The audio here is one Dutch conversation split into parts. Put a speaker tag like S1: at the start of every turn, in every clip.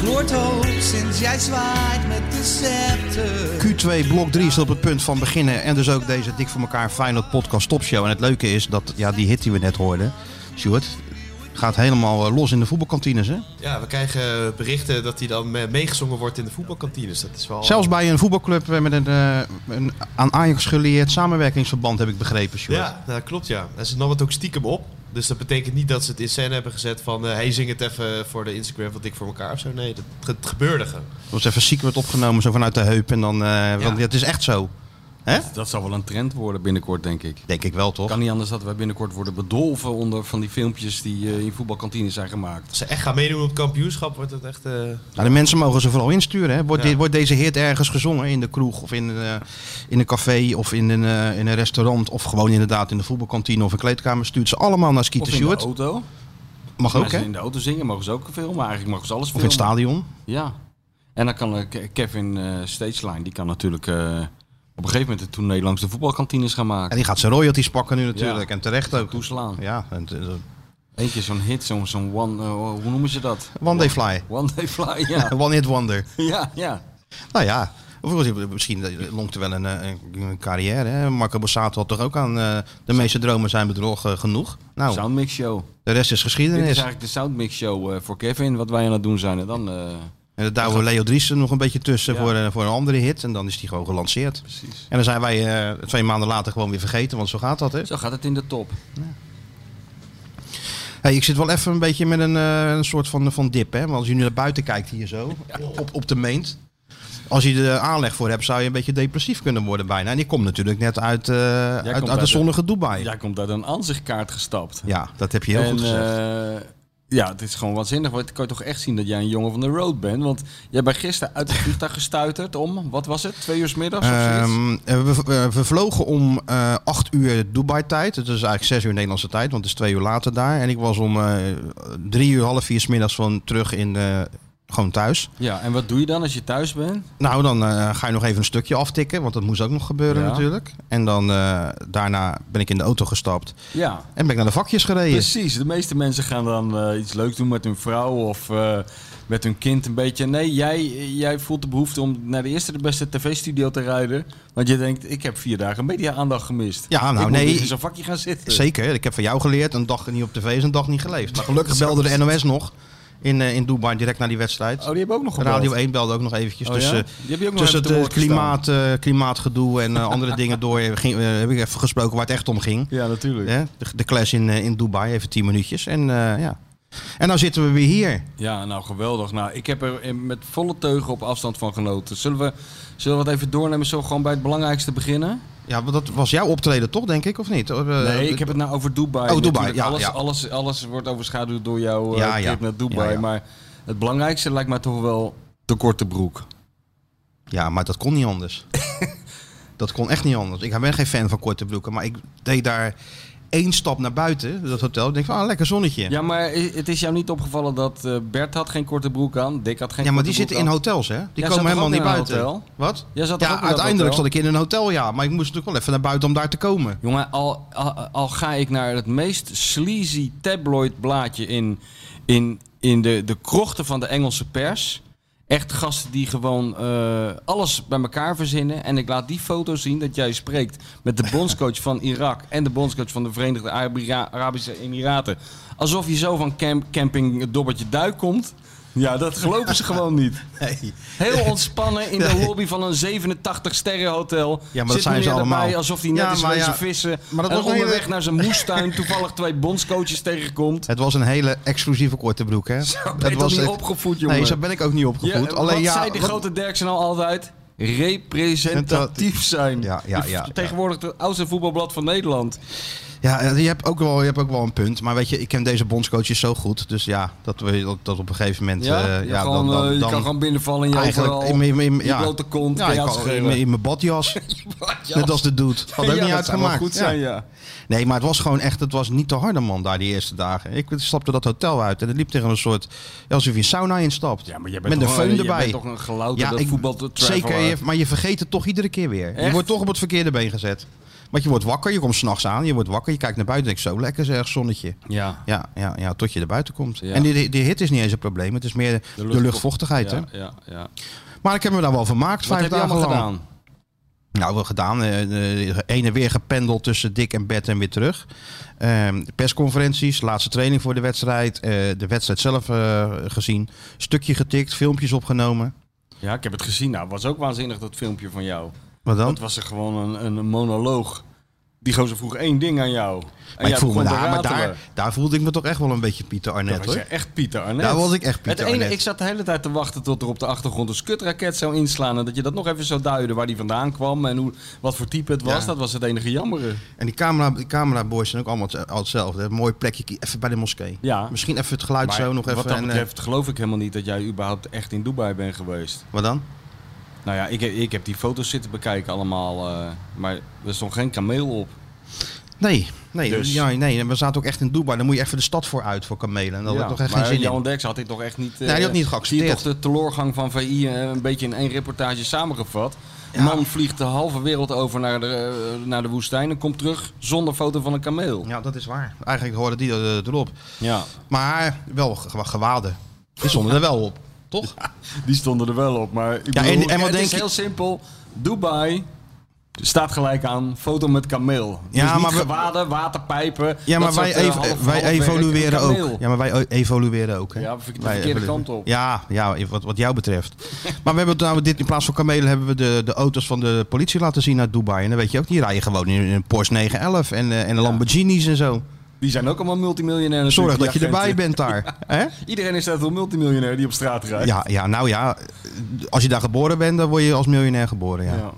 S1: gloort hoog sinds jij zwaait met de scepter.
S2: Q2 blok 3 is op het punt van beginnen. En dus ook deze Dik voor elkaar Feyenoord podcast topshow. En het leuke is dat, ja, die hit die we net hoorden, Stuart, gaat helemaal eh, los in de voetbalkantines. Hè?
S3: Ja, we krijgen berichten dat hij dan eh, meegezongen wordt in de voetbalkantines. Dat is wel...
S2: Zelfs bij een voetbalclub eh, met een, eh, een aan Ajax geleerd samenwerkingsverband, heb ik begrepen, Stuart.
S3: Ja, dat klopt ja. En ze nam het ook stiekem op. Dus dat betekent niet dat ze het in scène hebben gezet van... eh hey, zing het even voor de Instagram van Dik voor elkaar of zo. Nee, dat, het gebeurde gewoon.
S2: Dat was even secret opgenomen, zo vanuit de heup. En dan, eh, want het is echt zo. Hè?
S4: Dat zal wel een trend worden binnenkort, denk ik.
S2: Denk ik wel, toch?
S4: Kan niet anders dat wij binnenkort worden bedolven onder van die filmpjes die eh, in voetbalkantines zijn gemaakt.
S3: Als ze echt gaan meedoen op het kampioenschap, wordt het echt... eh,
S2: Nou, de mensen mogen ze vooral insturen. Hè? Wordt,
S3: Ja.
S2: dit, wordt deze hit ergens gezongen in de kroeg of in, eh, in een café of in een, eh, in een restaurant of gewoon inderdaad in de voetbalkantine of een kleedkamer? Stuurt ze allemaal naar
S4: of
S2: Skeeter
S4: in de
S2: Stewart.
S4: auto.
S2: Mag ook,
S4: Als ze
S2: hè?
S4: in de auto zingen, mogen ze ook filmen. Eigenlijk mogen ze alles
S2: Of in
S4: filmen.
S2: het stadion.
S4: Ja. En dan kan eh, Ke- Kevin eh Stageline, die kan natuurlijk eh, op een gegeven moment het tournee langs de voetbalkantines gaan
S2: En
S4: maken.
S2: die gaat zijn royalties pakken nu natuurlijk.
S4: Ja.
S2: En terecht ook.
S4: Toeslaan.
S2: Ja, en, eh,
S4: Eén keer zo'n hit, zo'n zo'n one, eh, hoe noemen ze dat?
S2: one day fly.
S4: One day fly, ja.
S2: One hit wonder.
S4: ja, ja.
S2: Nou ja, of- misschien longt er wel een, eh, een carrière. Hè? Marco Borsato had toch ook aan eh, de meeste dromen zijn bedrog eh, genoeg. Nou,
S4: Soundmix show.
S2: de rest is
S4: Dit is
S2: geschiedenis.
S4: eigenlijk de Soundmix show eh, voor Kevin, wat wij aan het doen zijn. En dan, eh,
S2: En daar douwen we Leo Driessen nog een beetje tussen
S4: Ja.
S2: voor, eh, voor een andere hit. En dan is die gewoon gelanceerd.
S4: precies.
S2: En dan zijn wij eh, twee maanden later gewoon weer vergeten, want zo gaat dat. Hè?
S4: Zo gaat het in de top.
S2: Hey, ik zit wel even een beetje met een, eh, een soort van, van dip. Hè? Want als je nu naar buiten kijkt hier zo, op, op de meent. Als je er aanleg voor hebt, zou je een beetje depressief kunnen worden bijna. En ik kom natuurlijk net uit, eh, uit,
S4: komt
S2: uit de
S4: uit
S2: zonnige Dubai. Ja.
S4: Jij komt uit een aanzichtkaart gestapt.
S2: dat heb je heel
S4: en,
S2: goed gezegd.
S4: eh, ja, het is gewoon waanzinnig. Want ik kan je toch echt zien dat jij een jongen van de road bent. Want jij bent gisteren uit het vliegtuig gestuiterd om, wat was het? Twee uur 's middags of zoiets?
S2: Ehm, eh, we, eh, we vlogen om eh 8 uur Dubai-tijd. Het is eigenlijk 6 uur Nederlandse tijd, want het is twee uur later daar. En ik was om eh, drie uur, half vier 's middags van terug in eh, gewoon thuis.
S4: Ja, en wat doe je dan als je thuis bent?
S2: Nou, dan eh, ga je nog even een stukje aftikken, want dat moest ook nog gebeuren
S4: Ja.
S2: natuurlijk. En dan eh, daarna ben ik in de auto gestapt
S4: Ja,
S2: en ben ik naar de vakjes gereden.
S4: precies. De meeste mensen gaan dan eh, iets leuks doen met hun vrouw of eh, met hun kind een beetje. Nee, jij, jij voelt de behoefte om naar de eerste de beste tv-studio te rijden. Want je denkt, ik heb vier dagen media-aandacht gemist.
S2: Ja, nou,
S4: ik moet
S2: nee.
S4: niet in zo'n vakje gaan zitten.
S2: Zeker, ik heb van jou geleerd, een dag niet op tv is een dag niet geleefd. Maar gelukkig belde de NOS nog in, eh, in Dubai direct na die wedstrijd.
S4: Oh, die hebben ook nog gebeld.
S2: Radio 1 belde ook nog eventjes.
S4: Oh,
S2: dus
S4: ja?
S2: eh,
S4: Die heb je ook nog
S2: tussen
S4: even te
S2: het eh,
S4: woord gestaan.
S2: klimaat, eh, klimaatgedoe en eh, andere dingen door eh, ging, eh, heb ik even gesproken waar het echt om ging.
S4: Ja, natuurlijk.
S2: Hè? De, de clash in, eh, in Dubai, even 10 minuutjes. En eh, ja. En nou zitten we weer hier.
S4: Ja, nou geweldig. Nou, ik heb er eh, met volle teugen op afstand van genoten. Zullen we, zullen we het even doornemen, zo gewoon bij het belangrijkste beginnen?
S2: Ja, want dat was jouw optreden toch, denk ik, of niet? Of, eh,
S4: nee, ik heb het nou over Dubai.
S2: Oh, Dubai,
S4: Natuurlijk,
S2: ja,
S4: alles,
S2: ja.
S4: Alles, alles wordt overschaduwd door jouw eh,
S2: Ja,
S4: trip
S2: ja.
S4: naar Dubai.
S2: Ja, ja.
S4: Maar het belangrijkste lijkt mij toch wel de korte broek.
S2: Ja, maar dat kon niet anders. dat kon echt niet anders. Ik ben geen fan van korte broeken, maar ik deed daar één stap naar buiten, dat hotel. Ik denk van, ah, lekker zonnetje.
S4: Ja, maar i- het is jou niet opgevallen dat eh, Bert had geen korte broek aan, Dick had geen
S2: Ja, maar
S4: korte
S2: die zitten
S4: broek
S2: in
S4: aan.
S2: hotels, hè? Die
S4: Jij zat
S2: komen
S4: toch
S2: helemaal
S4: ook
S2: niet
S4: in een
S2: buiten.
S4: hotel?
S2: Wat?
S4: Jij zat toch ook
S2: ja,
S4: in dat
S2: uiteindelijk
S4: hotel?
S2: zat ik in een hotel, ja. Maar ik moest natuurlijk wel even naar buiten om daar te komen.
S4: Jongen, al, al, al ga ik naar het meest sleazy tabloid blaadje in, in, in de, de krochten van de Engelse pers. Echt gasten die gewoon eh, alles bij elkaar verzinnen. En ik laat die foto zien dat jij spreekt met de bondscoach van Irak en de bondscoach van de Verenigde Arabira- Arabische Emiraten. Alsof je zo van camp, camping Dobbertje Duik komt. Ja, dat geloven ze gewoon niet.
S2: Nee.
S4: Heel ontspannen in de lobby van een 87 sterren hotel.
S2: maar dat
S4: Zit
S2: zijn ze
S4: meneer erbij
S2: allemaal.
S4: alsof hij net
S2: Ja,
S4: is
S2: maar
S4: wezen
S2: ja,
S4: vissen.
S2: maar dat
S4: en
S2: was een hele-
S4: onderweg naar zijn moestuin toevallig twee bondscoaches tegenkomt.
S2: Het was een hele exclusieve korte broek, hè?
S4: ben
S2: het
S4: je
S2: was
S4: toch niet
S2: echt-
S4: opgevoed, jongen?
S2: Nee, zo ben ik ook niet opgevoed.
S4: Ja,
S2: Alleen
S4: wat
S2: ja,
S4: zei de
S2: wat-
S4: grote Derksen al altijd? Representatief zijn.
S2: Ja, ja,
S4: Je
S2: ja, Eh, ja.
S4: Tegenwoordig het oudste voetbalblad van Nederland.
S2: ja, je hebt, ook wel, je hebt ook wel een punt. Maar weet je, ik ken deze bondscoaches zo goed. Dus ja, dat, we, dat, dat op een gegeven moment...
S4: Ja?
S2: eh,
S4: je,
S2: ja,
S4: gewoon,
S2: dan,
S4: eh,
S2: dan,
S4: je
S2: dan
S4: kan gewoon binnenvallen in je
S2: eigenlijk
S4: overal.
S2: in mijn- in mijn-
S4: je
S2: ja.
S4: blote kont.
S2: Ja,
S4: kan
S2: ik
S4: je
S2: kan- in
S4: uitschelden.
S2: mijn- in mijn badjas.
S4: Ja.
S2: Net als de dude. Had ook
S4: Ja,
S2: niet
S4: dat zou wel
S2: uitgemaakt.
S4: goed
S2: Ja.
S4: zijn, ja.
S2: Nee, maar het was gewoon echt, het was niet te harde man daar die eerste dagen. Ik stapte dat hotel uit en het liep tegen een soort, ja, alsof je een sauna instapt.
S4: Ja, maar jij bent
S2: Met een
S4: toch wel-
S2: föhn
S4: jij
S2: erbij.
S4: bent toch een gelouterde
S2: ik-
S4: voetbaltraveler.
S2: Zeker, je- maar je vergeet het toch iedere keer weer. Je
S4: Echt?
S2: wordt toch op het verkeerde been gezet. Want je wordt wakker, je komt s'nachts aan, je wordt wakker, je kijkt naar buiten en denkt zo lekker zeg, zonnetje.
S4: Ja.
S2: Ja, ja, ja, tot je er buiten komt.
S4: Ja.
S2: En die, die, die hit is niet eens een probleem, het is meer de, de luchtvochtigheid.
S4: ja,
S2: Hè?
S4: ja, ja.
S2: Maar ik heb me daar wel vermaakt,
S4: Wat
S2: vijf
S4: heb je
S2: dagen
S4: allemaal
S2: lang.
S4: gedaan?
S2: Nou, wel gedaan. eh eh, heen en weer gependeld tussen dik en bed en weer terug. Ehm, de persconferenties, laatste training voor de wedstrijd. eh, de wedstrijd zelf eh, gezien. Stukje getikt, filmpjes opgenomen.
S4: Ja, ik heb het gezien. Nou, was ook waanzinnig dat filmpje van jou.
S2: Wat dan?
S4: Dat was er gewoon een, een monoloog. Die gozer vroeg één ding aan jou. En
S2: maar ik
S4: jij
S2: voel me
S4: begon te
S2: daar, maar
S4: ratelen.
S2: daar, daar voelde ik me toch echt wel een beetje Pieter
S4: Dat
S2: Arnett
S4: was
S2: hoor.
S4: je echt Pieter Arnett.
S2: Daar was ik echt Pieter
S4: het enige,
S2: Arnett.
S4: Ik zat de hele tijd te wachten tot er op de achtergrond een skutraket zou inslaan. En dat je dat nog even zou duiden waar die vandaan kwam en hoe, wat voor type het was.
S2: Ja.
S4: Dat was het enige jammere.
S2: En die, camera, die cameraboys zijn ook allemaal het- al hetzelfde. hè. mooi plekje, ki- even bij de moskee.
S4: Ja.
S2: Misschien even het geluid zo nog even.
S4: wat dat
S2: en, eh,
S4: betreft geloof ik helemaal niet dat jij überhaupt echt in Dubai bent geweest.
S2: wat dan?
S4: Nou ja, ik, ik heb die foto's zitten bekijken allemaal. eh, maar er stond geen kameel op.
S2: Nee, nee,
S4: Dus-
S2: ja, nee. En We zaten ook echt in Dubai. Dan moet je even de stad voor uit voor kamelen. En dat had
S4: Ja,
S2: ik toch echt
S4: maar
S2: geen zin in.
S4: Johan Derks had dit toch echt niet... eh,
S2: Nee, die had niet
S4: Die
S2: geaccepteerd.
S4: had toch de teleurgang van VI eh, een beetje in één reportage samengevat. Man vliegt de halve wereld over naar de, eh, naar de woestijn en komt terug zonder foto van een kameel.
S2: Ja, dat is waar. Eigenlijk hoorde die er, eh, erop.
S4: Ja,
S2: Maar wel ge- gewaden. Die stonden er wel op, toch?
S4: die stonden er wel op. Maar ik
S2: Ja,
S4: bedoel,
S2: en- en wat
S4: het
S2: denk
S4: is
S2: je-
S4: heel simpel. Dubai staat gelijk aan foto met kameel.
S2: Ja,
S4: dus niet
S2: maar we-
S4: gewaden, waterpijpen.
S2: Ja, maar
S4: dat
S2: wij,
S4: soort, eh,
S2: ev-
S4: half-
S2: wij
S4: halfwerk,
S2: evolueren
S4: een kameel.
S2: ook. Ja, maar wij o- evolueren ook. Hè?
S4: Ja, we- de
S2: Wij
S4: verkeerde
S2: evolueren.
S4: kant op.
S2: Ja, ja wat, wat jou betreft. maar we hebben nou, dit, in plaats van kamelen hebben we de, de auto's van de politie laten zien uit Dubai. En dan weet je ook, die rijden gewoon in een Porsche 911 en, eh, en de Lamborghinis en zo.
S4: Die zijn ook allemaal multimiljonair natuurlijk,
S2: Zorg
S4: die
S2: dat je erbij
S4: agenten.
S2: bent daar. hè?
S4: Iedereen is daar wel multimiljonair die op straat rijdt.
S2: Ja, ja, nou ja, als je daar geboren bent, dan word je als miljonair geboren. ja.
S4: Ja.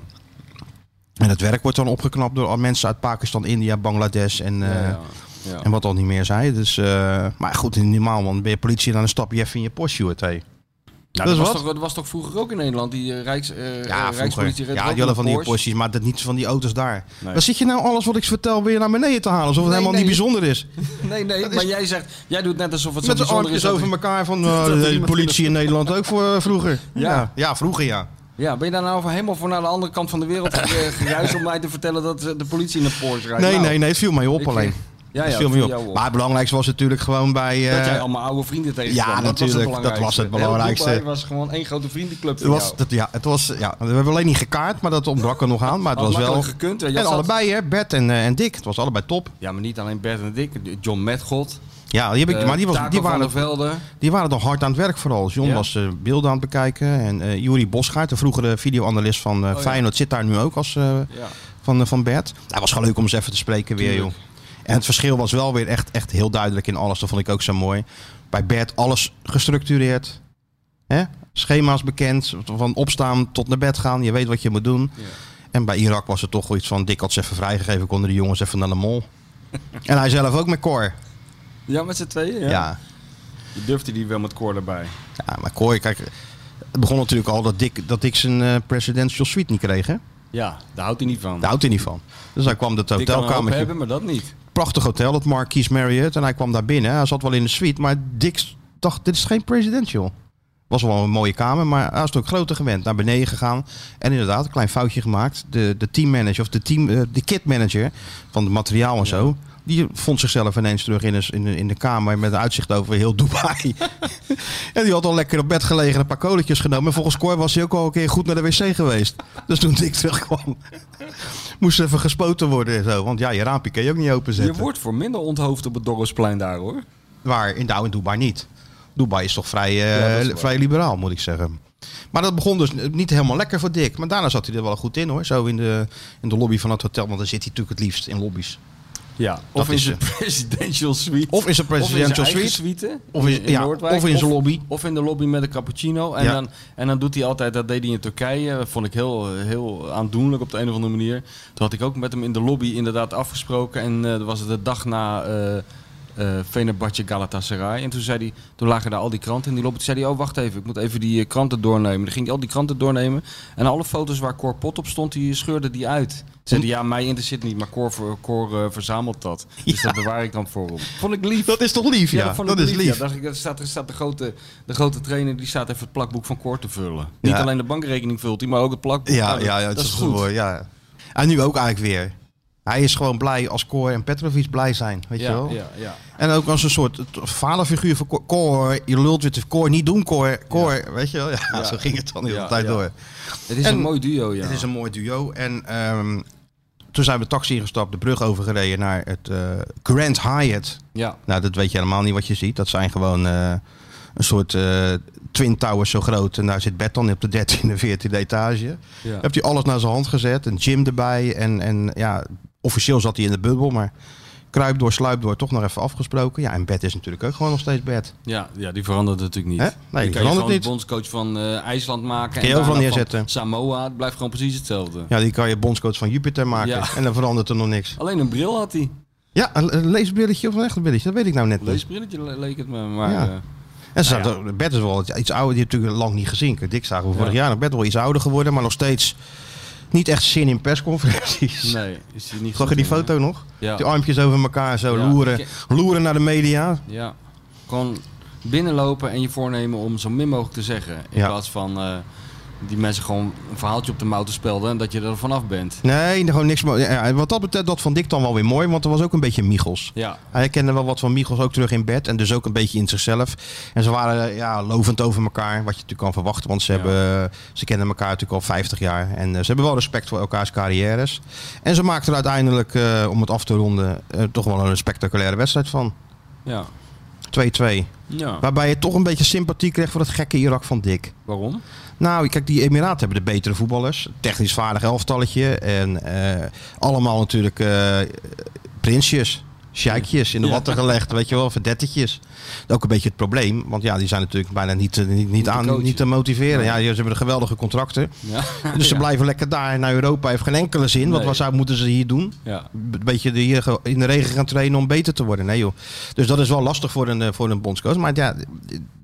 S2: En het werk wordt dan opgeknapt door al mensen uit Pakistan, India, Bangladesh en, eh,
S4: ja, ja.
S2: en wat al niet meer zei. Dus, eh, maar goed, normaal man, ben je politie en dan stap je even in je Porsche, Stuart, hé.
S4: Nou,
S2: dat is
S4: was
S2: wat.
S4: Toch, dat was toch vroeger ook in Nederland, die eh, Rijks, eh, eh,
S2: Ja,
S4: Rijkspolitie
S2: vroeger.
S4: reed
S2: Ja,
S4: ook
S2: die
S4: met
S2: hadden van die
S4: Porsche.
S2: Porsches, maar dat niet van die auto's daar.
S4: Nee.
S2: Waar zit je nou alles wat ik vertel weer naar beneden te halen? Alsof het
S4: Nee,
S2: helemaal
S4: nee.
S2: niet bijzonder is.
S4: Nee, nee, maar jij zegt, jij doet net alsof het zo
S2: Met de
S4: bijzonder
S2: armpjes
S4: is. dat-
S2: over elkaar van eh,
S4: er
S2: de
S4: iemand
S2: politie in Nederland ook voor, eh, vroeger.
S4: Ja.
S2: ja. Ja, vroeger ja.
S4: Ja, ben je daar nou over- helemaal voor naar de andere kant van de wereld eh, gereisd om mij te vertellen dat eh, de politie in een Porsche rijdt?
S2: Nee,
S4: Nou,
S2: nee, nee, het viel mij op
S4: ik-
S2: alleen.
S4: Ja, ja,
S2: het viel
S4: het
S2: mij
S4: viel
S2: op.
S4: jou op.
S2: Maar het belangrijkste was natuurlijk gewoon bij...
S4: Dat jij
S2: eh,
S4: allemaal oude vrienden tegenkwam.
S2: Ja,
S4: dat
S2: natuurlijk,
S4: Was
S2: dat
S4: het belangrijkste.
S2: was het
S4: Heel
S2: belangrijkste.
S4: Dubai was gewoon één grote vriendenclub
S2: Het
S4: voor
S2: was,
S4: jou.
S2: dat, ja, het was, ja, we hebben alleen niet gekaart, maar dat ontbrak er nog aan. Maar het
S4: Had
S2: was wel...
S4: makkelijk gekund. hè. Jij
S2: En
S4: zat-
S2: allebei, hè, Bert en, eh, en Dick. Het was allebei top.
S4: Ja, maar niet alleen Bert en Dick. John Metgod.
S2: Ja, die heb ik,
S4: eh,
S2: maar die, was,
S4: Taco
S2: die,
S4: van
S2: waren,
S4: der Velde.
S2: die waren nog hard aan het werk vooral. John
S4: Ja.
S2: was eh, beelden aan het bekijken. En eh Juri Bosgaard, de vroegere videoanalist van eh
S4: Oh, ja.
S2: Feyenoord, zit daar nu ook als, eh,
S4: Ja.
S2: van, eh, van Bert. Nou, Het was gewoon leuk om eens even te spreken weer, joh.
S4: Tuurlijk.
S2: En het verschil was wel weer echt, echt heel duidelijk in alles. Dat vond ik ook zo mooi. Bij Bert alles gestructureerd. Hè? Schema's bekend. Van opstaan tot naar bed gaan. Je weet wat je moet doen.
S4: Ja.
S2: En bij Irak was het toch wel iets van... Dick had ze even vrijgegeven, konden de jongens even naar de mol. en hij zelf ook met Cor.
S4: ja, met z'n tweeën.
S2: Ja.
S4: Ja.
S2: Ja.
S4: Je durfde die wel met koor erbij.
S2: maar Cor, kijk... Het begon natuurlijk al dat Dick, dat Dick zijn eh, presidential suite niet kreeg, hè?
S4: Ja, daar houdt hij niet van.
S2: Daar houdt hij niet van. Dus hij kwam dat
S4: Die kan een hoop
S2: hotelkamertje...
S4: hebben, maar dat niet.
S2: Prachtig hotel, dat Marquis Marriott. En hij kwam daar binnen. Hij zat wel in de suite, maar Dick dacht, dit is geen presidential. Was wel een mooie kamer, maar hij is ook groter gewend. Naar beneden gegaan. En inderdaad, een klein foutje gemaakt. De, de teammanager, of de, team, eh, de kitmanager van het materiaal en zo... Die vond zichzelf ineens terug in, een, in, een- in de kamer met een uitzicht over heel Dubai. en die had al lekker op bed gelegen en een paar koletjes genomen. En volgens Cor was hij ook al een keer goed naar de wc geweest. Dus toen Dick terugkwam, moest even gespoten worden. en Zo. Want ja, je raampje kan je ook niet
S4: Je
S2: openzetten.
S4: wordt voor minder onthoofd op het Dorpsplein daar hoor.
S2: Waar in, nou, in Dubai niet. Dubai is toch vrij,
S4: Ja, dat
S2: eh,
S4: is waar.
S2: vrij liberaal, moet ik zeggen. Maar dat begon dus niet helemaal lekker voor Dick. Maar daarna zat hij er wel goed in hoor. Zo in de, in de lobby van het hotel. Want daar zit hij natuurlijk het liefst in lobby's.
S4: Ja,
S2: dat
S4: of in
S2: is
S4: zijn presidential suite.
S2: Of in zijn presidential
S4: eigen
S2: suite.
S4: hè?
S2: Of in- ja,
S4: Noordwijk.
S2: of in zijn lobby.
S4: Of in de lobby met een cappuccino. En,
S2: Ja.
S4: dan, en dan doet hij altijd, dat deed hij in Turkije. Dat vond ik heel, heel aandoenlijk op de een of andere manier. Toen had ik ook met hem in de lobby inderdaad afgesproken. En eh, dat was het de dag na eh eh Fenerbahce Galatasaray. En toen, zei hij, toen lagen daar al die kranten in die lobby. Toen zei hij, oh wacht even, ik moet even die eh, kranten doornemen. Dan ging hij al die kranten doornemen. En alle foto's waar Cor Pot op stond, die scheurde die uit. Toen zei hij, ja, mij interesseert niet, maar Cor, ver- Cor eh, verzamelt dat. Dus dat bewaar ik dan voor hem. Vond ik lief.
S2: Dat is toch lief? Ja,
S4: vond
S2: dat
S4: ik
S2: is lief.
S4: Ja, dacht ik, er staat, er staat de, grote, de grote trainer, die staat even het plakboek van Cor te vullen.
S2: Ja.
S4: Niet alleen de bankrekening vult hij, maar ook het plakboek.
S2: Ja,
S4: Nou,
S2: ja, ja,
S4: dat,
S2: het
S4: dat is
S2: wel
S4: goed.
S2: mooi, Ja. En nu ook eigenlijk weer. Hij is gewoon blij als Cor en Petrovic blij zijn, weet je
S4: Ja,
S2: wel.
S4: ja, ja.
S2: En ook als een soort t- vaderfiguur van Cor. Cor, je lult weer te Cor, niet doen Cor, Cor, weet je wel. Ja,
S4: Ja.
S2: zo ging het dan de hele
S4: Ja,
S2: tijd
S4: ja.
S2: door.
S4: Het is
S2: En-
S4: een mooi duo, ja.
S2: Het is een mooi duo. En ehm, toen zijn we de taxi ingestapt, de brug overgereden naar het eh, Grand Hyatt.
S4: ja.
S2: Nou, dat weet je helemaal niet wat je ziet. Dat zijn gewoon eh, een soort eh, Twin Towers zo groot. En daar zit bed dan op de 13e, 14e etage.
S4: ja.
S2: Heeft hij alles naar zijn hand gezet. Een gym erbij. En, en ja, officieel zat hij in de bubbel. Maar kruip door, sluip door, toch nog even afgesproken. Ja, en bed is natuurlijk ook gewoon nog steeds bed.
S4: Ja, ja, die verandert natuurlijk niet.
S2: Hè?
S4: Je
S2: Nee, die
S4: kan je
S2: verandert
S4: gewoon de
S2: niet.
S4: bondscoach van eh, IJsland maken.
S2: je
S4: daarna
S2: overal
S4: van
S2: neerzetten.
S4: Samoa, het blijft gewoon precies hetzelfde.
S2: Ja, die kan je bondscoach van Jupiter maken.
S4: Ja.
S2: En dan verandert er nog niks.
S4: Alleen een bril had hij.
S2: Ja, een een leesbrilletje of een echt brilletje. Dat weet ik nou net niet.
S4: Leesbrilletje le- leek het me, maar...
S2: Ja.
S4: eh,
S2: En ze
S4: Nou
S2: zaten- Bert is wel iets- iets ouder, die heb ik natuurlijk lang niet gezien. Dik zagen we vorig
S4: Ja.
S2: jaar nog Bert wel iets ouder geworden, maar nog steeds niet echt zin in persconferenties.
S4: eh, nee, is hij niet
S2: Zag je
S4: goed
S2: die
S4: in, hè?
S2: foto nog?
S4: Ja.
S2: Die armpjes over elkaar zo
S4: Ja,
S2: loeren,
S4: ik-
S2: loeren naar de media.
S4: Ja, gewoon binnenlopen en je voornemen om zo min mogelijk te zeggen. In
S2: Ja.
S4: plaats van eh, die mensen gewoon een verhaaltje op de mouw te spelden en dat je er vanaf bent.
S2: Nee, gewoon niks. mo- Ja, en wat dat betreft, dat vond ik dan wel weer mooi, want er was ook een beetje Michels.
S4: Ja,
S2: Hij kende wel wat van Michels ook terug in bed en dus ook een beetje in zichzelf. En ze waren eh, ja, lovend over elkaar, wat je natuurlijk kan verwachten, want ze,
S4: Ja.
S2: hebben, eh, ze kennen elkaar natuurlijk al 50 jaar. En eh, ze hebben wel respect voor elkaars carrières. En ze maakten er uiteindelijk, eh, om het af te ronden, eh, toch wel een spectaculaire wedstrijd van.
S4: ja,
S2: 2-2.
S4: ja.
S2: Waarbij je toch een beetje sympathie kreeg voor dat gekke Irak van Dik.
S4: Waarom?
S2: Nou, kijk, die Emiraten hebben de betere voetballers. Technisch vaardig elftalletje. En eh, allemaal natuurlijk eh, prinsjes. Sjeikjes in de
S4: Ja.
S2: watten gelegd, weet je wel, verdettetjes. Dat is ook een beetje het probleem, want ja, die zijn natuurlijk bijna niet, eh, niet, niet,
S4: te
S2: aan,
S4: coachen.
S2: niet te motiveren. Ja, ze hebben de geweldige contracten,
S4: Ja.
S2: dus ze
S4: Ja.
S2: blijven lekker daar. Naar Europa heeft geen enkele zin, want
S4: Nee.
S2: wat zou, moeten ze hier doen?
S4: Ja.
S2: een beetje de- hier ge- in de regen gaan trainen om beter te worden. Nee joh. Dus dat is wel lastig voor een, eh, voor een bondscoach. Maar ja,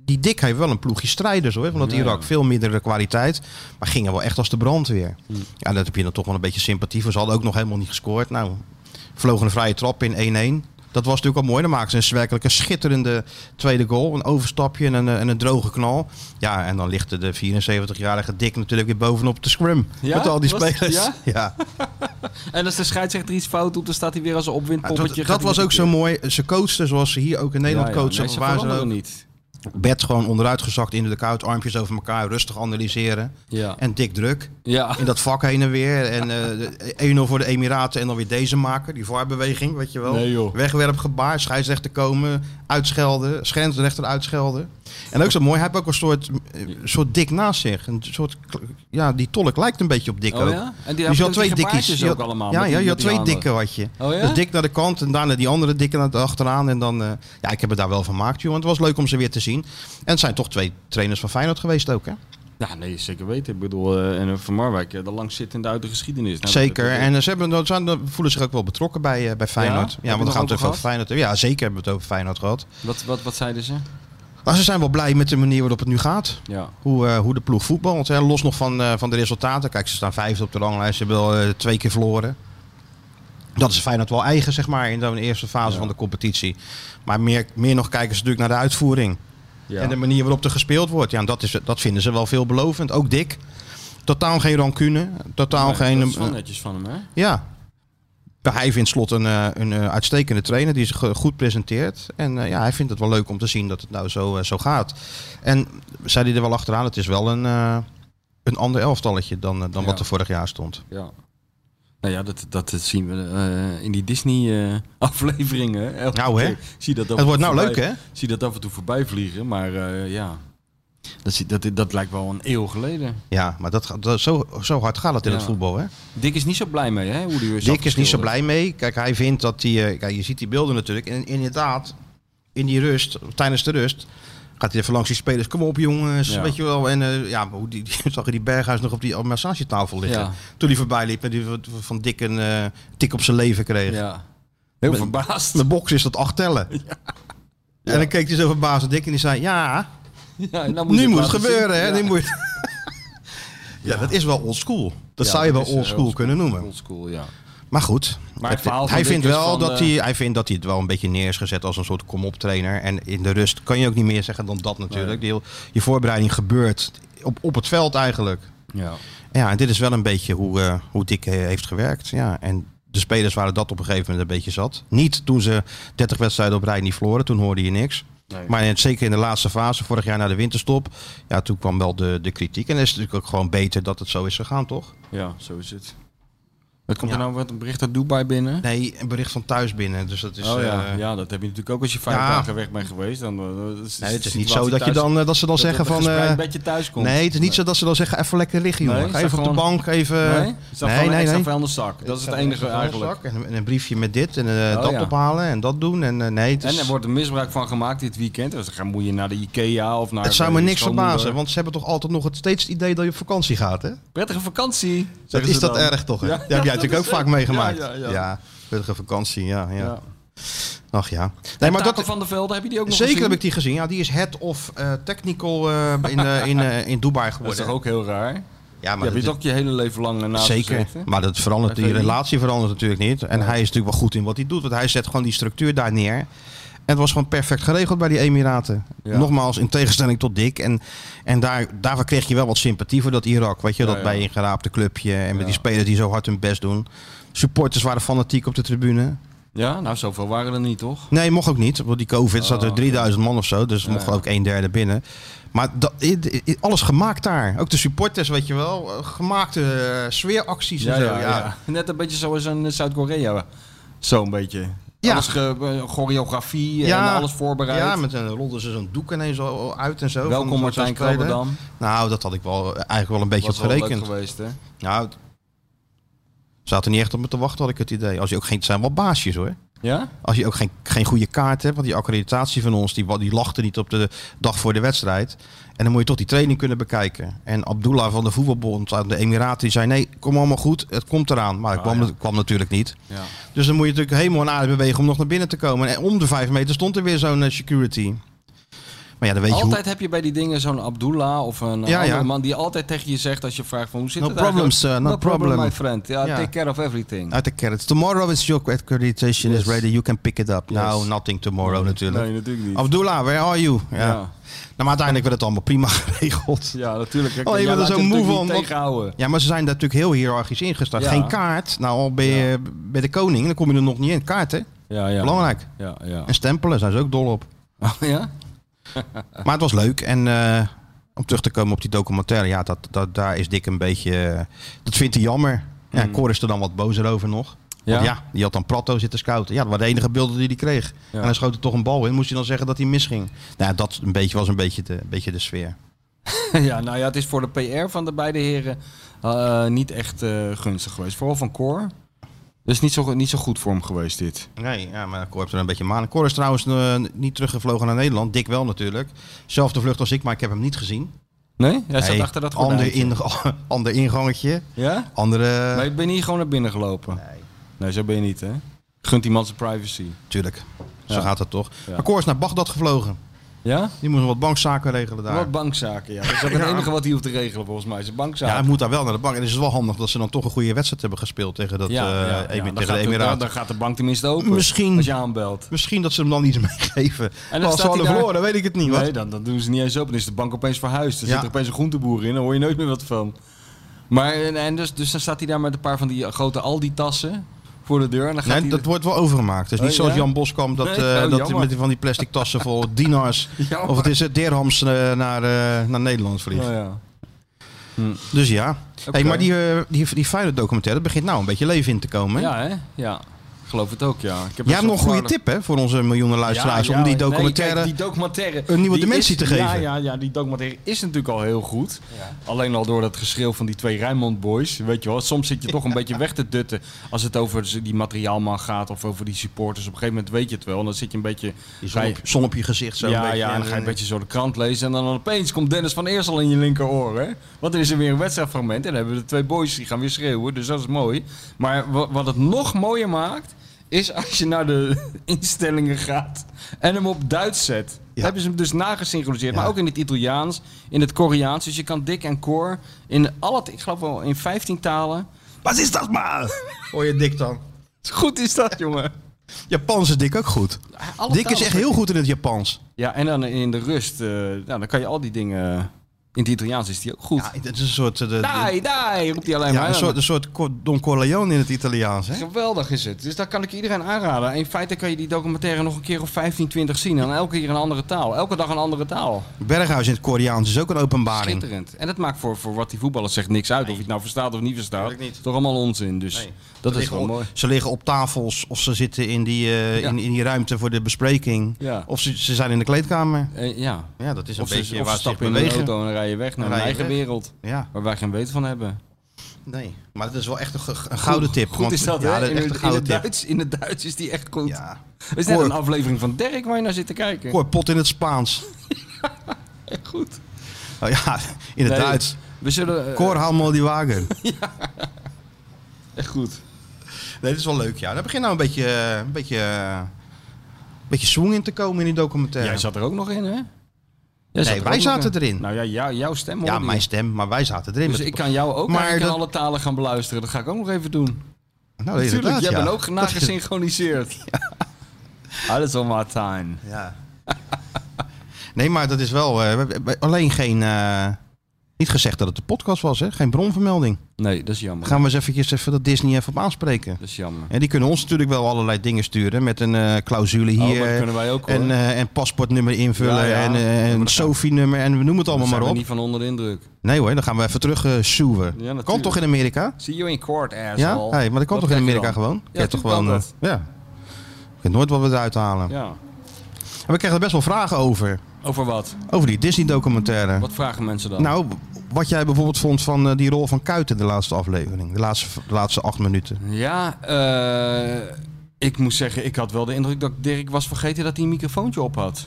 S2: die Dik heeft wel een ploegje strijders hoor. Van dat
S4: Ja.
S2: Irak veel mindere kwaliteit. Maar gingen wel echt als de brandweer.
S4: Hm.
S2: Ja, dat heb je dan toch wel een beetje sympathie voor. Ze hadden ook nog helemaal niet gescoord. Nou, vlogen een vrije trap in 1-1. Dat was natuurlijk al mooi. Dan maken ze een werkelijk een schitterende tweede goal. Een overstapje en een, eh, en een droge knal. Ja, en dan ligt de 74-jarige Dik natuurlijk weer bovenop de scrum.
S4: Ja?
S2: Met al die
S4: Was het-
S2: spelers.
S4: ja?
S2: ja.
S4: En als de scheidsrechter iets fout doet, dan staat hij weer als een
S2: Ja, dat,
S4: opwindpoppetje.
S2: dat
S4: gaat hij
S2: was
S4: weer
S2: ook zo mooi. Ze coachten zoals ze hier ook in Nederland
S4: Ja, ja,
S2: coachen.
S4: nee, ze
S2: waar ze
S4: veranderen
S2: ook-
S4: niet.
S2: bed gewoon onderuit gezakt in de koud, armpjes over elkaar, rustig analyseren.
S4: Ja.
S2: En dik druk.
S4: ja. Oh,
S2: In dat vak heen en weer. En eh, de 1-0 voor de Emiraten en dan weer deze maken. Die vaarbeweging, weet je wel.
S4: Nee, joh.
S2: Wegwerpgebaar, scheidsrechter komen, uitschelden, scheidsrechter uitschelden. En ook zo mooi, hij heeft ook een soort, eh, soort dik naast zich. Een soort, ja, die tolk lijkt een beetje op dik
S4: Oh
S2: ook.
S4: ja? En die,
S2: Je
S4: had
S2: had
S4: ook
S2: twee
S4: die
S2: dikkies.
S4: gebaartjes
S2: Je
S4: ook
S2: had-
S4: allemaal.
S2: Ja,
S4: met die-
S2: ja je
S4: met
S2: had
S4: die
S2: twee
S4: handen.
S2: dikke wat je.
S4: Oh ja?
S2: Dus dik naar de kant en daarna die andere dikke naar de achteraan. En dan, eh, ja, ik heb het daar wel van gemaakt, joh. Want het was leuk om ze weer te zien. En het zijn toch twee trainers van Feyenoord geweest ook, hè?
S4: Ja, nee, zeker weten. Ik bedoel, eh, en Van Marwijk, eh, de langzittende uit de geschiedenis. Nou,
S2: zeker.
S4: dat- dat-
S2: En eh, ze hebben, dat zijn, dat voelen zich ook wel betrokken bij, eh, bij Feyenoord. Ja,
S4: Heb je
S2: want we
S4: nog
S2: gaan
S4: over
S2: natuurlijk over Feyenoord hebben. Ja, zeker hebben we het over Feyenoord gehad.
S4: Wat, wat, wat zeiden ze?
S2: Maar ze zijn wel blij met de manier waarop het nu gaat.
S4: Ja.
S2: Hoe, eh, hoe de ploeg voetbalt. Hè. Los nog van, eh, van de resultaten. Kijk, ze staan vijfde op de ranglijst. Ze hebben wel eh, twee keer verloren. Dat is Feyenoord wel eigen, zeg maar, in de eerste fase
S4: Ja.
S2: van de competitie. Maar meer, meer nog kijken ze natuurlijk naar de uitvoering.
S4: ja.
S2: En de manier waarop er gespeeld wordt. Ja, en dat, is, dat vinden ze wel veelbelovend. Ook dik. Totaal geen rancune. Totaal
S4: Nee,
S2: geen...
S4: Dat is wel
S2: eh,
S4: netjes van hem, hè?
S2: ja. Hij vindt Slot een, eh, een eh, uitstekende trainer die zich eh, goed presenteert. En eh, ja, hij vindt het wel leuk om te zien dat het nou zo, eh, zo gaat. En zei hij er wel achteraan, het is wel een, eh, een ander elftalletje dan, eh, dan
S4: Ja.
S2: wat er vorig jaar stond.
S4: Ja. Nou ja, dat, dat, dat zien we eh, in die Disney-afleveringen.
S2: Nou, hè?
S4: Zie dat af en
S2: het wordt
S4: toe
S2: nou leuk,
S4: voorbij-
S2: hè?
S4: Zie dat af en toe voorbij vliegen, maar eh, ja. Dat, zie- dat, dat lijkt wel een eeuw geleden.
S2: Ja, maar dat, gaat- dat, zo, zo hard gaat het in
S4: Ja.
S2: het voetbal, hè?
S4: Dick is niet zo blij mee, hè? Hoe die
S2: Dick
S4: weer
S2: is niet zo
S4: afgeschilderd.
S2: blij mee. Kijk, hij vindt dat hij... eh, kijk, je ziet die beelden natuurlijk. En inderdaad, in die rust, tijdens de rust... Gaat hij even langs die spelers, kom op jongens,
S4: Ja.
S2: weet je wel. En eh, ja, hoe die, die- zag je die Berghuis nog op die massagetafel liggen.
S4: Ja.
S2: Toen hij voorbij liep en die van- van Dick een eh, tik op zijn leven kreeg.
S4: Ja. Heel
S2: Ben-
S4: verbaasd.
S2: De box is dat acht tellen. En dan keek hij zo verbaasd naar Dick en die zei, ja,
S4: Ja, en dan je
S2: nu moet het
S4: laten zien.
S2: gebeuren. Hè?
S4: Ja.
S2: Nu moet... je- ja, dat is wel oldschool. Dat
S4: Ja,
S2: zou je wel
S4: is, eh,
S2: oldschool kunnen noemen.
S4: Oldschool, ja.
S2: Maar goed,
S4: Maar
S2: het-
S4: het verhaal van
S2: hij,
S4: Dick
S2: vindt
S4: is
S2: wel
S4: van,
S2: dat
S4: eh,
S2: hij, hij vindt dat hij het wel een beetje neer is gezet als een soort kom-op trainer. En in de rust kan je ook niet meer zeggen dan dat natuurlijk.
S4: Nee.
S2: Die heel- je voorbereiding gebeurt op, op het veld eigenlijk.
S4: ja.
S2: Ja, en dit is wel een beetje hoe, eh, hoe Dick eh, heeft gewerkt. Ja, en de spelers waren dat op een gegeven moment een beetje zat. Niet toen ze 30 wedstrijden op rij niet verloren, toen hoorde je niks. Maar in, zeker in de laatste fase, vorig jaar na de winterstop, ja, toen kwam wel de, de kritiek. En dan is het natuurlijk ook gewoon beter dat het zo is gegaan, toch?
S4: Ja, zo is het. Wat komt er nou wat een bericht uit Dubai binnen?
S2: Nee, een bericht van thuis binnen. Dus dat is.
S4: oh ja.
S2: eh,
S4: ja, dat heb je natuurlijk ook als je vijf
S2: ja.
S4: dagen weg bent geweest. Dan, eh, dat is
S2: nee, het is
S4: de
S2: niet zo
S4: situatie
S2: dat, je
S4: thuis-
S2: dan, eh, dat ze dan
S4: dat
S2: zeggen
S4: het een
S2: van.
S4: gespreid
S2: eh,
S4: bedje thuis komt.
S2: nee, het is niet zo dat ze dan zeggen: even lekker liggen, jongen.
S4: Nee,
S2: Ga
S4: is
S2: even
S4: dat
S2: op de
S4: gewoon-
S2: bank, even.
S4: Nee? Is dat
S2: eh, Nee,
S4: gewoon
S2: nee,
S4: extra
S2: nee.
S4: vuilniszak? Dat is het enige eigenlijk.
S2: En een, en een briefje met dit en eh,
S4: Oh,
S2: dat
S4: ja.
S2: ophalen en dat doen. En, eh, nee, het is-
S4: En er wordt er misbruik van gemaakt dit weekend. Dus dan ga- moet je naar de Ikea of naar...
S2: Het zou
S4: eh,
S2: me
S4: je
S2: niks
S4: schoonmoeder.
S2: verbazen, want ze hebben toch altijd nog het, steeds het idee dat je op vakantie gaat, hè?
S4: Prettige vakantie!
S2: Dat
S4: zeggen
S2: is
S4: ze
S2: dat
S4: dan.
S2: erg toch, hè?
S4: Ja,
S2: Ja, heb jij
S4: dat
S2: natuurlijk ook
S4: is
S2: vaak
S4: het.
S2: meegemaakt.
S4: Ja,
S2: Ja,
S4: ja, ja.
S2: prettige vakantie, ja, ja.
S4: Ja.
S2: Ach ja. Nee, maar dat,
S4: van der Velde, heb je die ook nog
S2: zeker
S4: gezien?
S2: heb ik die gezien. Ja, die is head of eh, technical eh, in, eh, in, eh, in Dubai
S4: Dat is
S2: geworden.
S4: toch ook heel
S2: Ja,
S4: raar? je
S2: maar
S4: hebt je
S2: dat-
S4: toch je hele leven lang ernaast
S2: Zeker,
S4: gezeten?
S2: maar dat verandert, die
S4: FVI.
S2: relatie verandert natuurlijk niet. En hij is natuurlijk wel goed in wat hij doet, want hij zet gewoon die structuur daar neer. En het was gewoon perfect geregeld bij die Emiraten.
S4: Ja.
S2: Nogmaals, in tegenstelling tot Dick. En, en daar, daarvoor kreeg je wel wat sympathie voor dat Irak. Weet je,
S4: Ja,
S2: dat
S4: ja.
S2: bij ingeraapte clubje. En met
S4: Ja.
S2: die spelers die zo hard hun best doen. Supporters waren fanatiek op de tribune.
S4: Ja, nou zoveel waren er niet, toch?
S2: Nee, mocht ook niet. Want die COVID zat
S4: Oh,
S2: er 3000 man of zo. Dus
S4: Ja,
S2: mocht
S4: ja.
S2: ook een derde binnen. Maar dat, i- i- alles gemaakt daar. Ook de supporters, weet je wel. eh, Gemaakte eh, sfeeracties en zo. ja.
S4: Net een beetje zoals in Zuid-Korea. Zo'n beetje.
S2: Ja.
S4: Alles ge- eh, choreografie en
S2: Ja.
S4: alles voorbereid.
S2: Ja, met een rolden ze zo'n doek ineens al uit en zo.
S4: Welkom
S2: Van-
S4: Martijn
S2: zo'n speler.
S4: Krabberdam.
S2: Nou, dat had ik wel eh, eigenlijk wel een beetje
S4: Was
S2: op
S4: wel leuk
S2: gerekend.
S4: geweest, hè?
S2: Nou, het- zaten niet echt op me te wachten, had ik het idee. Als je ook geen, het zijn wel baasjes hoor.
S4: Ja?
S2: Als je ook geen, geen goede kaart hebt, want die accreditatie van ons, die, wa- die lachte niet op de dag voor de wedstrijd. En dan moet je toch die training kunnen bekijken. En Abdullah van de voetbalbond uit de Emiraten, die zei nee, kom allemaal goed, het komt eraan. Maar het
S4: Ah,
S2: kwam,
S4: ja.
S2: het kwam natuurlijk niet.
S4: Ja.
S2: Dus dan moet je natuurlijk helemaal een aarde bewegen om nog naar binnen te komen. En om de vijf meter stond er weer zo'n eh, security. Maar ja, dan weet je hoe...
S4: Altijd heb je bij die dingen zo'n Abdullah of een
S2: Ja,
S4: andere
S2: ja.
S4: man die altijd tegen je zegt als je vraagt van hoe zit
S2: No
S4: het
S2: problems,
S4: eigenlijk?
S2: sir, no problem.
S4: my friend. Ja,
S2: Ja.
S4: take care of everything.
S2: Uit de carrots. Tomorrow is your accreditation
S4: Yes.
S2: is ready. You can pick it up.
S4: Yes.
S2: Nou, nothing tomorrow natuurlijk.
S4: Nee, natuurlijk niet.
S2: Abdullah, where are you? Ja. Nou,
S4: ja.
S2: maar uiteindelijk werd het allemaal prima geregeld.
S4: ja, natuurlijk. Kijk,
S2: Oh, je
S4: jij
S2: bent er
S4: laat
S2: zo
S4: je
S2: moe
S4: natuurlijk
S2: van,
S4: niet
S2: want-
S4: tegenhouden.
S2: Ja, maar ze zijn daar natuurlijk heel hiërarchisch ingestart.
S4: Ja.
S2: Geen kaart. Nou, al ben je bij de koning, dan kom je er nog niet in. Kaart, hè?
S4: Ja, ja.
S2: Belangrijk.
S4: Ja, ja.
S2: En stempelen zijn ze ook dol op.
S4: Oh, ja?
S2: Maar het was leuk. En eh, om terug te komen op die documentaire, ja, dat, dat, daar is Dick een beetje. eh, dat vindt hij jammer. Ja,
S4: Mm.
S2: Cor is er dan wat bozer over nog. Want Hmm. ja, die had dan Prato zitten scouten. Ja, dat waren de enige beelden die hij kreeg.
S4: Ja.
S2: En hij schoot er toch een bal in. Moest hij dan zeggen dat hij misging? Nou, ja, dat een beetje, was een beetje de, een beetje de sfeer.
S4: Ja, nou ja, het is voor de PR van de beide heren eh, niet echt eh, gunstig geweest. Vooral van Cor. Dus niet zo, niet zo goed voor hem geweest dit.
S2: Nee, ja, maar Cor heeft er een beetje maan. Cor is trouwens eh, niet teruggevlogen naar Nederland. Dick wel natuurlijk. Zelfde vlucht als ik, maar ik heb hem niet gezien.
S4: Nee? Jij zat
S2: Nee,
S4: achter dat
S2: ander,
S4: gordijntje.
S2: in, ander ingangetje.
S4: Ja?
S2: Andere...
S4: Maar je bent niet gewoon naar binnen gelopen?
S2: Nee.
S4: Nee, zo ben je niet, hè? Gunt iemand zijn privacy.
S2: Tuurlijk. Zo
S4: Ja.
S2: gaat het toch.
S4: Ja.
S2: Maar Cor is naar Bagdad gevlogen.
S4: Ja?
S2: Die moest wat bankzaken regelen daar.
S4: Wat bankzaken, ja. Dat is ook het enige wat hij hoeft te regelen, volgens mij. Zijn
S2: Ja, hij
S4: bankzaken.
S2: moet daar wel naar de bank. En het is wel handig dat ze dan toch een goede wedstrijd hebben gespeeld tegen, dat, eh, Emi-
S4: dan
S2: tegen
S4: gaat
S2: de
S4: de-
S2: Emiraten.
S4: Dan gaat de bank tenminste open.
S2: Misschien.
S4: Als je aanbelt.
S2: Misschien dat ze hem dan iets meegeven.
S4: dan
S2: Maar als
S4: staat
S2: ze
S4: hij
S2: hadden
S4: daar-
S2: verloren, weet ik het niet. Wat?
S4: Nee, dan, dan doen ze niet eens open. Dan is de bank opeens verhuisd. Dan
S2: Ja.
S4: zit er opeens een groenteboer in. Dan hoor je nooit meer wat van. Maar en, en dus, dus dan staat hij daar met een paar van die grote Aldi-tassen voor de deur. En dan gaat
S2: Nee,
S4: hij
S2: dat wordt wel overgemaakt. Dus niet
S4: Oh,
S2: zoals
S4: ja?
S2: Jan Boskamp dat,
S4: Nee,
S2: eh,
S4: oh,
S2: dat hij
S4: jammer.
S2: met die- van die plastic tassen vol dinars
S4: Jammer.
S2: of het is het dirhams eh, naar, eh, naar Nederland vliegt.
S4: Oh, ja.
S2: Dus ja. Hey,
S4: Oké.
S2: maar die, eh die, die Feyenoord documentaire dat begint nou een beetje leven in te komen. hè?
S4: ja, hè? Ja. Ik Geloof het ook, ja. Ik heb
S2: Jij hebt nog een goede tip hè, voor onze miljoenen luisteraars om die documentaire...
S4: die documentaire
S2: een nieuwe
S4: die
S2: dimensie
S4: is-
S2: te
S4: Ja,
S2: geven.
S4: ja, ja, die documentaire is natuurlijk al heel goed. Alleen al door dat geschreeuw van die twee Rijnmond boys. Weet je wel, soms zit je toch een beetje weg te dutten als het over z- die materiaalman gaat of over die supporters. Op een gegeven moment weet je het wel. En dan zit je een beetje.
S2: Die
S4: ga
S2: zon,
S4: je-
S2: op, zon op je gezicht zo
S4: ja,
S2: een beetje.
S4: ja, en
S2: En,
S4: dan ga je
S2: eh,
S4: een beetje zo de krant lezen. En dan opeens komt Dennis van Eersel in je linkeroor. Hè? Want er is er weer een wedstrijdfragment. En dan hebben we de twee boys die gaan weer schreeuwen. Dus dat is mooi. Maar wa- wat het nog mooier maakt. Is als je naar de instellingen gaat. En hem op Duits zet.
S2: Ja.
S4: Hebben ze hem dus nagesynchroniseerd.
S2: Ja.
S4: Maar ook in het Italiaans. In het Koreaans. Dus je kan dik en koor. In al het, ik geloof wel in 15 talen.
S2: Wat is dat maar? Hoor je Dick dan?
S4: Goed is dat, jongen.
S2: Japans is Dick ook goed.
S4: Alle
S2: Dick is
S4: talen.
S2: echt heel goed in het Japans.
S4: Ja, en dan in de rust. eh, nou, dan kan je al die dingen In het Italiaans is die ook goed.
S2: Ja, het is een soort... eh, de- de-
S4: Dai, dai, roept hij alleen
S2: ja,
S4: maar.
S2: een
S4: aan.
S2: soort, een soort Cor- Don Corleone in het Italiaans, hè?
S4: Geweldig is het. Dus daar kan ik iedereen aanraden. En in feite kan je die documentaire nog een keer of 15, 20 zien. En elke keer een andere taal. Elke dag een andere taal.
S2: Berghuis in het Koreaans is ook een openbaring.
S4: Schitterend. En dat maakt voor, voor wat die voetballer zegt niks uit. Of je het nou verstaat of niet verstaat.
S2: Tuurlijk niet.
S4: Toch allemaal onzin. Dus
S2: Nee.
S4: dat
S2: Ze
S4: is
S2: liggen
S4: wel
S2: op-
S4: mooi.
S2: Ze liggen op tafels of ze zitten in die, eh,
S4: Ja.
S2: in, in die ruimte voor de bespreking.
S4: Ja.
S2: Of ze, ze zijn in de kleedkamer.
S4: Eh, ja.
S2: Ja, dat is een
S4: Of
S2: beetje
S4: ze, of
S2: waar ze
S4: ze
S2: zich
S4: stappen in een
S2: bewegen.
S4: auto en rijden weg naar
S2: En
S4: een
S2: rijden
S4: eigen
S2: weg.
S4: wereld.
S2: Ja,
S4: Waar wij geen weet van hebben.
S2: nee. Maar dat is wel echt een, ge- een gouden tip.
S4: Goed is dat,
S2: ja,
S4: hè?
S2: dat
S4: In,
S2: is echt
S4: het-
S2: een
S4: in, het
S2: gouden tip.
S4: Duits, in het Duits is die echt goed.
S2: Ja.
S4: Het is net
S2: Cor-
S4: een aflevering van Dirk waar je naar zit te kijken.
S2: Cor Pot in het Spaans.
S4: Echt goed.
S2: Oh, ja, in het
S4: Nee.
S2: Duits.
S4: We zullen... eh,
S2: Cor, haal maar die wagen.
S4: Echt goed.
S2: Nee, dat is wel leuk, ja. Daar begint nou een beetje, eh, een beetje, eh, een beetje swing in te komen in die documentaire.
S4: Jij zat er ook nog in, hè? Jij zat er
S2: wij
S4: ook nog
S2: zaten
S4: in.
S2: erin.
S4: Nou ja, jou- jouw stem hoorde
S2: ja,
S4: je.
S2: mijn stem, maar wij zaten erin.
S4: Dus
S2: met-
S4: ik kan jou ook
S2: Maar
S4: maar in
S2: dat-
S4: alle talen gaan beluisteren. Dat ga ik ook nog even doen.
S2: nou,
S4: Natuurlijk,
S2: inderdaad,
S4: jij
S2: ja.
S4: bent ook Ah,
S2: Dat is-
S4: nagesynchroniseerd. Alles on my time.
S2: Ja. nee, maar dat is wel. eh, we- we- we- alleen geen. eh, niet gezegd dat het de podcast was, hè? Geen bronvermelding.
S4: Nee, dat is jammer.
S2: Gaan we eens eventjes even dat Disney even op aanspreken.
S4: Dat is jammer.
S2: En die kunnen ons natuurlijk wel allerlei dingen sturen. Met een eh, clausule
S4: Oh, maar
S2: hier.
S4: dat kunnen wij ook, hoor.
S2: en, eh, en paspoortnummer invullen.
S4: Ja, ja.
S2: En, eh,
S4: Ja, maar
S2: en
S4: dat
S2: Sophie-nummer. En we noemen het
S4: Daar
S2: allemaal
S4: zijn
S2: maar
S4: we
S2: op.
S4: niet van onder de indruk.
S2: Nee hoor, dan gaan we even terug eh soeven.
S4: natuurlijk.
S2: kan toch in Amerika?
S4: See you in court, asshole.
S2: Ja? Hey, maar dat kan toch in
S4: krijg je
S2: Amerika
S4: dan.
S2: gewoon?
S4: Ja,
S2: Krijg je toch
S4: tuurlijk
S2: gewoon.
S4: kan
S2: eh, ja. Ik weet nooit wat we eruit halen.
S4: Ja.
S2: En we krijgen er best wel vragen over.
S4: Over wat?
S2: Over die Disney-documentaire.
S4: Wat vragen mensen dan?
S2: Nou, wat jij bijvoorbeeld vond van eh, die rol van Kuiten de laatste aflevering. De laatste, de laatste acht minuten.
S4: Ja, eh, ik moet zeggen, ik had wel de indruk dat Dirk was vergeten dat hij een microfoontje op had.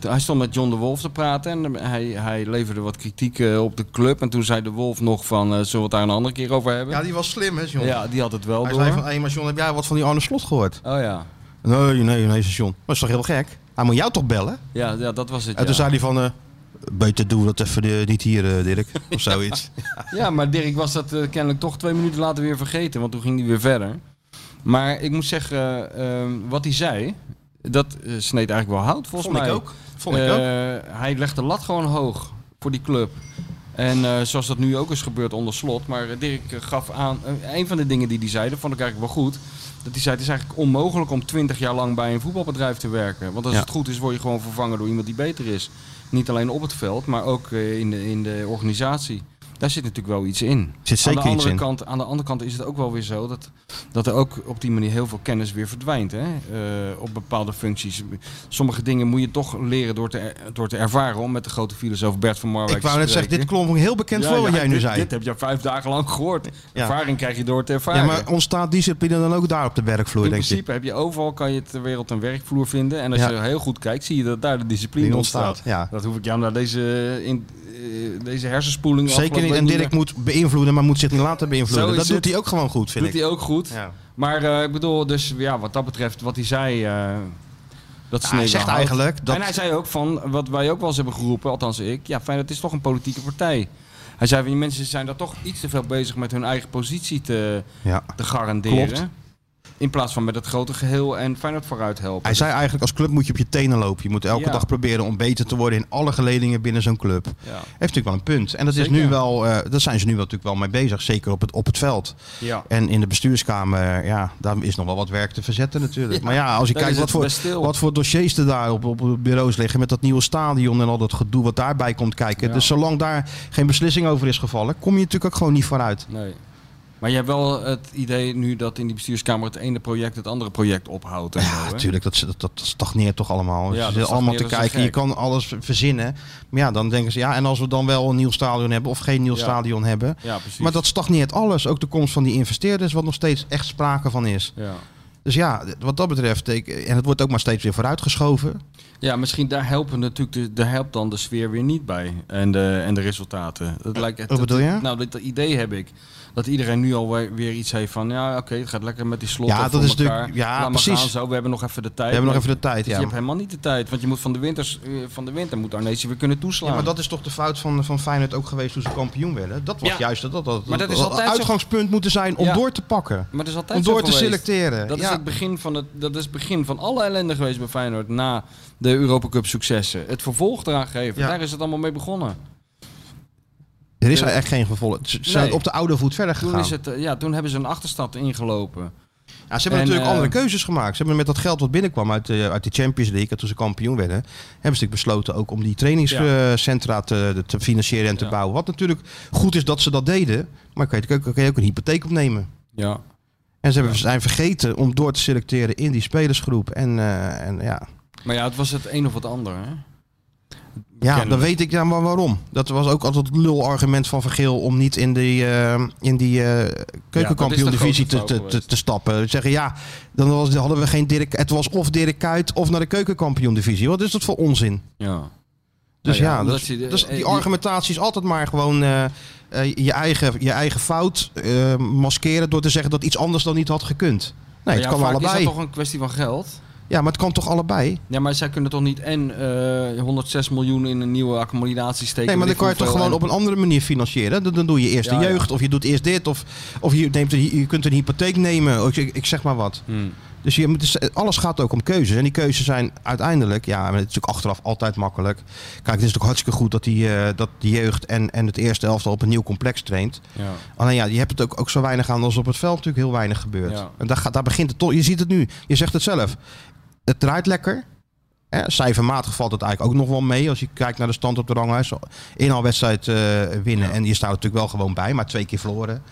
S4: Hij stond met John de Wolf te praten en eh, hij, hij leverde wat kritiek eh, op de club. En toen zei de Wolf nog van, eh, zullen we het daar een andere keer over hebben?
S2: die was slim, hè,
S4: Ja,
S2: John?
S4: die had het wel
S2: Hij
S4: door.
S2: zei van, ah. hé, maar John, heb jij wat van die Arne Slot gehoord?
S4: Oh ja.
S2: Nee, nee, nee, John. Dat is toch heel gek? Hij moet jou toch bellen?
S4: ja, ja, dat was het.
S2: En
S4: ja.
S2: toen zei hij van, eh, beter doen we dat even eh, niet hier, eh, Dirk. Of zoiets.
S4: Ja, maar Dirk was dat eh, kennelijk toch twee minuten later weer vergeten, want toen ging hij weer verder. Maar ik moet zeggen, eh, ehm, wat hij zei, dat eh, sneed eigenlijk wel hout volgens mij.
S2: Vond ik ook.
S4: Eh, Hij legt de lat gewoon hoog voor die club. En eh, zoals dat nu ook is gebeurd onder slot. Maar eh, Dirk eh, gaf aan, eh, een van de dingen die hij zei, dat vond ik eigenlijk wel goed. Dat hij zei, het is eigenlijk onmogelijk om twintig jaar lang bij een voetbalbedrijf te werken. Want als
S2: Ja.
S4: het goed is, word je gewoon vervangen door iemand die beter is. Niet alleen op het veld, maar ook eh, in, de, in de organisatie. Daar zit natuurlijk wel iets in.
S2: Zit zeker
S4: aan de
S2: iets
S4: andere
S2: in.
S4: Kant, aan de andere kant is het ook wel weer zo dat, dat er ook op die manier heel veel kennis weer verdwijnt. Hè? eh, op bepaalde functies. Sommige dingen moet je toch leren door te, er- door te ervaren. Om met de grote filosoof Bert van Marwijk
S2: Ik wou
S4: te
S2: net zeggen,
S4: spreken.
S2: dit klonk heel bekend
S4: Ja,
S2: voor wat
S4: ja,
S2: jij nu
S4: dit-
S2: zei.
S4: Dit heb je vijf dagen lang gehoord.
S2: Ja.
S4: Ervaring krijg je door te ervaren.
S2: ja, maar ontstaat discipline dan ook daar op de werkvloer,
S4: in
S2: denk
S4: principe heb je overal kan je ter wereld een werkvloer vinden. En als
S2: Ja.
S4: je heel goed kijkt, zie je dat daar de
S2: ik?
S4: discipline
S2: Die
S4: ontstaat.
S2: ontstaat, ja.
S4: Dat hoef ik jou naar deze, in, eh, deze hersenspoeling
S2: Zeker niet.
S4: afgelopen
S2: En
S4: week
S2: Dirk moet beïnvloeden, maar moet zich niet laten
S4: Zo
S2: beïnvloeden.
S4: is
S2: Dat doet
S4: het.
S2: hij ook gewoon goed, vind
S4: Doet
S2: ik.
S4: hij ook goed.
S2: Ja.
S4: Maar eh, ik bedoel, dus ja, wat dat betreft, wat hij zei, eh, dat
S2: hij
S4: sneed wel
S2: zegt
S4: hout.
S2: eigenlijk dat...
S4: En hij zei ook van, wat wij ook wel eens hebben geroepen, althans ik, ja, Feyenoord is toch een politieke partij. Hij zei van, die mensen zijn daar toch iets te veel bezig met hun eigen positie te,
S2: ja.
S4: te garanderen.
S2: Klopt.
S4: In plaats van met het grote geheel en Feyenoord vooruit helpen.
S2: Hij zei eigenlijk, als club moet je op je tenen lopen. Je moet elke
S4: Ja.
S2: dag proberen om beter te worden in alle geledingen binnen zo'n club. Heeft
S4: Ja.
S2: natuurlijk wel een punt. En dat is
S4: Zeker.
S2: nu wel, eh, daar zijn ze nu wel natuurlijk wel mee bezig. Zeker op het, op het veld.
S4: ja.
S2: En in de bestuurskamer, ja, daar is nog wel wat werk te verzetten natuurlijk.
S4: Ja,
S2: maar ja, als je
S4: daar
S2: kijkt
S4: is
S2: wat
S4: het
S2: voor,
S4: best stil.
S2: wat voor dossiers er daar op, op de bureaus liggen. Met dat nieuwe stadion en al dat gedoe wat daarbij komt kijken.
S4: Ja.
S2: Dus zolang daar geen beslissing over is gevallen, kom je natuurlijk ook gewoon niet vooruit.
S4: Nee. Maar je hebt wel het idee nu dat in die bestuurskamer het ene project het andere project ophoudt. En zo, hè?
S2: Natuurlijk, dat, dat, dat stagneert toch allemaal.
S4: Ja, dat
S2: ze zitten allemaal te
S4: stagneert als een
S2: kijken. Je
S4: gek.
S2: kan alles verzinnen. Maar ja, dan denken ze, ja, en als we dan wel een nieuw stadion hebben of geen nieuw
S4: Ja.
S2: stadion hebben.
S4: Ja, precies.
S2: Maar dat stagneert alles. Ook de komst van die investeerders, wat nog steeds echt sprake van is.
S4: ja.
S2: Dus ja, wat dat betreft, ik, en het wordt ook maar steeds weer vooruitgeschoven.
S4: Ja, misschien daar helpen natuurlijk de, daar helpt dan de sfeer weer niet bij en de, en de resultaten. Dat lijkt, het-
S2: Wat bedoel je?
S4: Nou, dit idee heb ik. Dat iedereen nu al weer- weer iets heeft van, ja, oké, het gaat lekker met die slot.
S2: Ja,
S4: en
S2: dat
S4: voor
S2: is
S4: elkaar.
S2: natuurlijk- ja,
S4: Laat maar
S2: precies.
S4: gaan zo, we hebben nog even de tijd.
S2: We hebben nog even de tijd,
S4: Dus
S2: ja.
S4: Je hebt helemaal niet de tijd, want je moet van de, winters, eh, van de winter moet Arneesje weer kunnen toeslaan.
S2: Ja, maar dat is toch de fout van, van Feyenoord ook geweest toen ze kampioen werden. Dat was
S4: Ja.
S2: juist dat dat, dat,
S4: Maar dat is
S2: dat
S4: altijd zo-
S2: uitgangspunt moeten zijn om
S4: Ja.
S2: door te pakken.
S4: Maar dat is altijd
S2: Om door
S4: zo
S2: te
S4: geweest.
S2: selecteren.
S4: Dat,
S2: ja.
S4: is het begin van het, dat is het begin van alle ellende geweest bij Feyenoord na de Europa Cup successen. Het vervolg eraan geven,
S2: Ja.
S4: daar is het allemaal mee begonnen.
S2: Er is echt geen gevolg. Ze ze zijn
S4: Nee.
S2: op de oude voet verder
S4: Toen,
S2: gegaan.
S4: is het, eh, ja, toen hebben ze een achterstand ingelopen.
S2: Ja, ze hebben
S4: En,
S2: natuurlijk
S4: eh,
S2: andere keuzes gemaakt. Ze hebben met dat geld wat binnenkwam uit de, uit de Champions League, en toen ze kampioen werden, hebben ze natuurlijk besloten ook om die trainingscentra te, te financieren en te
S4: Ja.
S2: bouwen. Wat natuurlijk goed is dat ze dat deden, maar kan je, natuurlijk ook- kan je ook een hypotheek opnemen.
S4: Ja.
S2: En ze hebben, zijn vergeten om door te selecteren in die spelersgroep. En, eh, en ja,
S4: Maar ja, het was het een of het ander. Hè?
S2: ja
S4: Kennen
S2: dan
S4: we.
S2: weet ik ja, maar waarom. Dat was ook altijd het lulargument van Vergeel om niet in die, eh in die eh keukenkampioen-divisie
S4: Ja, dat
S2: te,
S4: is de
S2: te,
S4: grote
S2: te, te stappen. Zeggen ja, dan was, hadden we geen Dirk. Het was of Dirk Kuyt of naar de keukenkampioen-divisie. Wat is dat voor onzin?
S4: Ja.
S2: Dus
S4: Nou ja,
S2: ja,
S4: omdat
S2: dat,
S4: je de-
S2: dus
S4: eh,
S2: die
S4: je-
S2: argumentatie is altijd maar gewoon eh, eh, je, eigen, je eigen fout eh, maskeren door te zeggen dat iets anders dan niet had gekund. Nee, het
S4: Nou ja,
S2: kan
S4: vaak
S2: allebei.
S4: is dat toch een kwestie van geld?
S2: Ja, maar het kan toch allebei?
S4: Ja, maar zij kunnen toch niet en eh, 106 miljoen in een nieuwe accommodatie steken?
S2: Nee, maar dan
S4: weet
S2: kan je
S4: ik
S2: toch
S4: hoeveel,
S2: gewoon
S4: en-
S2: op een andere manier financieren. Dan, dan doe je eerst
S4: Ja,
S2: de
S4: ja.
S2: jeugd, of je doet eerst dit, of, of je, neemt een, je kunt een hypotheek nemen. Ik, ik zeg maar wat.
S4: Hmm.
S2: Dus je moet, alles gaat ook om keuzes. En die keuzes zijn uiteindelijk, ja, maar het is natuurlijk achteraf altijd makkelijk. Kijk, het is natuurlijk hartstikke goed dat die, eh, dat die jeugd en, en het eerste elftal op een nieuw complex traint.
S4: Ja.
S2: Alleen ja, je hebt het ook, ook zo weinig aan als op het veld natuurlijk heel weinig gebeurt.
S4: Ja.
S2: En daar, gaat- daar begint het toch. Je ziet het nu. Je zegt het zelf. Het draait lekker. Hè, cijfermatig valt het eigenlijk ook nog wel mee. Als je kijkt naar de stand op de ranglijst. Inhaalwedstrijd eh winnen. En je staat er natuurlijk wel gewoon bij. Maar twee keer verloren.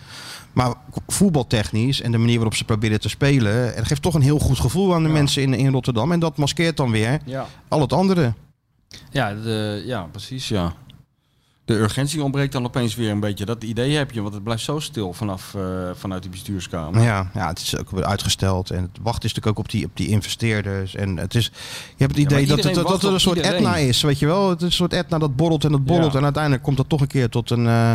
S2: Maar voetbaltechnisch en de manier waarop ze proberen te spelen. Het geeft toch een heel goed gevoel aan de
S4: Ja.
S2: mensen in, in Rotterdam. En dat maskeert dan weer
S4: Ja.
S2: al het andere.
S4: Ja, de, ja, precies, ja. De urgentie ontbreekt dan opeens weer een beetje. Dat idee heb je, want het blijft zo stil vanaf, eh, vanuit die bestuurskamer.
S2: Ja, ja, het is ook weer uitgesteld. En het wacht is natuurlijk ook op die, op die investeerders. En het is, je hebt het
S4: Ja, maar
S2: idee dat, het,
S4: iedereen
S2: dat, dat
S4: wacht
S2: er
S4: op
S2: een soort
S4: iedereen.
S2: etna is. Weet je wel? Het is een soort etna dat borrelt en dat borrelt.
S4: Ja.
S2: En uiteindelijk komt dat toch een keer tot een, eh,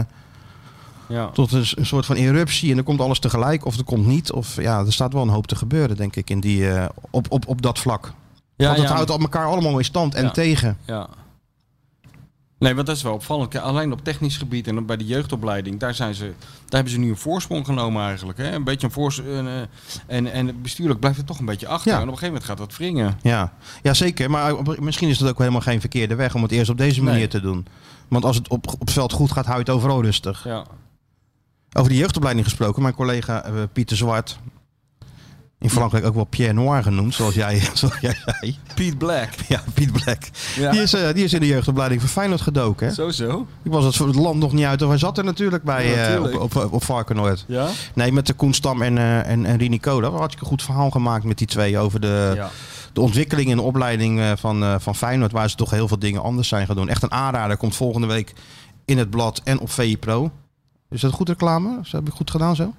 S4: Ja.
S2: tot een, s- een soort van eruptie. En dan komt alles tegelijk of er komt niet. Of ja, er staat wel een hoop te gebeuren, denk ik, in die, eh, op, op, op dat vlak.
S4: Ja,
S2: Want het
S4: ja,
S2: houdt al elkaar allemaal in stand en
S4: Ja.
S2: tegen.
S4: Ja. Nee, want dat is wel opvallend. Kijk, Alleen op technisch gebied en bij de jeugdopleiding, daar, zijn ze, daar hebben ze nu een voorsprong genomen eigenlijk. Hè? Een beetje een voors en, eh, en, en bestuurlijk blijft het toch een beetje achter.
S2: Ja.
S4: En op een gegeven moment gaat dat wringen.
S2: Ja. ja, zeker. Maar op- misschien is dat ook helemaal geen verkeerde weg om het eerst op deze manier
S4: Nee.
S2: te doen. Want als het op, op het veld goed gaat, hou je het overal rustig.
S4: Ja.
S2: Over de jeugdopleiding gesproken, mijn collega eh, Pieter Zwart. In Frankrijk ook wel Pierre Noir genoemd, zoals jij, zoals jij zei.
S4: Pete Black.
S2: Ja, Piet Black.
S4: Ja.
S2: Die, is, eh, die is in de jeugdopleiding van Feyenoord gedoken. Hè?
S4: Zo zo.
S2: Ik was het voor het land nog niet uit, of hij zat er natuurlijk bij
S4: Ja,
S2: eh,
S4: natuurlijk.
S2: op, op, op Varkenoord.
S4: Ja?
S2: Nee, met de Koen Stam en, eh, en, en Rini Kool. Daar had ik een goed verhaal gemaakt met die twee over de,
S4: ja.
S2: de ontwikkeling en de opleiding eh, van, eh, van Feyenoord. Waar ze toch heel veel dingen anders zijn gaan doen. Echt een aanrader, komt volgende week in het blad en op VI Pro. Is dat goed reclame? Is- Heb ik goed gedaan zo?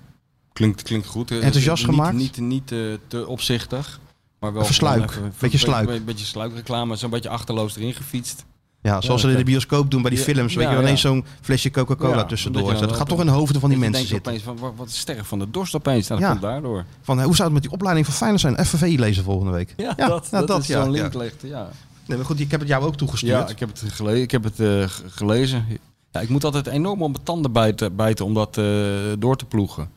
S4: Klinkt, klinkt goed. Eh,
S2: Enthousiast
S4: niet,
S2: gemaakt?
S4: Niet, niet eh, te opzichtig. Maar wel
S2: Versluik.
S4: gewoon even-
S2: Beetje sluik.
S4: Een beetje sluikreclame. Zo'n beetje achterloos erin gefietst.
S2: Ja, zoals ze
S4: dat
S2: in de bioscoop doen bij die
S4: Ja,
S2: films. Weet
S4: ja,
S2: je, wel, ineens
S4: ja.
S2: zo'n flesje Coca-Cola
S4: Ja,
S2: tussendoor.
S4: omdat je
S2: dat
S4: dan
S2: gaat
S4: wel-
S2: toch in de hoofden van die
S4: Dat je
S2: mensen
S4: denkt
S2: zitten.
S4: Opeens van, wa- wat sterk van de dorst opeens. Nou, dat
S2: Ja.
S4: komt daardoor.
S2: Van, eh, hoe zou het met die opleiding van Feyenoord zijn? FVV lezen volgende week.
S4: Ja,
S2: nou,
S4: dat, dat, is
S2: ja,
S4: zo'n
S2: ja.
S4: link legt. Ja.
S2: Nee, maar goed, ik heb het jou ook
S4: Ja,
S2: toegestuurd.
S4: ik heb het, gele ik heb het eh, ge- gelezen. Ja, ik moet altijd enorm op mijn tanden bijten, bijten om dat eh, door te ploegen.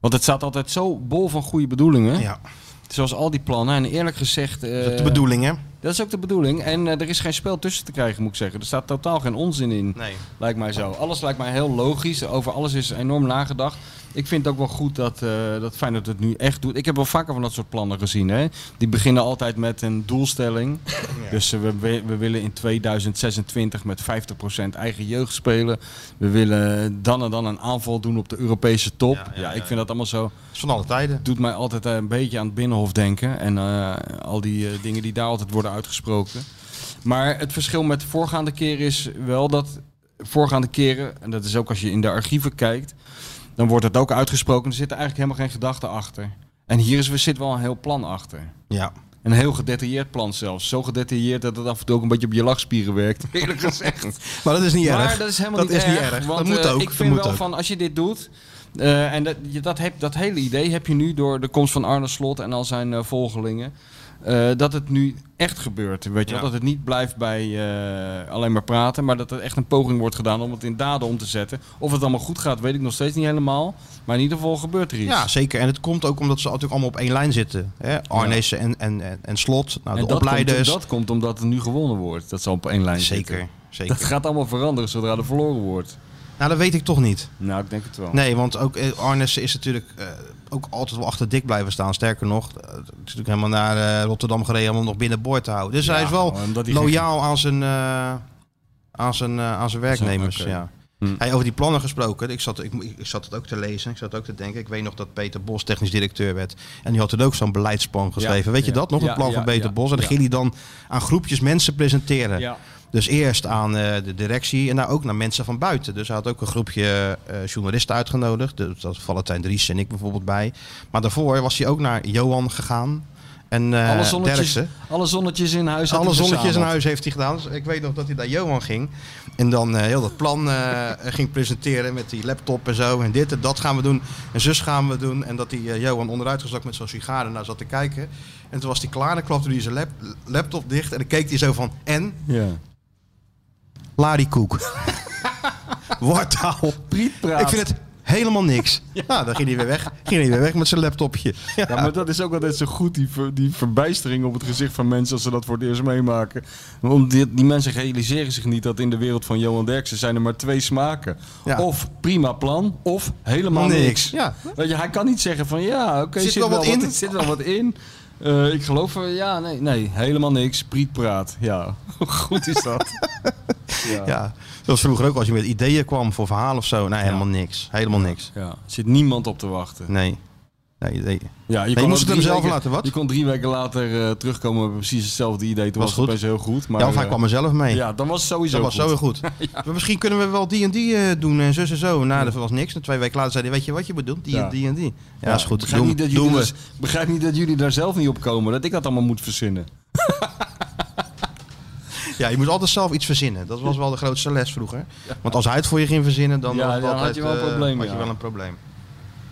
S4: Want het staat altijd zo bol van goede bedoelingen.
S2: Ja,
S4: Zoals al die plannen. En eerlijk gezegd... eh,
S2: dat is de bedoeling, hè?
S4: dat is ook de bedoeling. En eh, er is geen spel tussen te krijgen, moet ik zeggen. Er staat totaal geen onzin in,
S2: Nee.
S4: lijkt mij zo. Alles lijkt mij heel logisch. Over alles is enorm nagedacht. Ik vind het ook wel goed dat, eh dat Feyenoord het nu echt doet. Ik heb wel vaker van dat soort plannen gezien. Hè? Die beginnen altijd met een doelstelling. Dus eh, we, we, we willen in 2026 met 50% eigen jeugd spelen. We willen dan en dan een aanval doen op de Europese top. Ja,
S2: Ja, ja,
S4: ik
S2: ja.
S4: vind dat allemaal zo.
S2: Dat is van alle tijden.
S4: Doet mij altijd eh, een beetje aan het Binnenhof denken. En eh, al die eh, dingen die daar altijd worden uitgesproken. Maar het verschil met de voorgaande keer is wel dat voorgaande keren, en dat is ook als je in de archieven kijkt, dan wordt het ook uitgesproken. Er zit er eigenlijk helemaal geen gedachte achter. En hier is, zit wel een heel plan achter.
S2: Ja.
S4: Een heel gedetailleerd plan zelfs. Zo gedetailleerd dat het af en toe ook een beetje op je lachspieren werkt. Eerlijk gezegd.
S2: Maar dat is niet
S4: maar
S2: erg.
S4: dat is helemaal
S2: Dat
S4: niet,
S2: is
S4: erg,
S2: niet erg.
S4: Want
S2: Dat moet
S4: eh,
S2: ook.
S4: ik
S2: Dat
S4: vind
S2: moet
S4: wel
S2: ook.
S4: van als je dit doet. eh, en dat, je, dat, heb, dat hele idee heb je nu door de komst van Arne Slot en al zijn eh, volgelingen. eh, dat het nu echt gebeurt. Weet je wel?
S2: Ja.
S4: Dat het niet blijft bij eh, alleen maar praten. Maar dat er echt een poging wordt gedaan om het in daden om te zetten. Of het allemaal goed gaat, weet ik nog steeds niet helemaal. Maar in ieder geval gebeurt er iets.
S2: Ja, zeker. En het komt ook omdat ze natuurlijk allemaal op één lijn zitten. Hè? Arnezen en, en, en, en Slot, nou,
S4: en
S2: de
S4: dat komt,
S2: opleiders.
S4: dat komt omdat er nu gewonnen wordt. Dat zal op één lijn zitten.
S2: Zeker, zeker.
S4: Dat gaat allemaal veranderen zodra er verloren wordt.
S2: Ja, Nou, dat weet ik toch niet.
S4: Nou, ik denk het wel.
S2: Nee, want ook eh, Arnesen is natuurlijk eh, ook altijd wel achter dik blijven staan. Sterker nog, eh, het is natuurlijk helemaal naar eh, Rotterdam gereden om hem nog binnenboord te houden. Dus hij is wel
S4: omdat hij
S2: loyaal aan zijn, eh, aan zijn, eh, aan zijn werknemers.
S4: Zo, oké.
S2: ja.
S4: Hm.
S2: Hey, over die plannen gesproken. Ik zat, ik, ik zat het ook te lezen. Ik zat ook te denken. Ik weet nog dat Peter Bos technisch directeur werd. En die had er ook zo'n beleidsplan geschreven. weet je
S4: ja.
S2: dat nog?
S4: Ja,
S2: het plan
S4: ja,
S2: van Peter
S4: ja,
S2: Bos. En dan
S4: ja.
S2: ging hij dan aan groepjes mensen presenteren.
S4: Ja.
S2: Dus eerst aan eh, de directie en daar ook naar mensen van buiten. Dus hij had ook een groepje eh, journalisten uitgenodigd. Dus dat Valentijn Dries en ik bijvoorbeeld bij. Maar daarvoor was hij ook naar Johan gegaan. En eh
S4: alle, zonnetjes,
S2: Derksen.
S4: alle zonnetjes in huis. had
S2: Alle
S4: hij
S2: zonnetjes in
S4: verzameld.
S2: huis heeft hij gedaan. Dus ik weet nog dat hij naar Johan ging. En dan eh, heel dat plan eh, ging presenteren met die laptop en zo. En dit en dat gaan we doen. En zus gaan we doen. En dat hij eh, Johan onderuitgezakt met zo'n sigaar naar zat te kijken. En toen was hij klaar. Dan klapte hij zijn lap- laptop dicht. En dan keek hij zo van... En?
S4: Ja.
S2: Larry Koek. Wartaal.
S4: Priet praat.
S2: Ik vind het helemaal niks. Nou, dan ging hij weer weg. Ging hij weer weg met zijn laptopje. Ja.
S5: Ja, maar dat is ook altijd zo goed, die, ver- die verbijstering op het gezicht van mensen als ze dat voor het eerst meemaken.
S4: Want die, die mensen realiseren zich niet dat in de wereld van Johan Derksen zijn er maar twee smaken.
S2: Ja.
S4: Of prima plan, of helemaal
S2: Niks.
S4: niks.
S2: Ja.
S4: Weet je, hij kan niet zeggen van ja, oké,
S2: Zit
S4: zit,
S2: wel
S4: wel
S2: wat in?
S4: wat- zit wel wat in. Eh, ik geloof, eh, ja, nee, nee, helemaal niks. Priet praat, ja. Hoe goed is dat? ja. Ja.
S2: Ja. Dat was vroeger ook als je met ideeën kwam voor verhaal of zo. Nee, helemaal niks. Helemaal niks.
S4: Er zit niemand op te wachten.
S2: Nee. Nee, nee.
S4: Ja,
S2: je
S4: kon
S2: moest
S4: ook
S2: het hem
S4: drie
S2: zelf
S4: weken-
S2: laten, wat?
S4: Je kon drie weken later eh, terugkomen met precies hetzelfde idee. Toen
S2: Was
S4: was,
S2: goed.
S4: het best heel goed. Maar,
S2: ja, of hij
S4: eh,
S2: kwam er zelf mee.
S4: Ja, dan was het sowieso
S2: dat was
S4: goed.
S2: zo goed. Maar misschien kunnen we wel die en die eh, doen en zus en zo. Nou, dat was niks. En twee weken later zei hij, weet je wat je moet doen? Die
S4: Ja.
S2: en die en die. Ja, is goed.
S4: Begrijp,
S2: Doen,
S4: niet dat
S2: doen
S4: jullie
S2: we.
S4: dus- begrijp niet dat jullie daar zelf niet op komen. Dat ik dat allemaal moet verzinnen.
S2: Ja, je moet altijd zelf iets verzinnen. Dat was wel de grootste les vroeger. Want als hij het voor je ging verzinnen, dan,
S4: Ja,
S2: was het
S4: dan had
S2: altijd,
S4: je wel een
S2: eh,
S4: probleem,
S2: had je
S4: ja.
S2: wel een probleem.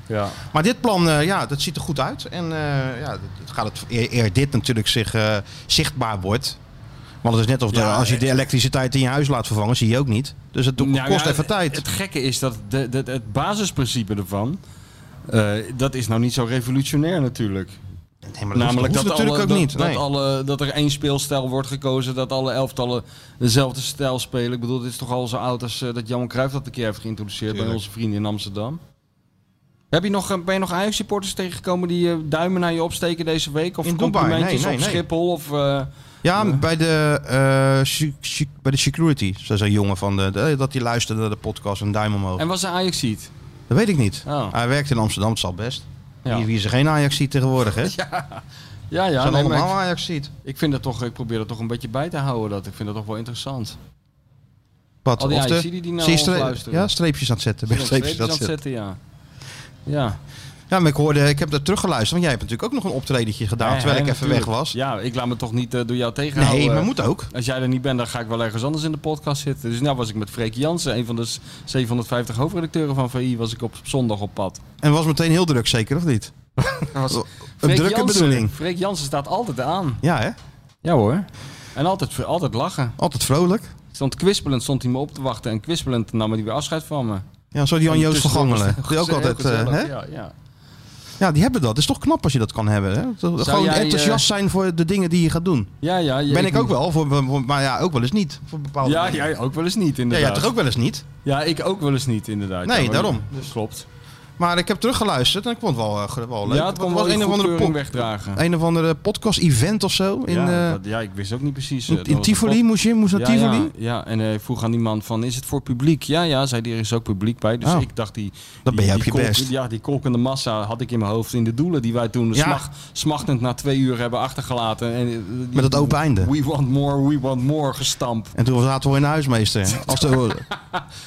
S4: Ja.
S2: Maar dit plan, eh, ja, dat ziet er goed uit. En eh, ja, het gaat het, eer, eer dit natuurlijk zich, eh, zichtbaar wordt. Want het is net of de-
S4: Ja,
S2: als je
S4: eh,
S2: de elektriciteit in je huis laat vervangen, zie je ook niet. Dus het doet- kost even tijd.
S4: Nou Het gekke is dat de, de- het basisprincipe ervan... eh, dat is nou niet zo revolutionair natuurlijk.
S2: Nee, maar dat Namelijk dat natuurlijk
S4: alle-
S2: ook
S4: dat,
S2: niet.
S4: Dat,
S2: nee.
S4: alle, dat er één speelstijl wordt gekozen, dat alle elftallen dezelfde stijl spelen. Ik bedoel, dit is toch al zo oud als eh, dat Jan Cruijff dat een keer heeft geïntroduceerd bij onze vrienden in Amsterdam. Heb je nog, eh, ben je nog Ajax-supporters tegengekomen die eh, duimen naar je opsteken deze week? Of
S2: In Dubai?
S4: complimentjes
S2: Nee, nee,
S4: op
S2: nee.
S4: Schiphol? Of, eh,
S2: ja, bij de, eh, sec- sec- bij de security, zei zo'n jongen van de, de- dat die luisterde naar de podcast, een duim omhoog.
S4: en was een Ajax-ziet?
S2: Dat weet ik niet.
S4: Oh.
S2: Hij werkt in Amsterdam, het zal best.
S4: Ja.
S2: Wie, wie is er geen Ajax ziet tegenwoordig, hè?
S4: Ja,
S2: zijn
S4: ja. nee, maar
S2: allemaal
S4: ik,
S2: Ajax ziet.
S4: ik vind dat toch, ik probeer dat toch een beetje bij te houden. Dat. Ik vind dat toch wel interessant.
S2: Wat?
S4: Al die
S2: of de,
S4: Ajax-zieten die nou
S2: zie je stre-
S4: fluisteren.
S2: ja, streepjes aan het zetten. Ben je
S4: Streepjes
S2: streepjes aan het zetten.
S4: zetten, ja. Ja.
S2: Ja, maar ik hoorde, ik heb dat teruggeluisterd, want jij hebt natuurlijk ook nog een optredentje gedaan
S4: Ja,
S2: Nou, terwijl
S4: hè,
S2: ik even
S4: natuurlijk.
S2: weg was.
S4: Ja, ik laat me toch niet eh, door jou tegenhouden.
S2: nee, maar moet ook.
S4: Als jij er niet bent, dan ga ik wel ergens anders in de podcast zitten. Dus nou was ik met Freek Jansen, een van de s- 750 hoofdredacteuren van VI, was ik op zondag op pad.
S2: En was meteen heel druk, zeker of niet? een drukke
S4: Jansen,
S2: bedoeling.
S4: Freek Jansen staat altijd aan.
S2: Ja, hè?
S4: Ja hoor. En altijd, altijd lachen.
S2: Altijd vrolijk.
S4: Ik Stond kwispelend, stond hij me op te wachten. En kwispelend nam hij weer afscheid van me.
S2: Ja, zo die Jan Joost van
S4: Tussendoor was
S2: Gangelen.
S4: het
S2: Die ook
S4: heel
S2: altijd, eh,
S4: gezellig.
S2: hè?
S4: Ja, ja.
S2: Ja, die hebben dat. Het is toch knap als je dat kan hebben. Hè? Dat- Gewoon
S4: jij, eh,
S2: enthousiast zijn voor de dingen die je gaat doen.
S4: ja, ja, ja,
S2: ben ik ook wel, voor, voor- maar ja, ook wel eens niet. Voor bepaalde
S4: Ja,
S2: dingen.
S4: jij ook wel eens niet,
S2: Ja,
S4: inderdaad.
S2: jij toch ook wel eens niet.
S4: Ja, ik ook wel eens niet, inderdaad.
S2: Nee,
S4: Ja, maar- Dus-
S2: daarom.
S4: Klopt.
S2: Maar ik heb teruggeluisterd en ik vond het wel, eh, ge- wel leuk.
S4: Ja, het kon
S2: was
S4: wel een of andere
S2: po-
S4: wegdragen.
S2: een of andere podcast-event of zo. In,
S4: ja,
S2: eh,
S4: dat- ja, ik wist ook niet precies. eh,
S2: in,
S4: dat
S2: in
S4: was een
S2: Tivoli moest je moest naar
S4: ja,
S2: Tivoli.
S4: Ja, ja. en hij vroeg aan die man van, is het voor publiek? Ja, ja, zei die, er is ook publiek bij. Dus
S2: Oh.
S4: ik dacht, die,
S2: Dan
S4: die,
S2: ben je op
S4: die
S2: je best.
S4: Ja, die kolkende massa had ik in mijn hoofd in de doelen die wij toen
S2: Ja.
S4: smacht- smachtend na twee uur hebben achtergelaten. En, eh, die-
S2: Met het open einde.
S4: We want more, we want more gestampt.
S2: En toen zaten we in de huismeester. Als de,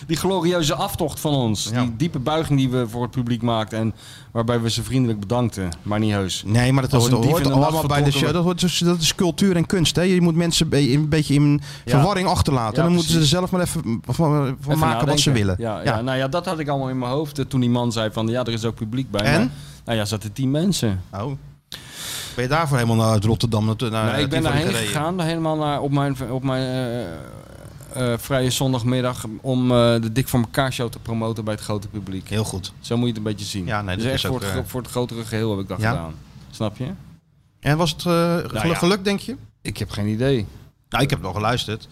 S4: Die glorieuze aftocht van ons.
S2: Ja.
S4: Die diepe buiging die we voor het publiek maakten. En waarbij we ze vriendelijk bedankten. Maar niet heus.
S2: nee, maar dat
S4: Als
S2: hoort,
S4: een dief
S2: hoort
S4: Oh, in de nacht
S2: allemaal bij de show.
S4: vertrokken
S2: Dat, hoort, dus- dat is cultuur en kunst. Hè? Je moet mensen be- een beetje in verwarring achterlaten.
S4: Ja,
S2: dan moeten ze er
S4: precies.
S2: zelf maar even van, van
S4: Even
S2: maken wat
S4: nadenken.
S2: ze willen.
S4: Ja, ja. nou ja, dat had ik allemaal in mijn hoofd eh, toen die man zei van... Ja, er is ook publiek bij.
S2: En?
S4: Maar, nou ja, zaten tien mensen.
S2: Oh. Ben je daarvoor helemaal naar Rotterdam? Naar, naar
S4: Nou, ik ben
S2: Tivoli
S4: daarheen
S2: gereden?
S4: gegaan, helemaal naar, op mijn, op mijn eh, eh, vrije zondagmiddag om eh, de Dik voor elkaar show te promoten bij het grote publiek.
S2: Heel goed.
S4: Zo moet je het een beetje zien.
S2: Ja, nee,
S4: dus
S2: dat
S4: echt
S2: is ook,
S4: voor, het,
S2: eh,
S4: gro- voor het grotere geheel heb ik dat
S2: Ja.
S4: gedaan. Snap je?
S2: En was het eh, gelu-
S4: Nou ja.
S2: geluk, denk je?
S4: Ik heb geen idee.
S2: Nou, ik heb nog geluisterd.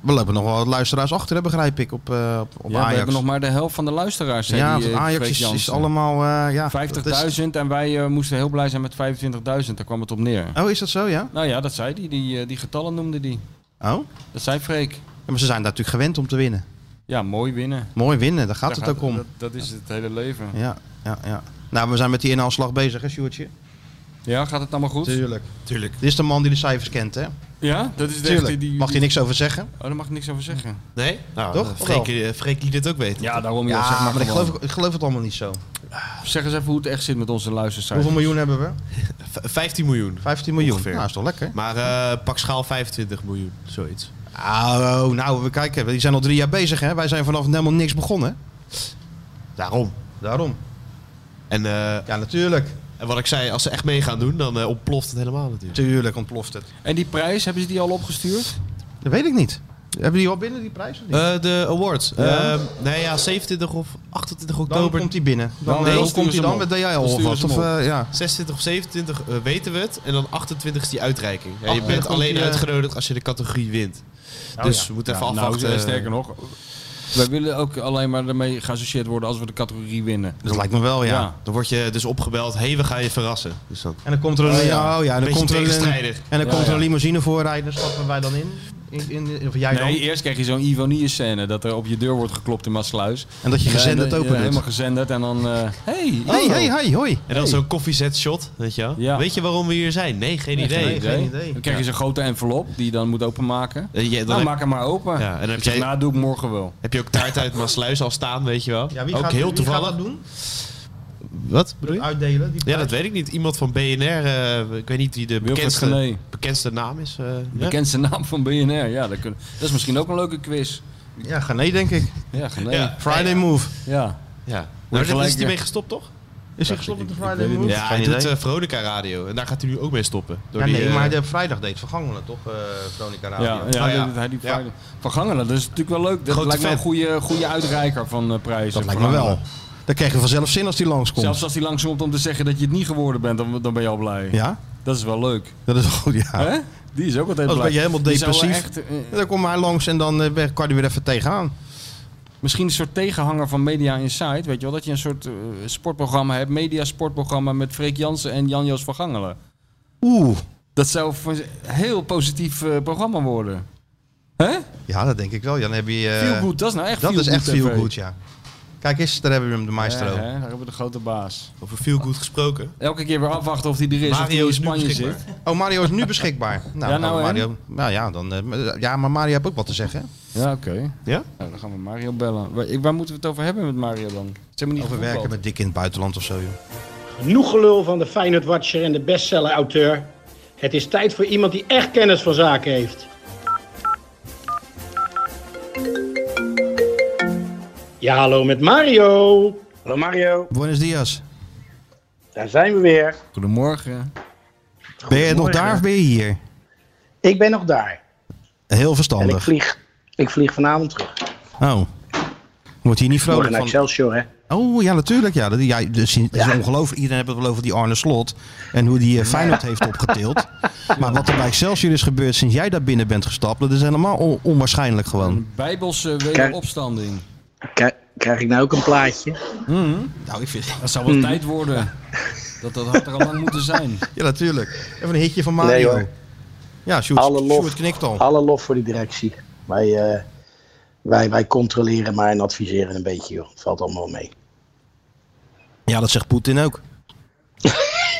S2: We lopen nog wel wat luisteraars achter, hè, begrijp ik, op, eh, op, op
S4: Ja, we
S2: Ajax.
S4: hebben nog maar de helft van de luisteraars. zei
S2: ja,
S4: die,
S2: want
S4: eh,
S2: Ajax
S4: Freek
S2: is, is
S4: Jansen.
S2: allemaal... eh, ja, dat is-
S4: 50.000 en wij eh, moesten heel blij zijn met 25.000. Daar kwam het op neer.
S2: Oh, is dat zo, ja?
S4: Nou ja, dat zei die. Die, eh, die getallen noemde die.
S2: Oh?
S4: Dat zei Freek.
S2: Ja, maar ze zijn daar natuurlijk gewend om te winnen.
S4: Ja, mooi winnen.
S2: Mooi winnen, daar gaat
S4: Daar
S2: het ook om.
S4: Dat, dat is het hele leven.
S2: Ja, ja, ja. Nou, we zijn met die inhaalslag bezig, hè, Sjoerdje?
S4: Ja, gaat het allemaal goed?
S2: Tuurlijk.
S3: Tuurlijk.
S2: Dit is de man die de cijfers kent, hè?
S4: Ja, dat is de echte
S2: Tuurlijk.
S4: die...
S2: Mag hij niks over zeggen?
S4: Oh, daar mag ik niks over zeggen.
S3: Nee? Nou,
S2: Toch?
S3: eh,
S2: Of
S3: Freek,
S2: wel?
S3: eh, Freek liet het ook weten.
S4: Ja, daarom
S2: Ja,
S4: joh, zeg maar,
S2: maar ik
S4: gewoon.
S2: geloof, ik geloof het allemaal niet zo.
S4: Zeg eens even hoe het echt zit met onze luisteraars.
S2: Hoeveel miljoen hebben we?
S3: V- 15 miljoen.
S2: 15 miljoen.
S3: Ongeveer.
S2: Nou, is toch lekker?
S3: Maar eh, pak schaal 25 miljoen, zoiets.
S2: Oh, nou, we kijken. Die zijn al drie jaar bezig, hè? Wij zijn vanaf helemaal niks begonnen.
S3: Daarom.
S2: Daarom.
S3: En, eh,
S2: Ja, natuurlijk.
S3: en wat ik zei, als ze echt mee gaan doen, dan eh, ontploft het helemaal natuurlijk.
S2: Tuurlijk ontploft het.
S4: En die prijs, hebben ze die al opgestuurd?
S2: Dat weet ik niet. Hebben die al binnen, die prijs? Of niet?
S3: Eh, de awards.
S2: Ja.
S3: Eh, nee, ja, 27 of 28
S2: dan
S3: oktober.
S2: komt hij binnen. Dan,
S4: Dan
S2: eh,
S4: nee,
S2: hoe
S4: sturen
S2: komt
S4: ze
S2: hij dan?
S4: hem
S2: Met
S4: op.
S2: DHL
S4: Dan
S2: of
S4: sturen
S2: wat?
S4: ze
S2: Of,
S4: hem
S2: eh, ja.
S3: 26 of 27 eh, weten we het. En dan 28 is die uitreiking. Ja, je
S2: 28
S3: bent alleen
S2: komt die, eh, Oh
S3: uitgenodigd als je de categorie wint. dus we moeten even
S5: Nou,
S3: afwachten.
S5: eh, sterker nog,
S4: Wij willen ook alleen maar ermee geassocieerd worden als we de categorie winnen.
S2: Dat lijkt me wel, Oh ja.
S4: Ja.
S3: Dan word je dus opgebeld. Hé, we gaan je verrassen. Dus dan
S2: En dan komt er een,
S4: Oh, ja.
S2: ja. Oh, ja, en dan
S3: Beetje
S2: komt er een,
S3: tegenstrijdig.
S2: en dan
S4: Ja,
S2: komt er
S4: ja.
S2: een limousine voorrijden. Stappen wij dan in? in, in of jij
S4: Nee,
S2: dan?
S4: eerst krijg je zo'n Ivanier-scène. Dat er op je deur wordt geklopt in Maasluis.
S2: En dat je gezenderd
S4: het
S2: open doet.
S4: eh, Helemaal gezenderd en dan... eh, hey,
S2: Oh. Hey, hey, hey, hoi.
S3: En dan zo'n koffiezet shot, weet je wel?
S4: Ja.
S3: Weet je waarom we hier zijn? Nee, geen idee.
S2: geen idee.
S4: Dan krijg je zo'n grote envelop die je dan moet openmaken.
S3: Eh, ja, dan
S4: Nou,
S3: heb,
S4: maak hem maar open.
S3: ja, en dan heb,
S4: Ik zeg,
S3: jij,
S4: nou, doe ik morgen wel.
S3: heb je ook taart uit Maasluis al staan, weet je wel?
S2: Ja, wie
S3: ook
S2: gaat,
S3: heel
S2: wie
S3: toevallig.
S2: gaat dat doen?
S3: Wat bedoel je?
S2: Uitdelen? Die
S3: Ja, dat weet ik niet. Iemand van BNR, eh, ik weet niet wie de
S4: Wilfred
S3: bekendste,
S4: Gené.
S3: bekendste naam is. eh, ja?
S4: Bekendste naam van BNR. Ja, dat, kun- dat is misschien ook een leuke quiz.
S2: Ja, ga nee, denk ik.
S4: Ja, nee.
S3: Ja.
S4: Ja.
S2: Friday Move.
S4: ja.
S3: Ja. Nou, daar
S4: gelijk,
S3: is hij
S4: ja.
S3: mee gestopt, toch?
S2: Is hij gestopt met de
S4: ik-
S2: Friday
S4: ik weet het
S2: Move?
S4: niet.
S3: Ja, hij doet eh, Veronica Radio. En daar gaat hij nu ook mee stoppen. Door
S2: ja,
S3: die,
S2: nee,
S3: eh,
S2: maar de vrijdag deed vergangenen toch, eh Veronica Radio?
S4: Ja,
S3: Oh, ja.
S4: ja, dat- hij die
S3: Ja.
S4: Friday- Van Gangelen, dat is natuurlijk wel leuk. Dat
S3: Grote
S4: lijkt me een
S3: fan.
S4: goede, goede uitreiker van eh prijzen.
S2: dat lijkt me
S4: Van
S2: wel.
S4: Gangelen.
S2: Dan krijg je vanzelf zin als die langskomt.
S4: Zelfs als hij langskomt om te zeggen dat je het niet geworden bent, dan, dan ben je al blij.
S2: Ja,
S4: Dat is wel leuk.
S2: dat is wel goed, ja.
S4: Hè? Die is ook altijd
S2: Dat is een
S4: blij.
S2: beetje helemaal
S4: Die zou wel
S2: depressief.
S4: echt, eh,
S2: En dan komt hij langs en dan eh, ben- kan hij weer even tegenaan.
S4: misschien een soort tegenhanger van Media Insight. Weet je wel, dat je een soort eh, sportprogramma hebt. Media sportprogramma met Freek Jansen en Jan-Joos van Gangelen.
S2: Oeh.
S4: Dat zou voor een heel positief eh, programma worden. Hè?
S2: Ja, dat denk ik wel. Ja, dan heb je... eh,
S4: Feel good, dat is nou echt
S2: dat
S4: feel
S2: is echt
S4: good TV.
S2: veel goed, ja. Kijk eens, daar hebben we hem, de maestro.
S4: Ja, hè, daar hebben we de grote baas.
S3: Over veel goed gesproken.
S4: Elke keer weer afwachten of hij er is.
S3: Mario
S4: of
S3: is
S4: hij
S3: nu
S4: in Spanje
S3: beschikbaar.
S4: zit.
S2: Oh, Mario is nu beschikbaar. Nou,
S4: Ja, nou,
S2: oh,
S4: en?
S2: Mario, nou ja, dan, eh, ja, maar Mario heeft ook wat te zeggen.
S4: Ja, oké.
S3: Ja?
S4: Nou, dan gaan we Mario bellen. Waar, ik- waar moeten we het over hebben met Mario dan? Ze hebben niet
S2: Over werken
S4: gevoetbald.
S2: met dik in het buitenland of zo, joh.
S6: Genoeg gelul van de Feyenoord Watcher en de bestseller auteur. Het is tijd voor iemand die echt kennis van zaken heeft. Ja, hallo met Mario.
S7: Hallo Mario,
S2: Buenos dias.
S7: daar zijn we weer.
S4: Goedemorgen.
S2: Ben je nog daar of ben je hier?
S7: Ik ben nog daar.
S2: Heel
S7: En ik
S2: verstandig.
S7: vlieg, ik vlieg vanavond terug.
S2: Oh. Wordt hier niet
S7: Morgen
S2: vrolijk
S7: naar
S2: van.
S7: Excelsior, hè?
S2: Oh ja, natuurlijk. Ja, dat, ja, dus, het is
S7: Ja.
S2: ongelooflijk. Iedereen heeft het wel over die Arne Slot. En hoe die eh, Feyenoord heeft opgetild. Maar wat er bij Excelsior is gebeurd sinds jij daar binnen bent gestapt. Dat is helemaal on- onwaarschijnlijk
S7: Mm.
S2: gewoon.
S4: Een bijbelse wederopstanding.
S7: Krijg, krijg ik nou ook een plaatje?
S2: Nou, ik vind...
S4: Dat zou wel tijd worden. Dat dat had er al lang moeten zijn.
S2: Ja, natuurlijk. Even een hitje van Mario.
S7: Nee, hoor.
S2: ja, Sjoerd,
S7: Alle lof.
S2: Sjoerd knikt al.
S7: Alle lof voor die directie. Wij, eh, wij, wij controleren maar en adviseren een beetje, joh. Het valt allemaal mee.
S2: Ja, dat zegt Poetin ook.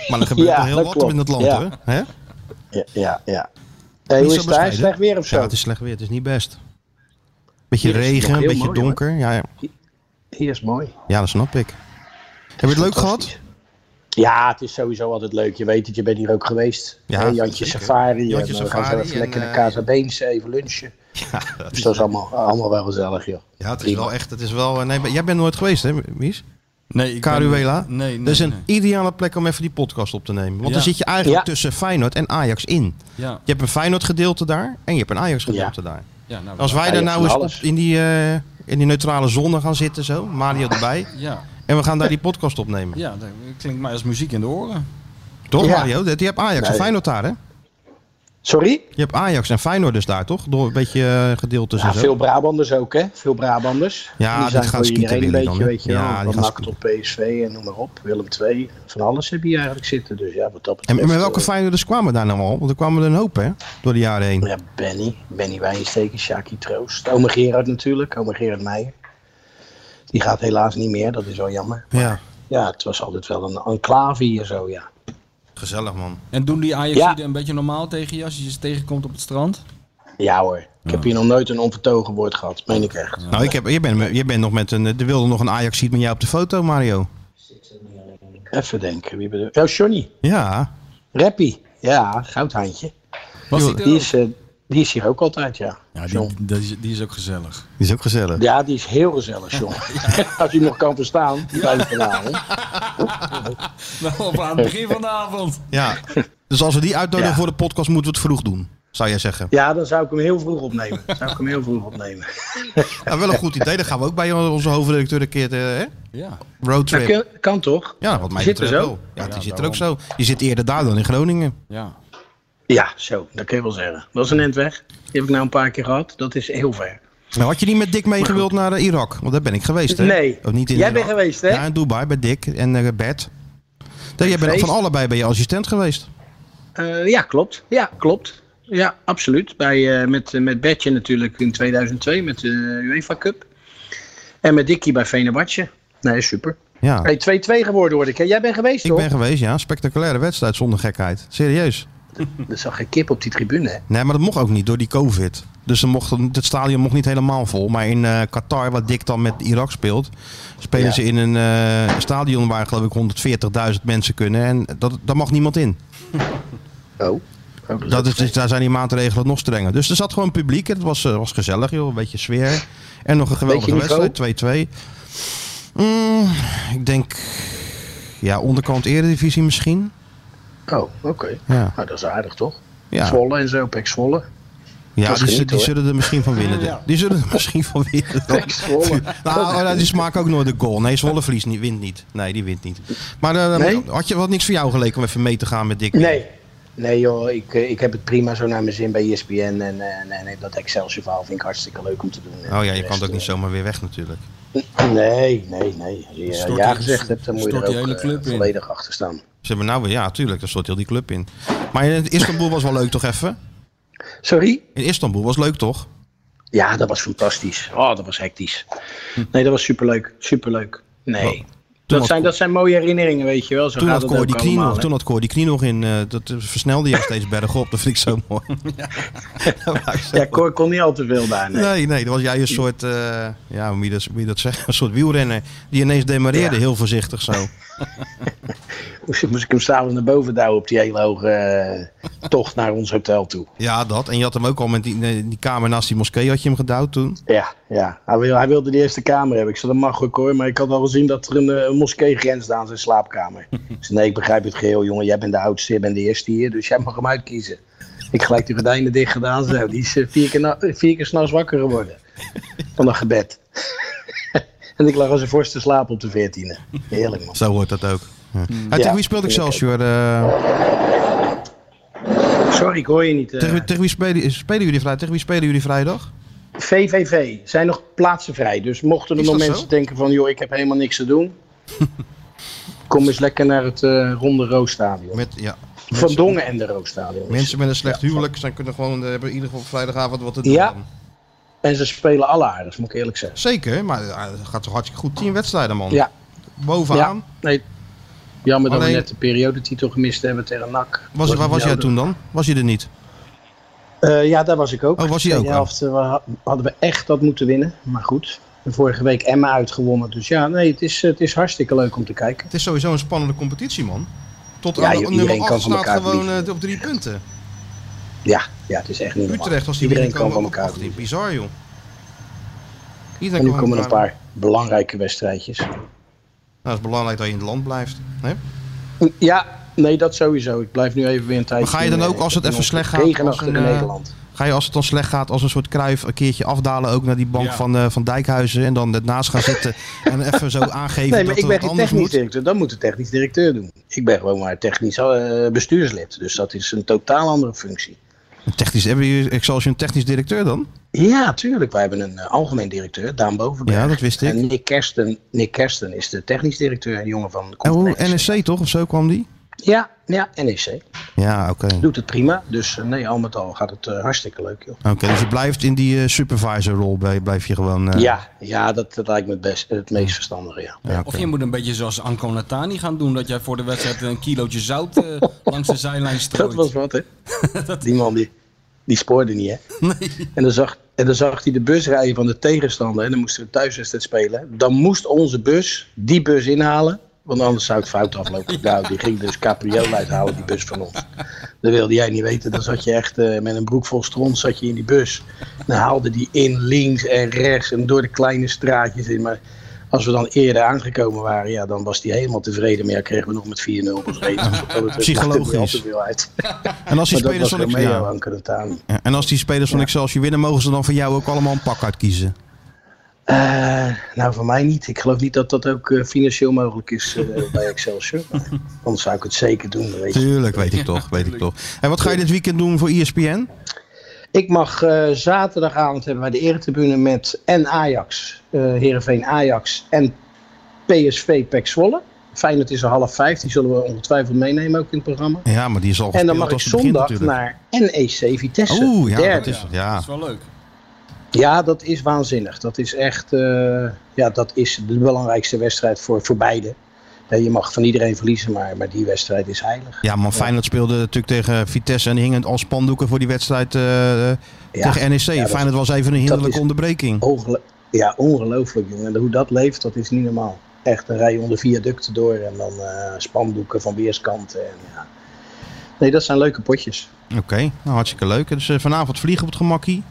S2: Maar er gebeurt
S7: Ja,
S2: er heel
S7: dat
S2: wat
S7: klopt.
S2: in het land,
S7: Ja.
S2: hoor. Hè?
S7: Ja, ja, ja. Hey,
S2: zo
S7: hoe is het daar?
S2: bescheiden.
S7: Slecht weer of zo?
S2: Ja, het is slecht weer. Het is niet best. Beetje
S7: Hier is het nog
S2: regen, een
S7: heel
S2: beetje
S7: mooi, hoor.
S2: donker. Ja, ja.
S7: Hier is mooi.
S2: ja, dat snap ik. Heb je het leuk gehad?
S7: Fantastisch. Ja, het is sowieso altijd leuk. Je weet het, je bent hier ook geweest.
S2: Ja,
S7: Hè, Jantje
S2: zeker.
S7: Safari.
S2: Jantje
S7: en we gaan
S2: Safari
S7: zo even
S2: en,
S7: lekker naar
S2: eh,
S7: Casa Beens even lunchen.
S2: Ja, dat
S7: Dus dat is allemaal, allemaal wel gezellig, joh.
S2: Ja, het is
S7: Prima.
S2: wel echt. Het is wel, eh, nee, maar jij bent nooit geweest, hè, Mies?
S4: Nee, ik ben-
S2: Caruela?
S4: Nee, nee,
S2: dat is een
S4: nee.
S2: ideale plek om even die podcast op te nemen. Want
S4: Ja.
S2: dan zit je eigenlijk
S7: Ja.
S2: tussen Feyenoord en Ajax in.
S4: Ja,
S2: Je hebt een Feyenoord gedeelte daar en je hebt een Ajax gedeelte daar.
S4: ja, nou,
S2: Als wij
S7: Ajax
S2: daar nou
S7: van
S2: eens
S7: alles.
S2: op in, die, eh, in die neutrale zone gaan zitten, zo, Mario erbij.
S4: ja,
S2: En we gaan daar die podcast opnemen.
S4: ja, dat klinkt mij als muziek in de oren.
S2: Toch,
S7: Ja.
S2: Mario? Dat- Je hebt Ajax en
S7: Nee.
S2: Feyenoord daar, hè?
S7: Sorry?
S2: Je hebt Ajax en Feyenoord dus daar, toch? Door een beetje eh, gedeeltes
S7: Ja,
S2: en zo.
S7: veel Brabanders ook, hè? Veel Brabanders.
S2: Ja,
S7: die
S2: die
S7: zijn
S2: gaan
S7: voor
S2: skieten
S7: iedereen een
S2: willen
S7: beetje,
S2: dan, hè?
S7: weet je
S2: Ja,
S7: wel.
S2: die
S7: Van
S2: gaan
S7: NAC tot PSV en noem maar op. Willem II. Van alles heb je hier eigenlijk zitten. Dus ja, wat dat
S2: En
S7: betreft...
S2: met welke
S7: eh,
S2: Feyenoorders kwamen daar nou al? Want er kwamen er een hoop, hè? Door de jaren heen.
S7: Ja, Benny. Benny Wijnsteken, Sjaki Troost. Ome Gerard natuurlijk. Ome Gerard Meijer. Die gaat helaas niet meer. Dat is wel jammer.
S2: Ja.
S7: Ja, het was altijd wel een enclave hier zo, ja.
S2: Gezellig, man.
S4: En doen die ajax
S7: Ja.
S4: een beetje normaal tegen je als je ze tegenkomt op het strand?
S7: Ja hoor. Ik heb hier nog nooit een onvertogen woord gehad. Meen ik echt.
S2: Nou, ik heb, je, bent, me- je bent nog met een... eh, Er wilde nog een ajax ziet met jou op de foto, Mario.
S7: Even denken. Wie bedoel... Oh, Johnny.
S2: Ja.
S7: Rappie. Ja, goudhandje.
S4: Was die
S7: Die
S4: er
S7: is, eh, die is hier ook altijd, ja.
S5: Ja,
S7: John.
S5: die, die, is- die is ook gezellig.
S2: Die is ook gezellig.
S7: Ja, die is heel gezellig, John. Als je hem nog kan verstaan, blijf vanavond.
S4: ook? Nou, op aan het begin van de avond.
S2: Ja. Dus als we die uitnodigen
S7: Ja.
S2: voor de podcast, moeten we het vroeg doen. Zou jij zeggen?
S7: Ja, dan zou ik hem heel vroeg opnemen. Zou ik hem heel vroeg opnemen.
S2: Nou, wel een goed idee. Dan gaan we ook bij onze hoofdredacteur een keer... eh, hè?
S4: Ja.
S2: Roadtrip.
S7: Nou, kan, kan toch?
S2: Ja, wat mij
S7: Zit er
S2: betreft
S7: zo?
S2: wel. Ja, die zit er ook zo. Je zit eerder daar dan in Groningen.
S4: ja.
S7: Ja, zo. Dat kun je wel zeggen. Dat is een eind weg. Die heb ik nou een paar keer gehad. Dat is heel ver.
S2: Nou, had je niet met Dick meegewild naar eh, Irak? Want daar ben ik geweest, hè?
S7: Nee.
S2: Of niet in
S7: Jij
S2: Irak.
S7: bent geweest, hè?
S2: Ja, in Dubai bij Dick en eh, Bert. Nee, jij bent
S7: Geweest.
S2: van allebei ben je assistent geweest.
S7: Eh, ja, klopt. Ja, klopt. Ja, absoluut. Bij, eh, met, met Bertje natuurlijk in 2002 met de UEFA Cup. En met Dickie bij Venebatje. Nee, super.
S2: Ja,
S7: Hey, 2-2 geworden hoor ik. hè? Jij bent geweest,
S2: Ah. ik
S7: toch?
S2: ben geweest, ja. Spectaculaire wedstrijd zonder gekheid. Serieus.
S7: Er zag geen kip op die tribune, hè?
S2: Nee, maar dat mocht ook niet door die COVID. Dus dan mocht, het stadion mocht niet helemaal vol. Maar in eh, Qatar, wat Dick dan met Irak speelt, spelen
S7: Ja.
S2: ze in een eh, stadion waar geloof ik 140.000 mensen kunnen. En dat, daar mag niemand in.
S7: Oh. Oh,
S2: Dat is, dus daar zijn die maatregelen nog strenger. Dus er zat gewoon publiek. en Het was, eh, was gezellig, joh. Een beetje sfeer. En nog een geweldige
S7: Beetje niveau?
S2: wedstrijd. 2-2. Mm, ik denk... Ja, onderkant eredivisie misschien.
S7: Oh, oké.
S2: dus- Ja.
S7: Nou, dat is aardig, toch?
S2: Ja,
S7: Zwolle en zo, Pek Zwolle.
S2: ja
S7: was
S2: die,
S7: genieten,
S2: die
S7: hoor.
S2: zullen er misschien van winnen. Die zullen er misschien van winnen.
S7: Pek Zwolle.
S2: Nou, oh, nou, die maken ook nooit de goal. Nee, Zwolle verliest niet, wint niet. Nee, die wint niet. Maar eh,
S7: Nee?
S2: had je wat niks voor jou geleken om even mee te gaan met Dick?
S7: Nee. Nee joh, ik, eh, ik heb het prima zo naar mijn zin bij ESPN. En, eh, en, en dat Excelsior verhaal vind ik hartstikke leuk om te doen.
S2: Oh ja, je kan het ook niet zomaar weer weg natuurlijk.
S7: eh. Nee, nee, nee. Als je eh,
S4: Stort
S7: ja
S4: die-
S7: gezegd hebt, dan moet je
S4: stort die
S7: er ook
S4: hele
S7: eh,
S4: club in.
S7: volledig achter staan.
S2: Ze hebben nou weer, ja, tuurlijk, daar stort heel die club in. Maar in Istanbul was wel leuk, toch even?
S7: Sorry?
S2: In Istanbul was leuk, toch?
S7: Ja, dat was fantastisch. Oh, dat was hectisch. Nee, dat was superleuk. Superleuk.
S2: Hm. Wel,
S7: Nee.
S2: had-
S7: Dat zijn, dat zijn mooie herinneringen, weet je wel. Zo
S2: Toen
S7: gaat
S2: had,
S7: het
S2: Cor
S7: ook
S2: die knie
S7: allemaal,
S2: nog,
S7: hè.
S2: toen had Cor die knie nog in. eh, dat eh, versnelde je steeds bergop. Dat vind ik zo mooi. Dat maakt zo-
S7: Ja, Cor kon niet al te veel daar. Nee.
S2: nee, nee, dan was jij een soort, eh, ja, hoe moet je dat, hoe moet je dat zeggen? Een soort wielrenner. Die ineens demareerde,
S7: Ja.
S2: heel voorzichtig zo.
S7: Moest, moest ik hem s'avonds naar boven duwen op die hele hoge eh, tocht naar ons hotel toe.
S2: Ja, dat. En je had hem ook al met die, eh, die kamer naast die moskee, had je hem gedouwd toen?
S7: Ja, ja. Hij, wil, hij wilde de eerste kamer hebben. Ik zei, dat mag ook hoor. Maar ik had al gezien dat er een, eh, een moskee grensde aan zijn slaapkamer. Ik zei, nee, ik begrijp het geheel, jongen. Jij bent de oudste, jij bent de eerste hier. Dus jij mag hem uitkiezen. Ik gelijk de gordijnen dicht gedaan. Zo, die is eh, vier keer, na- eh, vier keer s'nachts wakker geworden. Van een gebed. en ik lag als een vorst te slapen op de veertiende. Heerlijk, man.
S2: Zo hoort dat ook. Ja.
S7: Hmm.
S2: En tegen wie speelde
S7: vind ik ook.
S2: Excelsior? eh
S7: Sorry, ik hoor je niet. eh.
S2: tegen, tegen wie spelen, spelen jullie vrijdag? Tegen wie spelen jullie vrijdag?
S7: VVV zijn nog plaatsen vrij. Dus mochten er
S2: Is
S7: nog
S2: dat
S7: mensen
S2: zo?
S7: denken van... joh, ik heb helemaal niks te doen... kom eens lekker naar het eh, Ronde Roosstadion.
S2: Met, ja,
S7: Van Dongen en de Roosstadion. is
S2: mensen
S7: het.
S2: met een slecht huwelijk zijn kunnen gewoon, eh, hebben in ieder geval vrijdagavond wat te doen.
S7: Ja. En ze spelen alle aardig, moet ik eerlijk zeggen.
S2: Zeker, maar eh, het gaat toch hartstikke goed. Tien wedstrijden, man.
S7: Ja.
S2: Bovenaan.
S7: Ja. Nee. Jammer dat
S2: Alleen-
S7: we net de periodetitel gemist hebben tegen NAC.
S2: Was, waar was jij
S7: nodig.
S2: toen dan? Was je er niet?
S7: Eh, ja, daar was ik ook.
S2: Oh, was hij
S7: Tweede
S2: ook al?
S7: helft, eh, we ha- hadden we echt dat moeten winnen. Maar goed, de vorige week Emma uitgewonnen. Dus ja, nee, het is, het is hartstikke leuk om te kijken.
S2: Het is sowieso een spannende competitie, man. Tot
S7: Ja,
S2: aan
S7: joh,
S2: nummer
S7: iedereen
S2: 8
S7: kan van
S2: staat
S7: elkaar
S2: gewoon
S7: verliezen.
S2: eh, op drie punten.
S7: Ja, ja het is echt niet normaal.
S2: Utrecht, als die
S7: Iedereen
S2: binnenkomen,
S7: kan van
S2: op
S7: elkaar
S2: 18. Bizar, joh.
S7: En
S2: Iedereen
S7: nu
S2: kan van
S7: komen er een
S2: elkaar-
S7: paar belangrijke wedstrijdjes.
S2: Nou, het is belangrijk dat je in het land blijft. Hè?
S7: Ja, nee, dat sowieso. Ik blijf nu even weer een tijdje.
S2: Maar ga je dan
S7: in,
S2: ook,
S7: eh,
S2: als het
S7: in
S2: even
S7: ons
S2: slecht gaat,
S7: regenachtige
S2: als een, eh,
S7: Nederland.
S2: Ga je als het dan slecht gaat, als een soort kruif, een keertje afdalen ook naar die bank
S5: Ja.
S2: van, eh, van Dijkhuizen. En dan ernaast gaan zitten en even zo aangeven dat
S7: Nee, maar
S2: er
S7: ik ben
S2: wat
S7: geen
S2: anders
S7: technisch
S2: moet.
S7: directeur. Dat moet de technisch directeur doen. Ik ben gewoon maar technisch eh, bestuurslid. Dus dat is een totaal andere functie.
S2: Een technisch, hebben jullie Excelsior een technisch directeur dan?
S7: Ja, tuurlijk. Wij hebben een eh, algemeen directeur, Daan Bovenberg.
S2: Ja, dat wist ik.
S7: En Nick Kersten, Nick Kersten is de technisch directeur, een jongen van de
S2: En hoe,
S7: conferentie.
S2: NSC toch? Of zo kwam die?
S7: Ja, ja, NEC.
S2: Ja, oké.
S7: Doet het prima. Dus eh, nee, al met al gaat het eh, hartstikke leuk, joh.
S2: Oké, dus je blijft in die eh, supervisor-rol, blij- blijf je gewoon... eh,
S7: Ja, ja dat, dat lijkt me het, best, het meest verstandige, ja.
S2: ja, oké.
S4: Of je moet een beetje zoals Anko Natani gaan doen. Dat jij voor de wedstrijd een kilootje zout eh, langs de zijlijn strooit.
S7: Dat was wat, hè? Die man die, die spoorde niet, hè? En, dan zag, en dan zag hij de bus rijden van de tegenstander. En dan moesten we thuiswedstrijd spelen. Dan moest onze bus die bus inhalen. Want anders zou het fout aflopen. Nou, die ging dus Capriol uithalen, die bus van ons. Dat wilde jij niet weten. Dan zat je echt eh, met een broek vol stront zat je in die bus. Dan haalde die in links en rechts en door de kleine straatjes in. Maar als we dan eerder aangekomen waren, ja, dan was die helemaal tevreden. Maar ja, kregen we nog met 4-0 bezweken. Dus wat dat betreft maakt het niet
S2: Psychologisch.
S7: altijd veel uit.
S2: En als die
S7: Maar dat
S2: spelers
S7: was
S2: van Excelsior...
S7: Romeo aan Crotani.
S2: Ja, En als die spelers van Excelsior winnen, mogen ze dan van jou ook allemaal een pak uitkiezen?
S7: Eh, nou, voor mij niet. Ik geloof niet dat dat ook eh, financieel mogelijk is eh, bij Excelsior. Maar Anders zou ik het zeker doen, dat weet je.
S2: Tuurlijk, weet ik toch, weet ik toch. En wat ga je dit weekend doen voor E ESPN?
S7: Ik mag eh, zaterdagavond hebben wij de eretribune met en Ajax, eh Heerenveen Ajax en PSV PEC E Zwolle. Feyenoord is er half vijf, die zullen we ongetwijfeld meenemen ook in het programma.
S2: Ja, maar die is al
S7: En
S2: gespeeld
S7: dan mag ik
S2: als het begint
S7: zondag
S2: natuurlijk.
S7: naar NEC Vitesse.
S2: Oeh, ja, dat
S7: derde.
S2: is het. Ja.
S4: Dat is wel leuk.
S7: Ja, dat is waanzinnig. Dat is echt eh, ja, dat is de belangrijkste wedstrijd voor, voor beide. Ja, je mag van iedereen verliezen, maar, maar die wedstrijd is heilig.
S2: ja, man, Feyenoord speelde natuurlijk tegen Vitesse en die hingen al spandoeken voor die wedstrijd eh,
S7: Ja,
S2: tegen NEC.
S7: dat-
S2: Feyenoord was even een hinderlijke
S7: is-
S2: onderbreking.
S7: ongelo- ja ongelooflijk, jongen. En hoe dat leeft, dat is niet normaal. Echt een rij onder viaducten door en dan eh, spandoeken van weerskanten. En, ja. Nee, dat zijn leuke potjes.
S2: Oké, nou hartstikke leuk. Dus eh, vanavond vliegen op het gemakkie.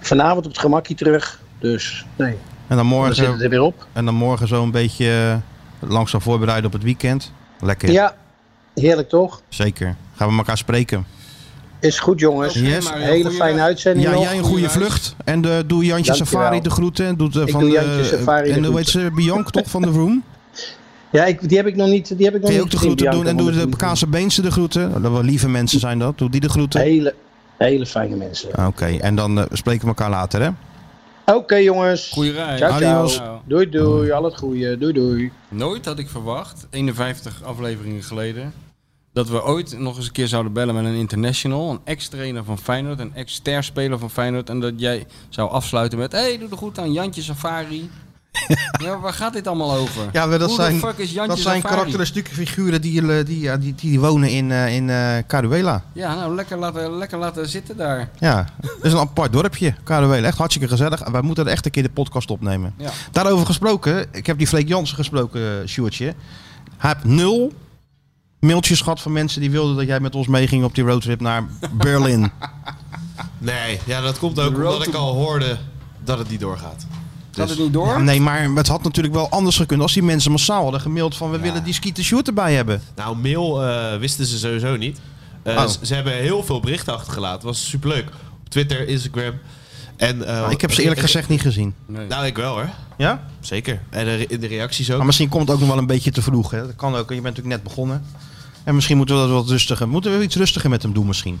S7: Vanavond op het gemakkie terug. Dus nee,
S2: En dan
S7: we
S2: morgen, zo,
S7: zitten er weer op.
S2: en dan morgen zo een beetje eh, langzaam voorbereiden op het weekend. Lekker,
S7: Ja, heerlijk toch?
S2: zeker. Gaan we elkaar spreken.
S7: Is goed, jongens.
S2: Oké, Yes.
S4: Mario,
S7: Hele
S4: goeie
S7: fijne
S4: dag.
S7: uitzending.
S2: Ja,
S7: nog.
S2: jij een goede
S4: reis.
S2: vlucht. En eh, doe Jantje
S7: Dankjewel.
S2: Safari de groeten. En doet, eh,
S7: Ik
S2: van
S7: doe
S2: de,
S7: Jantje Safari de
S2: En hoe heet ze? Bianca toch van de Room?
S7: Ja, ik, die heb ik nog niet. Die heb ik nog
S2: Kun je
S7: niet
S2: ook de
S7: gezien,
S2: groeten doen.
S7: Bianca,
S2: En doe
S7: want
S2: de
S7: ik-
S2: Kaanse Beense de groeten. Dat wel lieve mensen zijn dat. Doe die de groeten.
S7: Hele, hele fijne mensen.
S2: Oké, en dan eh, spreken we elkaar later, hè?
S7: Oké jongens.
S4: Goeie reis.
S7: Ciao, ciao.
S2: Adios.
S7: Doei doei. Al het goede. Doei doei.
S4: Nooit had ik verwacht, 51 afleveringen geleden, dat we ooit nog eens een keer zouden bellen met een international, een ex-trainer van Feyenoord, een ex-sterspeler van Feyenoord, en dat jij zou afsluiten met, hey, doe de goed aan Jantje Safari. ja, waar gaat dit allemaal over?
S2: Ja, maar dat
S4: Who the
S2: zijn,
S4: fuck is Jantje
S2: dat zijn
S4: Safari?
S2: karakteristieke figuren die, eh, die, ja, die, die wonen in, eh, in eh, Caruela.
S4: Ja, nou, lekker laten, lekker laten zitten daar.
S2: Ja, dat is een apart dorpje, Caruela. Echt hartstikke gezellig. Wij moeten er echt een keer de podcast opnemen.
S4: Ja.
S2: Daarover gesproken, ik heb die Freek Jansen gesproken, eh, Sjoerdje. Hij heeft nul mailtjes gehad van mensen die wilden dat jij met ons meeging op die roadtrip naar Berlin.
S3: Nee, ja, dat komt ook omdat ik al hoorde dat het niet doorgaat.
S4: Gaat het niet door?
S2: Ja, nee, maar het had natuurlijk wel anders gekund als die mensen massaal hadden gemaild van we willen die skieten shoot erbij hebben.
S3: Nou, mail eh, wisten ze sowieso niet. Eh,
S2: Oh.
S3: ze, ze hebben heel veel berichten achtergelaten. Het was superleuk. Op Twitter, Instagram. En, eh,
S2: Ah, ik heb ze eerlijk gezegd niet gezien.
S4: Nee.
S3: Nou, ik wel hoor.
S2: Ja?
S3: Zeker. En eh, in de reacties
S2: Maar
S3: ook.
S2: misschien komt het ook nog wel een beetje te vroeg. Hè? Dat kan ook, je bent natuurlijk net begonnen. En misschien moeten we dat wat rustiger. Moeten we iets rustiger met hem doen misschien?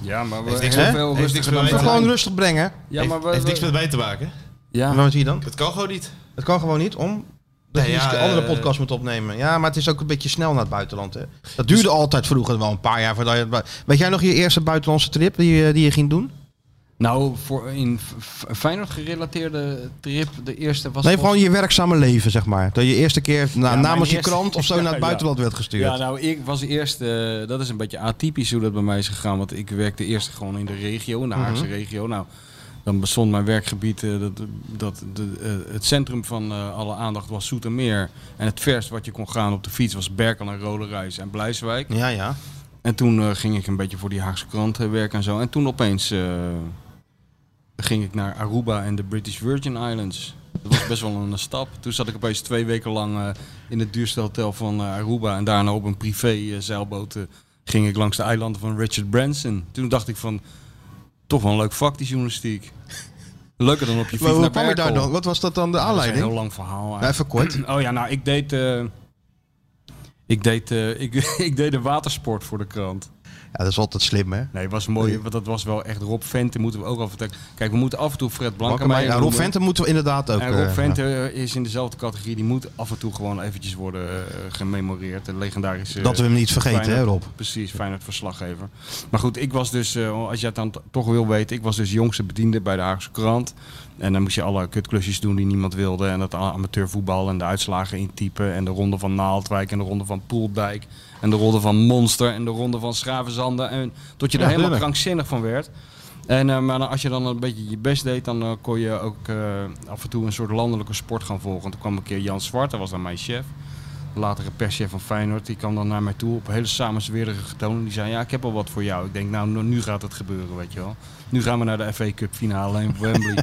S4: Ja, maar we
S3: Heeft niks-
S4: heel
S2: hè?
S4: veel
S3: Heeft
S4: rustiger
S3: niks
S4: dan
S3: met
S4: wij.
S3: mij
S2: Gewoon rustig brengen.
S4: Ja, maar
S3: heeft,
S4: we,
S3: heeft niks
S4: we-
S3: met mij te maken.
S2: En
S4: ja.
S2: wat zie je dan?
S3: Dat kan gewoon niet.
S2: Het kan gewoon niet om. Dat
S3: Nee,
S2: je
S3: ja,
S2: een andere
S3: eh,
S2: podcast moet opnemen. Ja, maar het is ook een beetje snel naar het buitenland. Hè? Dat duurde altijd vroeger wel een paar jaar voordat je. het bui- Weet jij nog je eerste buitenlandse trip die, je- die je ging doen?
S4: Nou, voor in F- F- Feyenoord gerelateerde trip, de eerste was...
S2: Nee,
S4: volgens-
S2: gewoon je werkzame leven, zeg maar. Dat je eerste keer na,
S4: mijn
S2: namens je
S4: eerste-
S2: krant of zo naar
S4: Ja,
S2: het
S4: ja.
S2: buitenland werd gestuurd.
S4: Ja, nou, ik was eerst... eh, dat is een beetje atypisch hoe dat bij mij is gegaan. Want ik werkte eerst gewoon in de regio, in
S2: Mhm.
S4: de Haagse regio. Nou, dan bestond mijn werkgebied... eh, dat, dat de, eh, het centrum van eh, alle aandacht was Zoetermeer. En het verst wat je kon gaan op de fiets was Berkel en Rolerijs en Blijswijk.
S2: ja, ja.
S4: En toen eh, ging ik een beetje voor die Haagse krant eh, werken en zo. En toen opeens eh, ging ik naar Aruba en de British Virgin Islands. Dat was best wel een stap. Toen zat ik opeens twee weken lang eh, in het duurste hotel van eh, Aruba. En daarna op een privé eh, zeilboot eh, ging ik langs de eilanden van Richard Branson. Toen dacht ik van, toch wel een leuk vak die journalistiek. Leuker dan op je fiets
S2: Maar hoe
S4: naar
S2: kwam je daar
S4: Berkel.
S2: dan? Wat was dat dan de
S4: Ja, dat is een
S2: aanleiding?
S4: heel lang verhaal
S2: Nou, even kort.
S4: Oh ja, nou, ik deed... eh, ik deed, eh, ik, ik deed de watersport voor de krant.
S2: Ja, dat is altijd slim, hè?
S4: Nee, was mooi, want dat was wel echt Rob Venten moeten we ook al vertellen. Kijk, we moeten af en toe Fred
S2: Maar,
S4: Blankenmeijer
S2: ja, Nou, Rob
S4: noemen.
S2: Venter moeten we inderdaad ook.
S4: En Rob
S2: eh,
S4: Venter eh, is in dezelfde categorie. Die moet af en toe gewoon eventjes worden eh, gememoreerd. De legendarische...
S2: Dat we hem niet vergeten,
S4: Feyenoord-
S2: hè, Rob?
S4: Precies, Feyenoord verslaggever. Maar goed, ik was dus, eh, als je het dan t- toch wil weten, ik was dus jongste bediende bij de Haagse krant. En dan moest je alle kutklusjes doen die niemand wilde. En dat a- amateurvoetbal en de uitslagen intypen. En de ronde van Naaldwijk en de ronde van Poeldijk. En de ronde van Monster en de ronde van Schravenzanden. En tot je er
S2: Ja,
S4: helemaal
S2: tuurlijk.
S4: krankzinnig van werd. En eh, maar dan- als je dan een beetje je best deed, dan eh, kon je ook eh, af en toe een soort landelijke sport gaan volgen. Toen kwam een keer Jan Zwart, dat was dan mijn chef latere perschef van Feyenoord, die kwam dan naar mij toe op hele samenzweerdige getoon. En Die zei, ja, ik heb al wat voor jou. Ik denk, nou, nou, nu gaat het gebeuren, weet je wel. Nu gaan we naar de FA Cup finale in Wembley.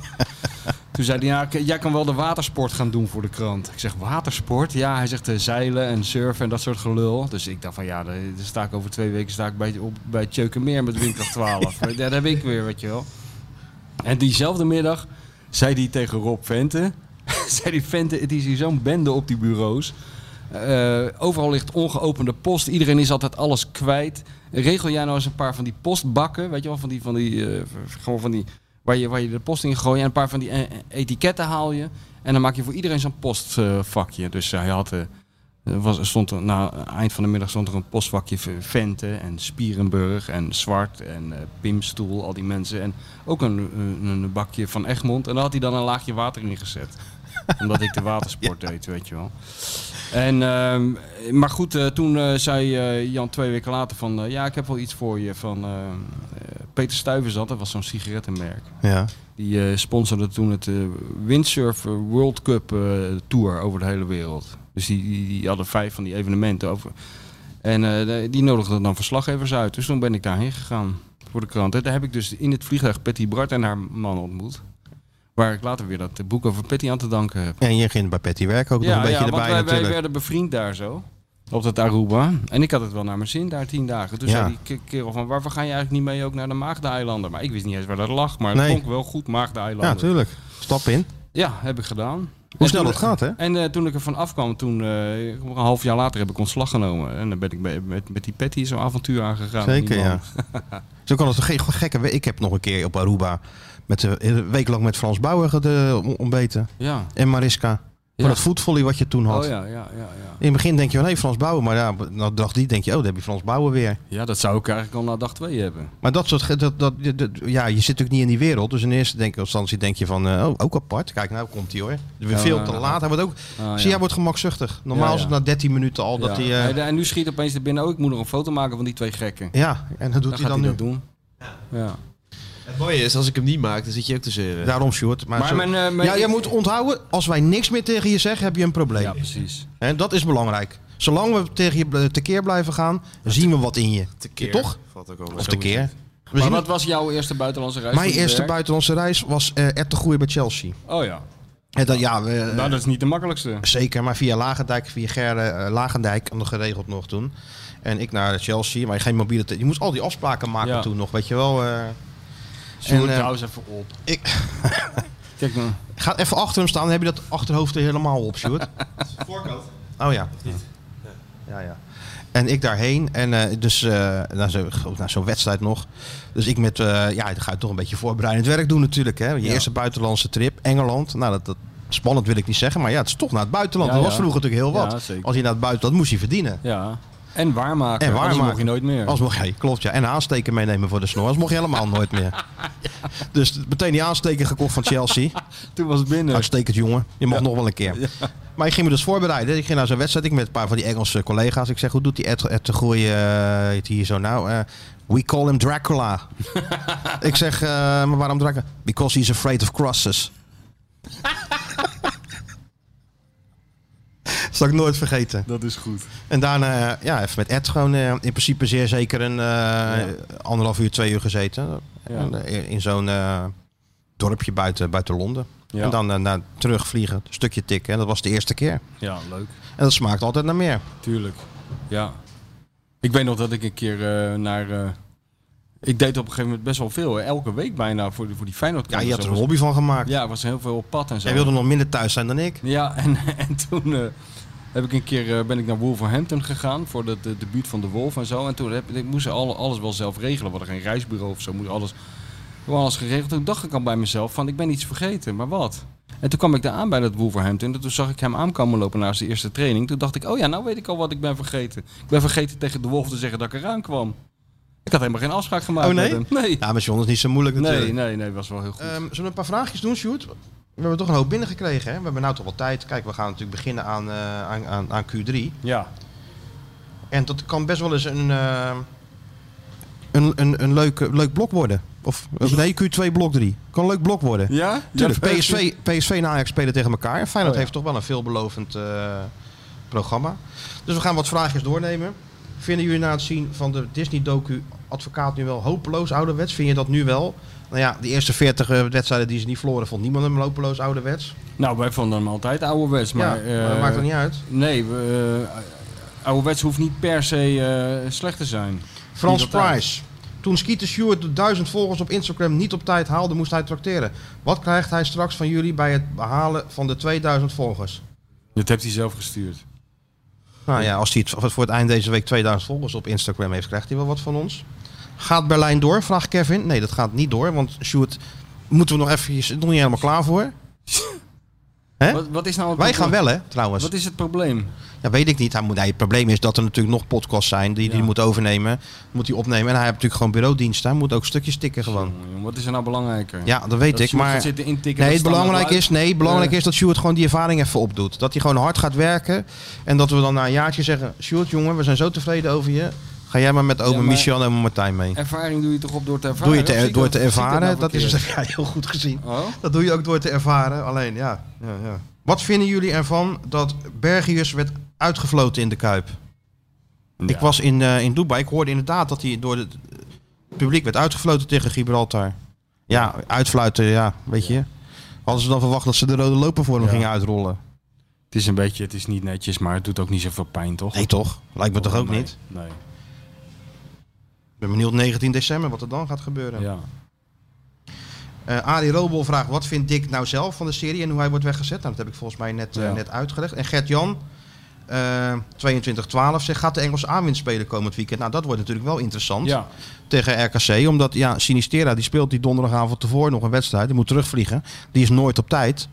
S4: Toen zei hij, nou, k- jij kan wel de watersport gaan doen voor de krant. Ik zeg, watersport? Ja, hij zegt eh, zeilen en surfen en dat soort gelul. Dus ik dacht van, ja, dan dan sta ik over twee weken sta ik bij, op, bij Tjeukenmeer met windkracht 12. ja. Dat heb ik weer, weet je wel. En diezelfde middag zei hij tegen Rob Vente... zei die Vente, het is hier zo'n bende op die bureaus. Eh, overal ligt ongeopende post. Iedereen is altijd alles kwijt. Regel jij nou eens een paar van die postbakken, weet je wel, van die, van die, eh, v- gewoon van die waar je, waar je de post in gooit. En een paar van die eh, eh, etiketten haal je. En dan maak je voor iedereen zo'n postvakje. dus hij had, eh, er was, er stond er, na eind van de middag stond er een postvakje voor Vente en Spierenburg en Zwart en eh, Pimstoel, al die mensen. En ook een, een, een bakje van Egmond. En daar had hij dan een laagje water in gezet. Omdat ik de watersport deed, weet je wel. En, ehm, maar goed, eh, toen eh, zei eh, Jan twee weken later van... eh, ja, ik heb wel iets voor je van ehm, eh, Peter Stuyvesant. Dat was zo'n sigarettenmerk.
S2: Ja.
S4: Die eh, sponsorde toen het eh, Windsurf World Cup eh, Tour over de hele wereld. Dus die, die, die hadden vijf van die evenementen over. En eh, de- die nodigden dan verslaggevers uit. Dus toen ben ik daarheen gegaan voor de krant. En daar heb ik dus in het vliegtuig Patty Bart en haar man ontmoet. Waar ik later weer dat eh, boek over Patty aan te danken heb.
S2: En je ging bij Patty werken ook nog een beetje
S4: want
S2: erbij
S4: wij, wij
S2: natuurlijk.
S4: werden bevriend daar zo. Op dat Aruba. En ik had het wel naar mijn zin daar tien dagen. Toen
S2: Ja.
S4: zei die ke- kerel van, waarvoor ga je eigenlijk niet mee ook naar de Maagdeilanden? Maar ik wist niet eens waar dat lag, maar
S2: Nee.
S4: het klonk wel goed, Maagdeilanden.
S2: ja, tuurlijk. Stap in.
S4: Ja, heb ik gedaan.
S2: Hoe
S4: En
S2: snel
S4: toen-
S2: dat gaat, hè?
S4: En eh, toen ik er van afkwam, toen, eh, een half jaar later heb ik ontslag genomen. En dan ben ik bij- met, met die Patty zo'n avontuur aangegaan. met
S2: Zeker,
S4: die man.
S2: ja. Zo kan het geen gekke. we- Ik heb nog een keer op Aruba met, eh, een week lang met Frans Bauer gede- on- ontbeten.
S4: Ja.
S2: En Mariska. Voor
S4: Ja.
S2: dat voetvolley wat je toen had.
S4: Oh ja, ja, ja, ja.
S2: In het begin denk je, nee, Frans Bauer. Maar ja, na dag die denk je, oh, daar heb je Frans Bauer weer.
S4: Ja, dat zou ik eigenlijk al na dag twee hebben.
S2: Maar dat soort, ge- dat, dat, dat- ja, je zit natuurlijk niet in die wereld. Dus in eerste denk- instantie denk je van, eh, oh, ook apart. Kijk, nou komt hij hoor. We
S4: Ja,
S2: veel
S4: ja,
S2: te
S4: ja.
S2: laat. Hij wordt ook,
S4: Ah,
S2: zie,
S4: ja.
S2: hij wordt gemakzuchtig. Normaal
S4: Ja,
S2: is het
S4: ja.
S2: na 13 minuten al dat
S4: Ja.
S2: hij... eh,
S4: Nee, En nu schiet opeens er binnen, oh, ik moet nog een foto maken van die twee gekken.
S2: ja, en dat doet
S4: Dan
S2: hij
S4: gaat
S2: dan
S4: hij
S2: nu.
S4: dat doen. Ja.
S3: Het mooie is, als ik hem niet maak, dan zit je ook te zeuren.
S2: Daarom, Sjoerd. Maar,
S4: Maar
S2: zo-
S4: mijn, eh, mijn-
S2: ja, jij moet onthouden, als wij niks meer tegen je zeggen, heb je een probleem.
S4: Ja, precies.
S2: En dat is belangrijk. Zolang we tegen je bl- tekeer blijven gaan, zien we wat in je.
S3: Tekeer.
S2: Toch?
S3: Valt ook over.
S2: Of
S3: Zo
S2: tekeer.
S3: is het.
S2: We
S4: Maar
S2: zien
S4: wat was jouw eerste buitenlandse reis?
S2: Mijn
S4: voor je
S2: eerste
S4: werk?
S2: buitenlandse reis was eh Ed de Goeie bij Chelsea.
S4: Oh ja.
S2: En dat, ja, we, eh,
S4: Nou, dat is niet de makkelijkste.
S2: Zeker, maar via Lagendijk, via Ger eh, Lagendijk nog geregeld nog toen. En ik naar Chelsea, maar geen mobiele... te- Je moest al die afspraken maken
S4: Ja.
S2: toen nog, weet je wel. eh.
S4: Zoek
S2: eh,
S4: trouwens even op.
S2: ik-
S4: Kijk nou.
S2: ga even achter hem staan, dan heb je dat achterhoofd er helemaal op, Sjoerd.
S3: Voorkant.
S2: Oh ja. Ja, ja. En ik daarheen. En eh, dus eh naar zo'n naar zo'n wedstrijd nog. Dus ik met, eh, ja, dan ga je toch een beetje voorbereidend werk doen natuurlijk. Hè. Je eerste buitenlandse trip, Engeland. Nou, dat, dat spannend wil ik niet zeggen. Maar ja, het is toch naar het buitenland.
S4: Ja,
S2: dat
S4: ja.
S2: was vroeger natuurlijk heel wat.
S4: Ja, zeker.
S2: Als je naar het buitenland moest je verdienen.
S4: Ja. En waarmaken.
S2: En waarmaken.
S4: Anders mocht je nooit meer.
S2: Als mocht jij, klopt ja. En een aansteker meenemen voor de snor. Anders mocht je helemaal nooit meer. Dus meteen die aansteker gekocht van Chelsea.
S4: Toen was het binnen.
S2: Uitstekend jongen. Je mag nog wel een keer. Maar ik ging me dus voorbereiden. Ik ging naar zo'n wedstrijd. Ik met een paar van die Engelse collega's. Ik zeg, hoe doet die Ed, Ed de Groei eh, het hier zo nou? Eh, we call him Dracula. ik zeg, eh, maar waarom Dracula? Because he's afraid of crosses. Zal ik nooit vergeten.
S5: Dat is goed.
S2: En daarna, eh, ja, even met Ed gewoon eh, in principe zeer zeker een eh, anderhalf uur, twee uur gezeten. En, eh, in zo'n eh, dorpje buiten, buiten Londen.
S4: Ja.
S2: En dan eh, naar terugvliegen, een stukje tikken. En dat was de eerste keer.
S4: Ja, leuk.
S2: En dat smaakt altijd naar meer.
S4: Tuurlijk. Ja. Ik weet nog dat ik een keer eh, naar... eh, ik deed op een gegeven moment best wel veel. hè. Elke week bijna voor, die- voor die feyenoord
S2: Ja, je had er een hobby van gemaakt.
S4: Ja, was heel veel op pad en zo.
S2: Jij wilde nog minder thuis zijn dan ik.
S4: Ja, en, en toen, eh, heb ik een keer, eh, ben ik naar Wolverhampton gegaan voor het de debuut van de Wolf en zo. En toen heb, ik moest alle, alles wel zelf regelen. We hadden geen reisbureau of zo. Moest alles, we hadden alles geregeld. Toen dacht ik al bij mezelf van ik ben iets vergeten, maar wat? En toen kwam ik daar aan bij dat Wolverhampton. En toen zag ik hem aankomen lopen naast de eerste training. Toen dacht ik, oh ja, nou weet ik al wat ik ben vergeten. Ik ben vergeten tegen de Wolf te zeggen dat ik eraan kwam. Ik had helemaal geen afspraak gemaakt
S2: Oh, nee?
S4: met hem. Nee.
S2: Ja, eh. maar John is niet zo moeilijk natuurlijk.
S4: Nee, nee, nee, was wel heel goed.
S2: Ehm, zullen we een paar vraagjes doen, Sjoerd? We hebben toch een hoop binnengekregen, hè? We hebben nou toch wel tijd. Kijk, we gaan natuurlijk beginnen aan, eh, aan, aan, aan Q3.
S4: ja.
S2: En dat kan best wel eens een, eh, een, een, een leuk, eh, leuk blok worden. Of of nee, Q2 blok 3. Kan een leuk blok worden.
S5: Ja?
S2: Tuurlijk,
S5: Ja,
S2: PSV, PSV en Ajax spelen tegen elkaar. En Feyenoord
S5: Oh, ja.
S2: heeft toch wel een veelbelovend eh, programma. Dus we gaan wat vraagjes doornemen. Vinden jullie na het zien van de Disney-docu Advocaat nu wel hopeloos ouderwets? Vind je dat nu wel? Nou ja, de eerste 40 wedstrijden die ze niet verloren, vond niemand hem hopeloos ouderwets.
S4: Nou, wij vonden hem altijd ouderwets.
S2: Maar, ja,
S4: Maar,
S2: maar dat
S4: eh,
S2: maakt er niet uit.
S4: Nee, we, eh, ouderwets hoeft niet per se eh, slecht te zijn.
S2: Frans
S4: Niet op tijd.
S2: Price. Toen Skeeter Stewart de duizend volgers op Instagram niet op tijd haalde, moest hij tracteren. Wat krijgt hij straks van jullie bij het behalen van de 2000 volgers?
S4: Dat heeft hij zelf gestuurd.
S2: Nou ja, als hij het voor het eind deze week 2000 volgers op Instagram heeft, krijgt hij wel wat van ons. Gaat Berlijn door? Vraagt Kevin. Nee, dat gaat niet door, want Stewart moeten we nog even, is nog niet helemaal klaar voor. Hè?
S4: Wat, wat is nou het
S2: Wij gaan
S4: probleem?
S2: wel, hè, trouwens.
S4: Wat is het probleem?
S2: Ja, weet ik niet. Hij moet, nee, het probleem is dat er natuurlijk nog podcasts zijn die hij
S4: Ja.
S2: moet overnemen. Moet hij opnemen. En hij heeft natuurlijk gewoon bureaudiensten. Hij moet ook stukjes tikken gewoon.
S4: Jongen, Wat is er nou belangrijker?
S2: Ja, dat weet
S4: Dat
S2: ik.
S4: ze maar
S2: Maar
S4: gaan zitten intikken,
S2: Nee,
S4: dat
S2: het
S4: standaard
S2: belangrijk
S4: luidt.
S2: is, nee, het belangrijk
S4: Eh.
S2: is dat Sjoerd gewoon die ervaring even opdoet. Dat hij gewoon hard gaat werken. En dat we dan na een jaartje zeggen... Sjoerd, jongen, we zijn zo tevreden over je. Ga jij maar met oma
S4: Ja, maar-
S2: Michel en oma Martijn mee.
S4: Ervaring doe je toch op door te ervaren?
S2: Doe je
S4: Of zie
S2: te,
S4: ik
S2: door
S4: dat-
S2: te
S4: zie ik nou
S2: ervaren. Dat is
S4: verkeerd?
S2: ja, heel goed gezien.
S4: Oh?
S2: Dat doe je ook door te ervaren. Alleen, ja. ja, ja. Wat vinden jullie ervan dat Bergius werd uitgefloten in de Kuip? Ik was in, eh, in Dubai. Ik hoorde inderdaad dat hij door het publiek werd uitgefloten tegen Gibraltar. Ja, uitfluiten, ja, weet je. Hadden ze dan verwacht dat ze de rode loper voor hem
S4: Ja.
S2: gingen uitrollen?
S4: Het is een beetje, het is niet netjes, maar het doet ook niet zoveel pijn, toch?
S2: Nee, toch? Lijkt me toch ook
S4: Nee,
S2: niet?
S4: Nee.
S2: Ik ben benieuwd 19 december wat er dan gaat gebeuren.
S4: Ja.
S2: Eh, Arie Robel vraagt, wat vindt Dick nou zelf van de serie en hoe hij wordt weggezet? Nou, dat heb ik volgens mij net, eh,
S4: Ja.
S2: net uitgelegd. En Gert-Jan, eh 22-12, zegt, gaat de Engelse aanwinst spelen komend weekend? Nou, dat wordt natuurlijk wel interessant
S4: ja.
S2: tegen RKC. Omdat, ja, Sinistera, die speelt die donderdagavond tevoren nog een wedstrijd. Die moet terugvliegen. Die is nooit op tijd.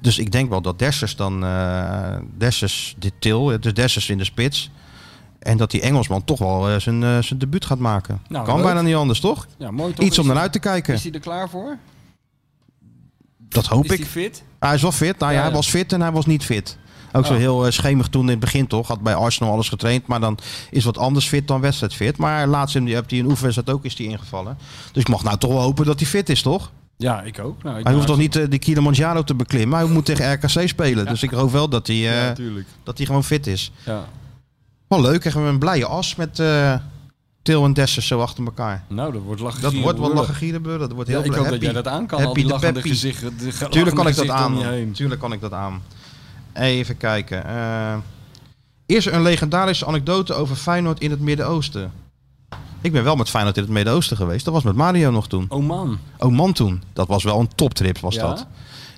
S2: Dus ik denk wel dat Dessers dan, eh Dessers dit til, dus Dessers in de spits... En dat die Engelsman toch wel eh, zijn, eh, zijn debuut gaat maken.
S4: Nou,
S2: kan
S4: leuk.
S2: bijna niet anders, toch?
S4: ja, mooi toch?
S2: Iets om
S4: Is-
S2: naar uit te kijken.
S4: Is hij er klaar voor?
S2: Dat hoop
S4: Is
S2: ik.
S4: hij fit?
S2: Hij is wel fit. Nou ja,
S4: Ja,
S2: hij
S4: ja.
S2: was fit en hij was niet fit. Ook zo
S4: Oh.
S2: heel eh, schemig toen in het begin toch. Had bij Arsenal alles getraind. Maar dan is wat anders fit dan wedstrijd fit. Maar laatst in die, heb hij een oefenwedstrijd ook is die ingevallen. Dus ik mag nou toch wel hopen dat hij fit is toch?
S4: Ja, ik ook. Nou, ik
S2: hij hoeft
S4: nou,
S2: toch niet eh, de Kilimanjaro te beklimmen. Hij moet tegen RKC spelen. Dus ik hoop wel dat hij, eh,
S5: natuurlijk.
S2: dat hij gewoon fit is.
S4: Ja.
S2: Wel leuk. Krijgen we een blije as met eh Til en Dessers zo achter elkachen.
S4: Nou, dat wordt lachen.
S2: Dat
S4: gieren,
S2: wordt wel
S4: lullen.
S2: lachen gierenbeur. Dat wordt
S4: Ja,
S2: heel
S4: ik hoop
S2: happy.
S4: dat jij dat aan kan. al
S2: Happy
S4: die
S2: de
S4: lachende
S2: Peppy.
S4: gezichten. de ge-
S2: Tuurlijk kan ik dat
S4: lachende
S2: aan.
S4: gezichten om je
S2: man.
S4: heen.
S2: Tuurlijk kan ik dat aan. Even kijken. Eh, is er een legendarische anekdote over Feyenoord in het Midden-Oosten? Ik ben wel met Feyenoord in het Midden-Oosten geweest. Dat was met Mario nog toen.
S4: Oh man.
S2: Oman toen. Dat was wel een toptrip, was
S4: Ja?
S2: dat.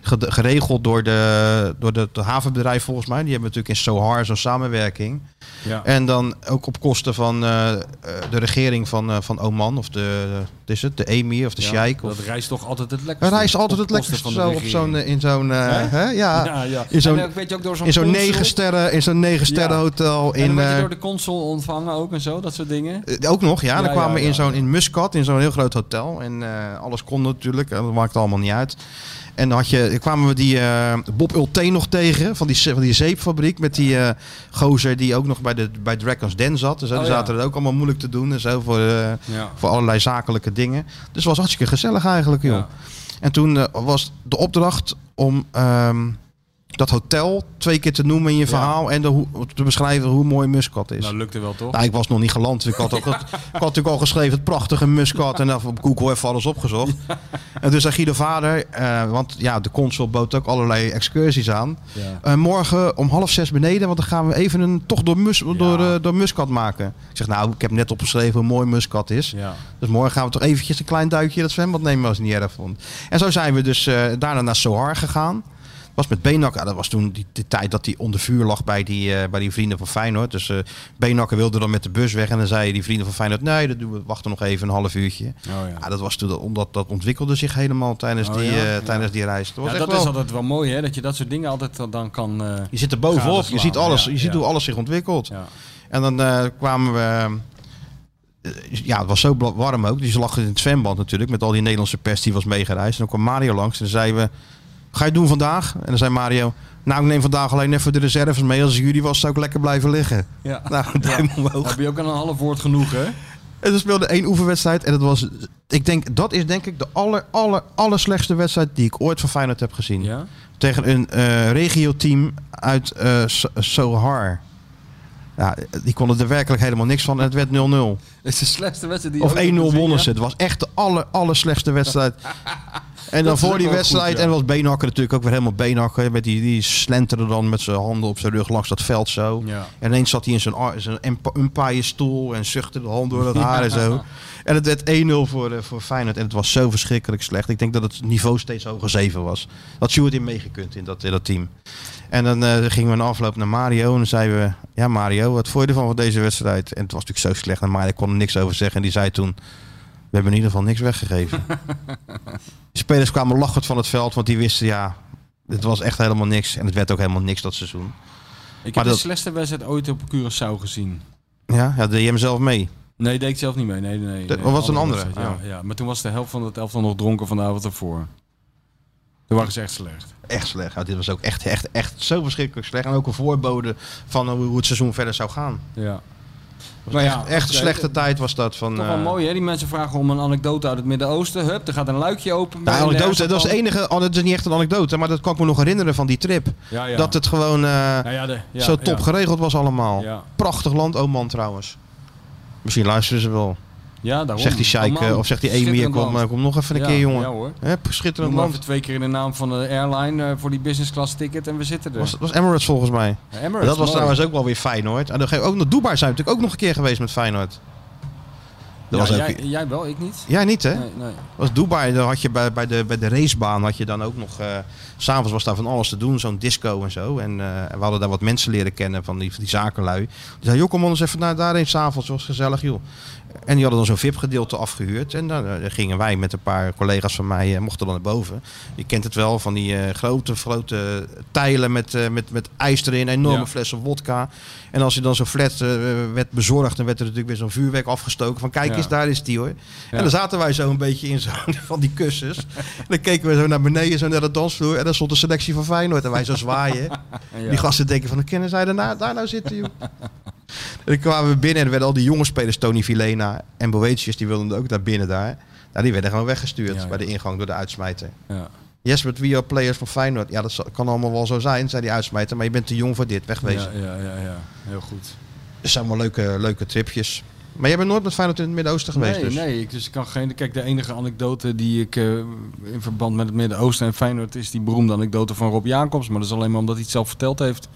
S2: Ge- Geregeld door, de, door de, de havenbedrijf volgens mij. Die hebben natuurlijk in Sohar zo'n samenwerking.
S4: Ja.
S2: En dan ook op kosten van eh, eh, de regering van, eh, van Oman. Of de, wat is het, de emir of de
S4: Ja,
S2: sheik. Of,
S4: Dat reist toch altijd het lekkerste.
S2: hij reist altijd
S4: Op
S2: het
S4: kosten
S2: lekkerst
S4: van de
S2: zo op zo'n,
S4: regering.
S2: eh, in zo'n... eh,
S4: Hè?
S2: hè?
S4: Ja, ja.
S2: in zo'n-
S4: En ook, weet je, ook door zo'n
S2: In zo'n
S4: consul.
S2: negen sterren, in zo'n negen sterren
S4: Ja.
S2: hotel.
S4: En dan
S2: In,
S4: werd je
S2: eh,
S4: door de consul ontvangen ook en zo, dat soort dingen.
S2: eh, ook nog, ja.
S4: Ja,
S2: dan kwamen we
S4: ja,
S2: in
S4: ja.
S2: zo'n in Muscat, in zo'n heel groot hotel. En eh, alles kon natuurlijk, eh, dat maakte allemaal niet uit. En dan had je, dan kwamen we die eh, Bob Ulteen nog tegen van die, ze- van die zeepfabriek. Met die eh, gozer die ook nog bij, de, bij Dragon's Den zat. Dus die
S4: Oh, ja.
S2: zaten er ook allemaal moeilijk te doen en zo voor, eh,
S4: Ja.
S2: voor allerlei zakelijke dingen. Dus het was hartstikke gezellig eigenlijk, joh.
S4: Ja.
S2: En toen eh, was de opdracht om ehm, dat hotel twee keer te noemen in je verhaal en de hoe- te beschrijven hoe mooi Muscat is.
S4: Nou,
S2: Nou,
S4: lukte wel toch?
S2: ik was nog niet geland. dus Ik had, ook, ik had natuurlijk al geschreven het prachtige Muscat en even op Google even alles opgezocht. En toen zei Guido vader, eh, want ja, de consul bood ook allerlei excursies aan.
S4: Ja.
S2: Eh, morgen om half zes beneden, want dan gaan we even een tocht door, mus, door, eh, door Muscat maken. Ik zeg nou, ik heb net opgeschreven hoe mooi Muscat is.
S4: Ja.
S2: Dus morgen gaan we toch eventjes een klein duikje in dat zwembad nemen als het niet erg vond. En zo zijn we dus eh, daarna naar Sohar gegaan. was met Benakker. Ja, dat was toen die, de tijd dat hij onder vuur lag bij die, eh, bij die vrienden van Feyenoord. Dus eh Benakker wilde dan met de bus weg. En dan zeiden die vrienden van Feyenoord, nee, dat doen we, wachten nog even een half uurtje.
S4: Oh, ja.
S2: Ja, dat was toen, omdat dat ontwikkelde zich helemaal tijdens,
S4: Oh,
S2: die,
S4: ja?
S2: eh,
S4: Ja.
S2: tijdens die reis. Het was
S4: Ja,
S2: echt
S4: dat
S2: wel-
S4: is altijd wel mooi, hè? Dat je dat soort dingen altijd dan- dan kan... eh,
S2: je zit er bovenop, je
S4: gadeslaan.
S2: ziet alles,
S4: Ja,
S2: je ziet
S4: ja.
S2: hoe alles zich ontwikkelt.
S4: ja.
S2: En dan eh, kwamen we. eh, ja, het was zo bla- warm ook. Dus ze lag in het zwembad natuurlijk. Met al die Nederlandse pers die was meegereisd. En dan kwam Mario langs. En dan zeiden we: Ga je het doen vandaag? En dan zei Mario: Nou, ik neem vandaag alleen even de reserves mee. Als ik jullie was, zou ik lekker blijven liggen.
S4: Ja.
S2: Nou, duim
S4: Dan
S2: omhoog.
S4: heb je ook aan een half woord genoeg, hè?
S2: En ze speelde één oefenwedstrijd. En dat was. Ik denk, dat is denk ik de aller, aller, aller slechtste wedstrijd die ik ooit van Feyenoord heb gezien
S4: Ja.
S2: tegen een eh regio-team uit eh, So- Sohar. Ja, die konden er werkelijk helemaal niks van en het werd 0-0.
S4: Het is de slechtste wedstrijd die je
S2: Of 1-0
S4: ooit hebt gezien,
S2: wonnen
S4: ja.
S2: ze. Het was echt de aller, aller slechtste wedstrijd. En
S4: Dat
S2: dan
S4: is ook
S2: voor die
S4: wel
S2: wedstrijd,
S4: goed, ja.
S2: en was Beenhakker natuurlijk ook weer helemaal Beenhakker. Met die, die slenterde dan met zijn handen op zijn rug langs dat veld zo.
S4: Ja.
S2: En ineens zat hij in zijn, ar- zijn emp- umpire-stoel en zuchtte de hand door het haar en zo. En het werd 1-0 voor, eh, voor Feyenoord. En het was zo verschrikkelijk slecht. Ik denk dat het niveau steeds hoger 7 was. Dat Sjoerd in meegekund in dat, in dat team. En dan eh, gingen we een afloop naar Mario. En dan zeiden we, ja Mario, wat vond je ervan van deze wedstrijd? En het was natuurlijk zo slecht. En Mario kon er niks over zeggen. En die zei toen, we hebben in ieder geval niks weggegeven. De spelers kwamen lachend van het veld. Want die wisten, ja, het was echt helemaal niks. En het werd ook helemaal niks dat seizoen. Maar
S4: Ik heb
S2: dat-
S4: de slechtste wedstrijd ooit op Curaçao gezien.
S2: Ja, ja deed je hem zelf mee.
S4: Nee, deed ik zelf niet mee. Nee, nee, nee.
S2: Dat
S4: nee,
S2: was een andere,
S4: wedstrijd, Ja, ja, maar toen was de helft van het elftal nog dronken van de avond ervoor. Toen waren ze echt slecht.
S2: Echt slecht. Ja, dit was ook echt, echt, echt zo verschrikkelijk slecht. En ook een voorbode van eh, hoe hoe het seizoen verder zou gaan.
S4: Ja.
S2: Het was
S4: Maar Nou ja,
S2: echt, echt een
S4: oké.
S2: slechte tijd was dat. Van,
S4: Toch wel
S2: eh,
S4: mooi, hè? Die mensen vragen om een anekdote uit het Midden-Oosten. Hup, er gaat een luikje open.
S2: de
S4: bij een
S2: anekdote, dat is
S4: ergens
S2: de enige, oh, dat is niet echt een anekdote, maar dat kan ik me nog herinneren van die trip.
S4: Ja, ja.
S2: Dat het gewoon eh,
S4: Nou ja, de- ja,
S2: zo top
S4: ja.
S2: geregeld was allemaal.
S4: Ja.
S2: Prachtig land, Oman trouwens. Misschien luisteren ze wel.
S4: Ja, daarom.
S2: Zegt die sheik
S4: Oh, man.
S2: eh, of zegt die Emir,
S4: Schitterend
S2: kom,
S4: land.
S2: eh, kom nog even een
S4: Ja,
S2: keer jongen.
S4: Ja hoor.
S2: Hè, schitterend
S4: Noem maar even
S2: land.
S4: twee keer in de naam van de airline eh, voor die business class ticket en we zitten er.
S2: Was, was Emirates volgens mij.
S4: Ja, Emirates,
S2: dat was
S4: mooi.
S2: trouwens ook wel weer Feyenoord. En dan geef- ook nog Dubai zijn we natuurlijk ook nog een keer geweest met Feyenoord. Dat
S4: Ja,
S2: was ook...
S4: jij, jij wel, ik niet.
S2: Jij niet, hè?
S4: Nee, nee.
S2: was Dubai, dan had je bij, bij, de, bij de racebaan had je dan ook nog... eh, s S'avonds was daar van alles te doen, zo'n disco en zo. En eh, we hadden daar wat mensen leren kennen van die, van die zakenlui. Die zeiden, joh, kom ons even naar daarheen s'avonds, was gezellig, joh. En die hadden dan zo'n VIP-gedeelte afgehuurd. En dan eh, gingen wij met een paar collega's van mij, eh, mochten dan naar boven. Je kent het wel, van die eh, grote, grote tijlen met, eh, met, met ijs erin, enorme
S4: Ja.
S2: flessen wodka. En als je dan zo'n flat eh, werd bezorgd, dan werd er natuurlijk weer zo'n vuurwerk afgestoken. Van kijk
S4: Ja.
S2: eens, daar is die hoor.
S4: Ja.
S2: En dan zaten wij zo een beetje in zo'n van die kussens. en dan keken we zo naar beneden, zo naar de dansvloer. En dan stond de selectie van Feyenoord. En wij zo zwaaien.
S4: Ja.
S2: Die gasten denken van, kennen zij daarna, daar nou zitten, joh. en dan kwamen we binnen en er werden al die jonge spelers, Tony Vilena en Boetius, die wilden ook naar binnen daar. Nou, die werden gewoon weggestuurd
S4: Ja, ja.
S2: bij de ingang door de uitsmijter.
S4: Ja.
S2: Yes, but we are players van Feyenoord. Ja, dat zal- kan allemaal wel zo zijn, zei die uitsmijter. Maar je bent te jong voor dit, wegwezen.
S4: Ja, ja, ja, ja, heel goed.
S2: Dat zijn wel leuke, leuke tripjes. Maar jij bent nooit met Feyenoord in het Midden-Oosten geweest,
S4: nee,
S2: dus?
S4: nee, ik, dus ik kan geen. Kijk, de enige anekdote die ik eh, in verband met het Midden-Oosten en Feyenoord is die beroemde anekdote van Rob Jacobs. Maar dat is alleen maar omdat hij het zelf verteld heeft.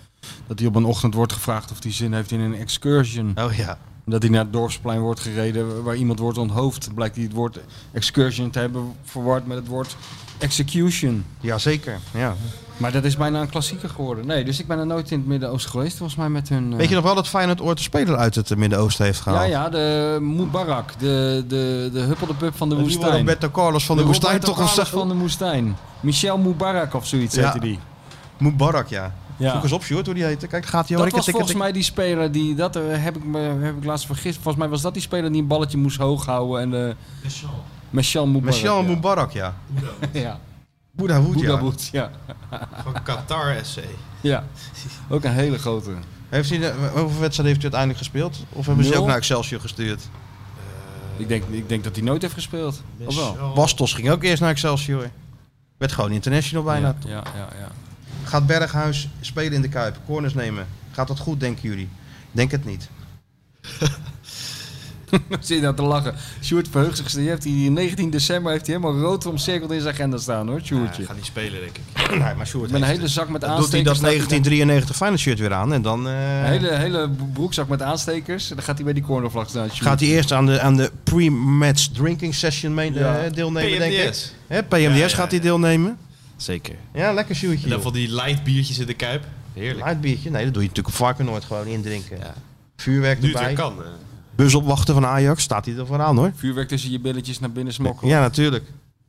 S4: Dat hij op een ochtend wordt gevraagd of hij zin heeft in een excursion.
S2: Oh ja.
S4: Dat hij naar het dorpsplein wordt gereden waar iemand wordt onthoofd. Blijkt hij het woord excursion te hebben verward met het woord execution.
S2: Jazeker, ja.
S4: Maar dat is bijna een klassieker geworden. Nee, dus ik ben er nooit in het Midden-Oosten geweest. Volgens mij met hun. eh,
S2: Weet je nog wel dat Feyenoord ooit een speler uit het eh, Midden-Oosten heeft gehaald?
S4: Ja, ja, de Mubarak. De, de, de huppel de pup van de
S2: Die
S4: woestijn.
S2: Roberto Carlos van de, woestijn
S4: Roberto
S2: toch een
S4: Carlos
S2: zo-
S4: van de woestijn. Michel Mubarak of zoiets
S2: Ja.
S4: heette die.
S2: Mubarak, ja.
S4: Ja.
S2: Zoek eens op, Sjoerd, hoe die heette. Kijk, daar gaat hij al
S4: Dat
S2: Ik-
S4: was
S2: ik-
S4: volgens
S2: ik-
S4: mij die speler die, dat eh, heb ik, me, heb ik laatst vergist. Volgens mij was dat die speler die een balletje moest hoog houden. En, eh Michel Mubarak.
S2: Michel
S4: ja.
S2: Mubarak, ja.
S4: Ja.
S2: Boeddha Wood, ja.
S4: Boedaboet, ja.
S3: Van Qatar SC.
S4: Ja, ook een hele grote.
S2: Heeft hij, de- hoeveel wedstrijden heeft hij uiteindelijk gespeeld? Of hebben ze
S4: Nul.
S2: ook naar Excelsior gestuurd?
S4: Ik denk, ik denk dat hij nooit heeft gespeeld. Of wel?
S3: Michel-
S2: Bastos ging ook eerst naar Excelsior. Werd gewoon international bijna.
S4: Ja, ja, ja, ja.
S2: Gaat Berghuis spelen in de Kuip? Corners nemen? Gaat dat goed, denken jullie? Denk het niet.
S4: Dan Zit je nou te lachen. Sjoerd verheugt zich. Die heeft die 19 december heeft hij helemaal rood omcirkeld in zijn agenda staan hoor,
S3: Ja,
S4: Sjoerdje.
S3: gaat niet spelen, denk ik.
S2: nee, maar Sjoerd
S4: Met een
S2: heeft
S4: hele
S2: het.
S4: zak met
S2: Dan doet hij
S4: aanstekers.
S2: dat
S4: staat hij dan-
S2: 1993 Feyenoord shirt weer aan en dan... eh,
S4: Een hele, hele broekzak met aanstekers. En dan gaat hij bij die cornervlag staan. Sjoerd.
S2: Gaat hij eerst aan de, aan de pre-match drinking session mee,
S4: Ja.
S2: eh, deelnemen, denk ik?
S3: PMDS.
S2: Hè, PMDS
S3: Ja, ja,
S2: gaat hij
S3: ja.
S2: deelnemen.
S3: Zeker.
S2: Ja, lekker
S3: En
S2: zuurtje.
S3: dan van die light biertjes in de kuip. Heerlijk.
S2: Light biertje? Nee, dat doe je natuurlijk op varken nooit gewoon indrinken.
S3: Ja.
S2: Vuurwerk
S3: Nu het weer
S2: erbij.
S3: kan. eh.
S2: Bus opwachten van Ajax, staat hij er vooraan hoor.
S4: Vuurwerk tussen je billetjes naar binnen smokkelen.
S2: Ja, natuurlijk.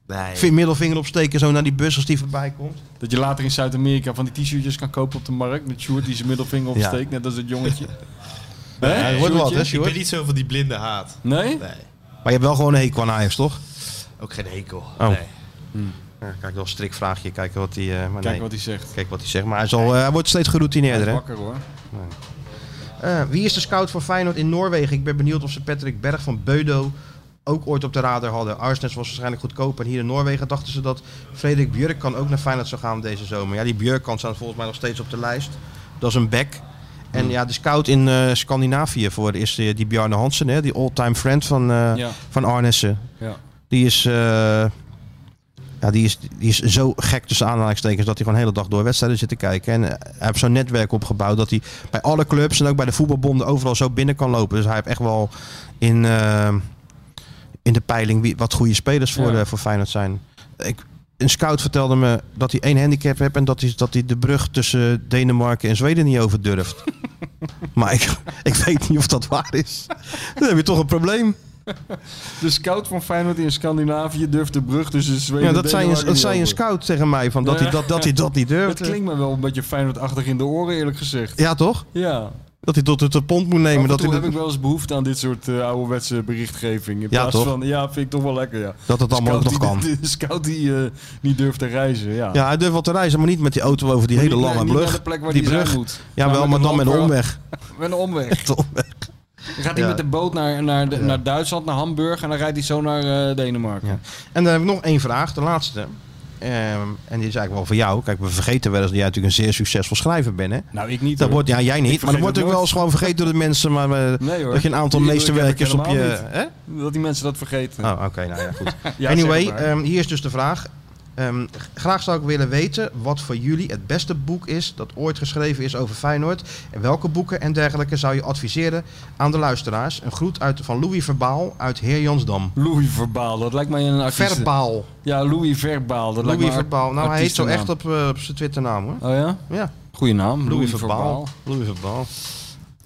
S3: Nee.
S2: V- Middelvinger opsteken zo naar die bus als die voorbij komt.
S5: Dat je later in Zuid-Amerika van die t-shirtjes kan kopen op de markt. Met Sjoerd die zijn middelvinger
S2: Ja.
S5: opsteekt, net als het jongetje.
S2: Ja, dat wordt wat, hè,
S3: Ik ben
S2: Sjoerd?
S3: niet zo van die blinde haat.
S4: Nee?
S3: Nee.
S2: Maar je hebt wel gewoon een hekel aan Ajax, toch?
S3: Ook geen hekel.
S2: Oh.
S3: Nee.
S2: Ja, kijk, wel een strikvraagje. Kijken wat hij... eh, maar
S5: Kijk
S2: nee.
S5: wat hij zegt.
S2: Kijk wat hij zegt. Maar hij, zal, eh, hij wordt steeds geroutineerder, hè?
S5: Wakker hoor.
S2: Eh, wie is de scout voor Feyenoord in Noorwegen? Ik ben benieuwd of ze Patrick Berg van Beudo ook ooit op de radar hadden. Arsenes was waarschijnlijk goedkoop. En hier in Noorwegen dachten ze dat Frederik Björk kan ook naar Feyenoord zou gaan deze zomer. Ja, die Björk kan staan volgens mij nog steeds op de lijst. Dat is een back. En ja, de scout in eh, Scandinavië voor is eh, die Bjarne Hansen, hè, die all-time friend van, eh,
S4: Ja.
S2: van Arnesen.
S4: Ja.
S2: Die is, eh, ja, die, is, die is zo gek tussen aanhalingstekens dat hij gewoon de hele dag door wedstrijden zit te kijken. En eh, hij heeft zo'n netwerk opgebouwd dat hij bij alle clubs en ook bij de voetbalbonden overal zo binnen kan lopen. Dus hij heeft echt wel in, eh, in de peiling wie, wat goede spelers voor,
S4: Ja.
S2: eh, voor Feyenoord zijn. Ik, een scout vertelde me dat hij één handicap heeft en dat hij, dat hij de brug tussen Denemarken en Zweden niet over durft. maar ik, ik weet niet of dat waar is. Dan heb je toch een probleem.
S5: De scout van Feyenoord in Scandinavië durft de brug tussen Zweden
S2: Ja,
S5: en
S2: dat zei, een,
S5: Denemarken
S2: dat zei
S5: niet
S2: een eh.
S5: over.
S2: scout tegen mij, van dat,
S5: Ja.
S2: hij, dat, dat hij dat niet
S5: Dat
S2: durft.
S5: klinkt me wel een beetje Feyenoordachtig in de oren eerlijk gezegd.
S2: Ja, toch?
S5: Ja.
S2: Dat hij tot het de pond moet
S5: Af
S2: nemen.
S5: en
S2: Dat,
S5: toe
S2: hij
S5: heb ik wel eens behoefte aan dit soort eh, ouderwetse berichtgeving. In
S2: Ja,
S5: plaats
S2: toch?
S5: van, ja, vind ik toch wel lekker, ja.
S2: dat het allemaal ook nog
S5: Scout
S2: kan.
S5: die- De, scout die eh, niet durft te reizen, ja.
S2: Ja, hij durft wel te reizen, maar niet met die auto over die hele
S5: Niet-
S2: lange
S5: niet naar
S2: brug.
S5: de plek waar
S2: die
S5: die zijn
S2: brug.
S5: moet.
S2: Ja, wel, maar dan met een
S5: landbouw-
S2: omweg.
S4: Met een omweg.
S2: Met een omweg.
S4: Dan gaat hij
S2: Ja.
S4: met de boot naar, naar, de- naar Duitsland, naar Hamburg en dan rijdt hij zo naar eh, Denemarken.
S2: Ja. En dan heb ik nog één vraag, de laatste. Ehm, en die is eigenlijk wel voor jou. Kijk, we vergeten wel eens dat jij natuurlijk een zeer succesvol schrijver bent, hè?
S4: Nou, ik niet.
S2: Dat
S4: hoor.
S2: wordt, ja, jij niet. Maar dat
S5: vergeet
S2: wordt
S5: het
S2: ook wel eens gewoon vergeten door de mensen. Maar eh,
S4: Nee, hoor.
S2: dat je een aantal
S5: Die wil ik
S2: meesterwerkers op je...
S5: helemaal
S2: Hè?
S5: Dat die mensen dat vergeten.
S2: Oh, oké. nou ja, goed.
S5: Ja,
S2: anyway,
S5: zeg maar.
S2: ehm, hier is dus de vraag. Ehm, g- graag zou ik willen weten wat voor jullie het beste boek is dat ooit geschreven is over Feyenoord. En welke boeken en dergelijke zou je adviseren aan de luisteraars? Een groet uit, van Louis Verbaal uit Heer Jansdam.
S5: Louis Verbaal.
S4: Verbaal, dat lijkt mij een artiest.
S2: Verbaal.
S4: Ja, Louis Verbaal. Dat lijkt
S2: Louis
S4: me een
S2: Verbaal. Nou, hij heet zo echt
S4: artiestennaam.
S2: op, eh, op zijn Twitternaam hoor.
S4: Oh ja?
S2: Ja,
S4: Goeie naam. Louis,
S2: Louis,
S4: Verbaal.
S2: Verbaal. Louis Verbaal.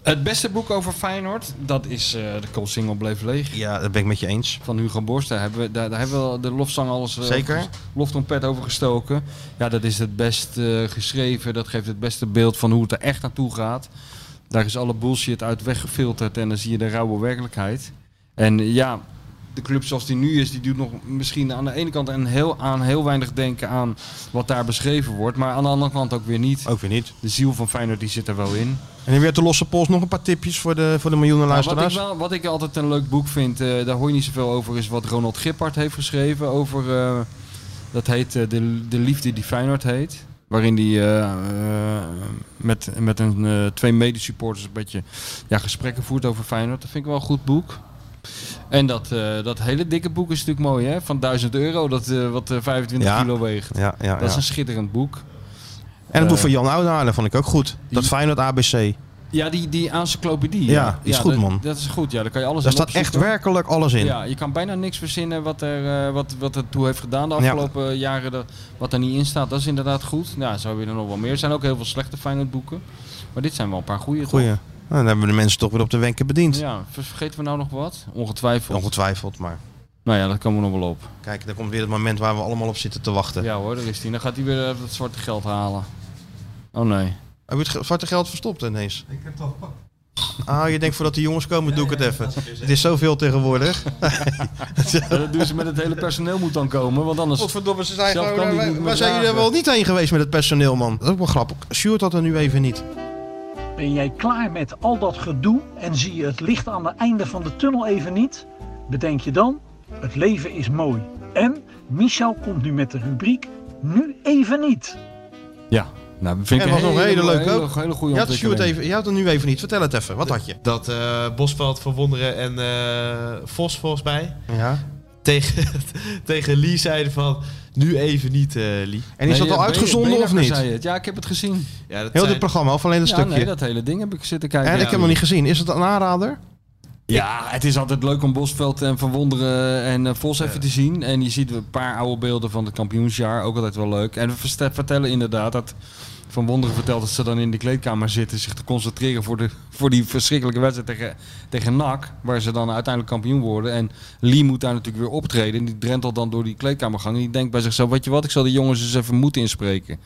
S4: Het beste boek over Feyenoord, dat is eh, De Cold Single Bleef Leeg.
S2: Ja, dat ben ik met je eens.
S4: Van Hugo Borst, daar hebben we, daar, daar hebben we de lofzang alles... eh,
S2: Zeker.
S4: ges- Loftrompet over gestoken. Ja, dat is het best eh, geschreven. Dat geeft het beste beeld van hoe het er echt naartoe gaat. Daar is alle bullshit uit weggefilterd en dan zie je de rauwe werkelijkheid. En eh, ja, de club zoals die nu is, die doet nog misschien aan de ene kant een heel, aan heel weinig denken aan wat daar beschreven wordt. Maar aan de andere kant ook weer niet.
S2: Ook weer niet.
S4: De ziel van Feyenoord die zit er wel in.
S2: En dan weer te losse pols nog een paar tipjes voor de, voor de miljoenen
S4: Nou, wat, ik
S2: luisteraars.
S4: wel, wat ik altijd een leuk boek vind, eh, daar hoor je niet zoveel over, is wat Ronald Gippard heeft geschreven over. eh, dat heet eh, de, de Liefde die Feyenoord heet. Waarin hij met, met een, eh, twee medesupporters een beetje ja, gesprekken voert over Feyenoord. Dat vind ik wel een goed boek. En dat, eh, dat hele dikke boek is natuurlijk mooi, hè? Van 1000 euro, dat, eh, wat eh, 25
S2: Ja.
S4: kilo weegt.
S2: Ja, ja,
S4: Dat
S2: ja.
S4: is een schitterend boek.
S2: En het boek
S4: Eh,
S2: van Jan Oudenaarde vond ik ook goed. Dat Feyenoord ABC.
S4: Ja, die, die encyclopedie.
S2: Ja, die is goed,
S4: dat-
S2: man.
S4: Dat is goed, ja. Daar kan je alles
S2: Daar
S4: aan
S2: staat echt
S4: opzoeken.
S2: werkelijk alles in.
S4: Ja, je kan bijna niks verzinnen wat er, eh, wat, wat er toe heeft gedaan de
S2: Ja.
S4: afgelopen jaren. dat- wat er niet in staat, dat is inderdaad goed. Nou, zo weer er nog wel meer. Er zijn ook heel veel slechte Feyenoord boeken. Maar dit zijn wel een paar goede. toch?
S2: Goeie. Nou, dan hebben we de mensen toch weer op de wenken bediend.
S4: Ja, ver- vergeten we nou nog wat? Ongetwijfeld.
S2: Ongetwijfeld, maar
S4: nou ja, dat komen we nog wel op.
S2: kijk, daar komt weer het moment waar we allemaal op zitten te wachten.
S4: Ja hoor, daar is hij. Dan gaat hij weer eh, dat zwarte geld halen. Oh nee.
S2: Heb je het ge- zwarte geld verstopt ineens? Ik heb het al Ah, je denkt voordat die jongens komen, doe ik het even. Het is zoveel tegenwoordig.
S4: Ja, Eh, dat doen ze met het hele personeel moet dan komen, want anders...
S2: Godverdomme, ze zijn
S4: Zelf
S2: gewoon...
S4: kan die
S2: eh,
S4: niet
S2: waar-
S4: meer
S2: Waar zijn jullie er
S4: dragen.
S2: wel niet heen geweest met het personeel, man? Dat is ook wel grappig. Sjoerd had er nu even niet.
S8: Ben jij klaar met al dat gedoe en zie je het licht aan het einde van de tunnel even niet? Bedenk je dan, het leven is mooi. En Michel komt nu met de rubriek Nu even niet.
S4: Ja, nou vind ik
S2: En
S4: een
S2: was nog
S4: hele,
S2: hele leuk
S4: hele,
S2: ook.
S4: hele goede
S2: Je had, Sjoerd
S4: ontwikkeling.
S2: even, je had er nu even niet. Vertel het even, wat had je?
S3: Dat eh, Bosveld van Wonderen en eh, Vos volgens mij
S2: Ja.
S3: tegen, tegen Lee zeiden van nu even niet eh Lee.
S2: En is
S4: Nee,
S2: dat al
S4: ja,
S2: uitgezonden
S4: Benakker
S2: of niet?
S4: zei het. Ja, ik heb het gezien.
S3: Ja, dat
S2: Heel
S3: zijn-
S2: dit programma of alleen dat
S4: ja,
S2: stukje?
S4: nee, dat hele ding heb ik zitten kijken.
S2: En ik
S4: Ja.
S2: heb hem nog niet gezien. Is het een aanrader?
S4: Ja, het is altijd leuk om Bosveld en Van Wonderen en eh, Vos even te zien. En je ziet een paar oude beelden van het kampioensjaar, ook altijd wel leuk. En we verste- vertellen inderdaad dat Van Wonderen vertelt dat ze dan in de kleedkamer zitten... zich te concentreren voor, de, voor die verschrikkelijke wedstrijd tegen, tegen NAC... waar ze dan uiteindelijk kampioen worden. En Lee moet daar natuurlijk weer optreden. En die drentelt dan door die kleedkamergang. En die denkt bij zichzelf, weet je wat, ik zal de jongens eens even moeten inspreken.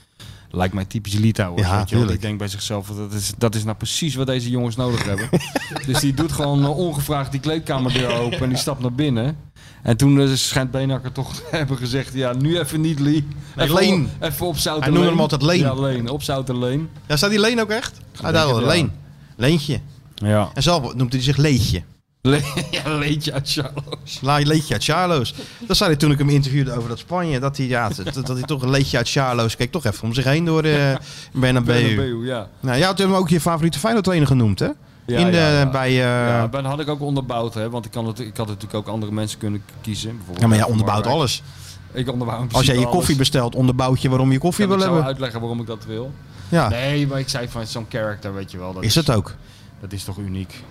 S4: Lijkt mij typisch Litouwers.
S2: Ja,
S4: weet je wel. Die
S2: tuurlijk.
S4: denkt bij zichzelf, dat is, dat is nou precies wat deze jongens nodig hebben. Dus die doet gewoon eh, ongevraagd die kleedkamerdeur open en die stapt naar binnen. En toen eh, schijnt Beenhakker toch te hebben gezegd, ja, nu even niet Lee. Even,
S2: Leen.
S4: op- Even op zout
S2: Hij noemde hem altijd Leen.
S4: Ja, Leen. Op zout en Leen.
S2: Ja, staat die Leen ook echt? Ah,
S4: denk
S2: daar wel,
S4: het, ja.
S2: Leen. Leentje.
S4: Ja.
S2: En zelf noemt hij zich Leetje.
S4: Le ja, Leentje uit Charlo's.
S2: La- Leetje uit Charlo's. Dat zei hij toen ik hem interviewde over dat Spanje. Dat hij, ja, dat, dat hij toch een leetje uit Charlo's keek. Toch even om zich heen door eh Bernabeu.
S4: Bernabeu, ja.
S2: Nou, jij had hem ook je favoriete Feyenoord trainer genoemd, hè?
S4: Ja,
S2: In de,
S4: ja, ja.
S2: Bij, eh,
S4: Ja,
S2: ja,
S4: ben had ik ook onderbouwd, hè, want ik, kan het, ik had natuurlijk ook andere mensen kunnen kiezen. Bijvoorbeeld
S2: maar jij
S4: Mark
S2: onderbouwt
S4: Marwijk.
S2: alles.
S4: Ik onderbouw in
S2: Als jij je
S4: principe
S2: koffie
S4: alles.
S2: bestelt, onderbouwt je waarom je koffie
S4: Kan
S2: wil
S4: ik zou
S2: hebben.
S4: uitleggen waarom ik dat wil.
S2: Ja,
S4: Nee, maar ik zei van zo'n character, weet je wel. Dat
S2: is dat ook.
S4: Dat is toch uniek?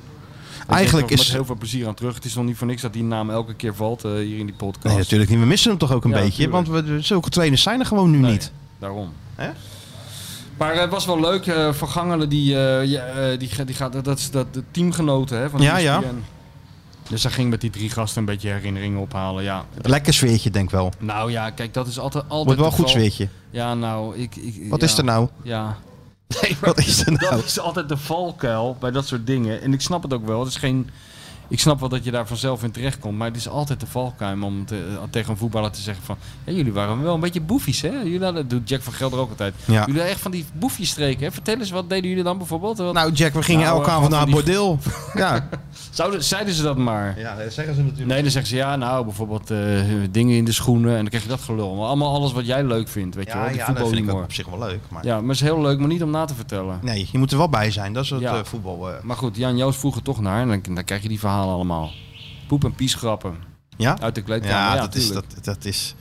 S2: Eigenlijk
S4: is er
S2: is-
S4: met heel veel plezier aan terug. Het is nog niet voor niks dat die naam elke keer valt eh, hier in die podcast.
S2: Nee, natuurlijk niet. We missen hem toch ook een
S4: Ja,
S2: beetje.
S4: tuurlijk.
S2: Want we, zulke trainers zijn er gewoon nu
S4: Nee,
S2: niet.
S4: Daarom.
S2: Hè?
S4: Maar het was wel leuk. eh van Gangelen, die, eh, ja, eh, die, ga- die gaat, dat is dat, de teamgenoten hè, van E
S2: Ja,
S4: ESPN.
S2: ja.
S4: Dus hij ging met die drie gasten een beetje herinneringen ophalen. Ja.
S2: Lekker sfeertje, denk wel.
S4: Nou ja, kijk, dat is altijd... altijd
S2: Wordt wel een
S4: het
S2: goed
S4: geval.
S2: sfeertje.
S4: Ja, nou, ik... ik
S2: Wat
S4: ja,
S2: is er nou?
S4: Ja.
S2: Wat is er nou?
S4: Dat is altijd de valkuil bij dat soort dingen. En ik snap het ook wel. Het is geen, ik snap wel dat je daar vanzelf in terecht komt. Maar het is altijd de valkuil om te- eh, tegen een voetballer te zeggen van... "Hé, jullie waren wel een beetje boefjes, hè? Jullie hadden, dat doet Jack van Gelder ook altijd.
S2: Ja.
S4: Jullie hadden echt van die boefjesstreken, hè? Vertel eens, wat deden jullie dan bijvoorbeeld? Wat,
S2: Nou, Jack, we gingen
S4: Nou,
S2: elke
S4: eh,
S2: avond naar
S4: van
S2: een bordeel. ja.
S4: zouden, zeiden ze dat maar?
S2: ja, dat zeggen ze natuurlijk.
S4: Nee, dan zeggen ze ja, nou, bijvoorbeeld eh, dingen in de schoenen. En dan krijg je dat gelul. Maar allemaal alles wat jij leuk vindt, weet je
S2: Ja,
S4: wel. Die
S2: ja dat vind ik ook
S4: voetbalhumor.
S2: op zich wel leuk. Maar...
S4: Ja, maar het is heel leuk, maar niet om na te vertellen.
S2: Nee, je moet er wel bij zijn. Dat is het
S4: Ja.
S2: eh, voetbal. eh.
S4: Maar goed, Jan Joos vroeg er toch naar en dan, dan krijg je die verhalen allemaal. Poep en pies grappen
S2: Ja?
S4: uit de kleedkamer.
S2: Ja,
S4: Ja,
S2: dat, is, dat,
S4: tuurlijk.
S2: dat is...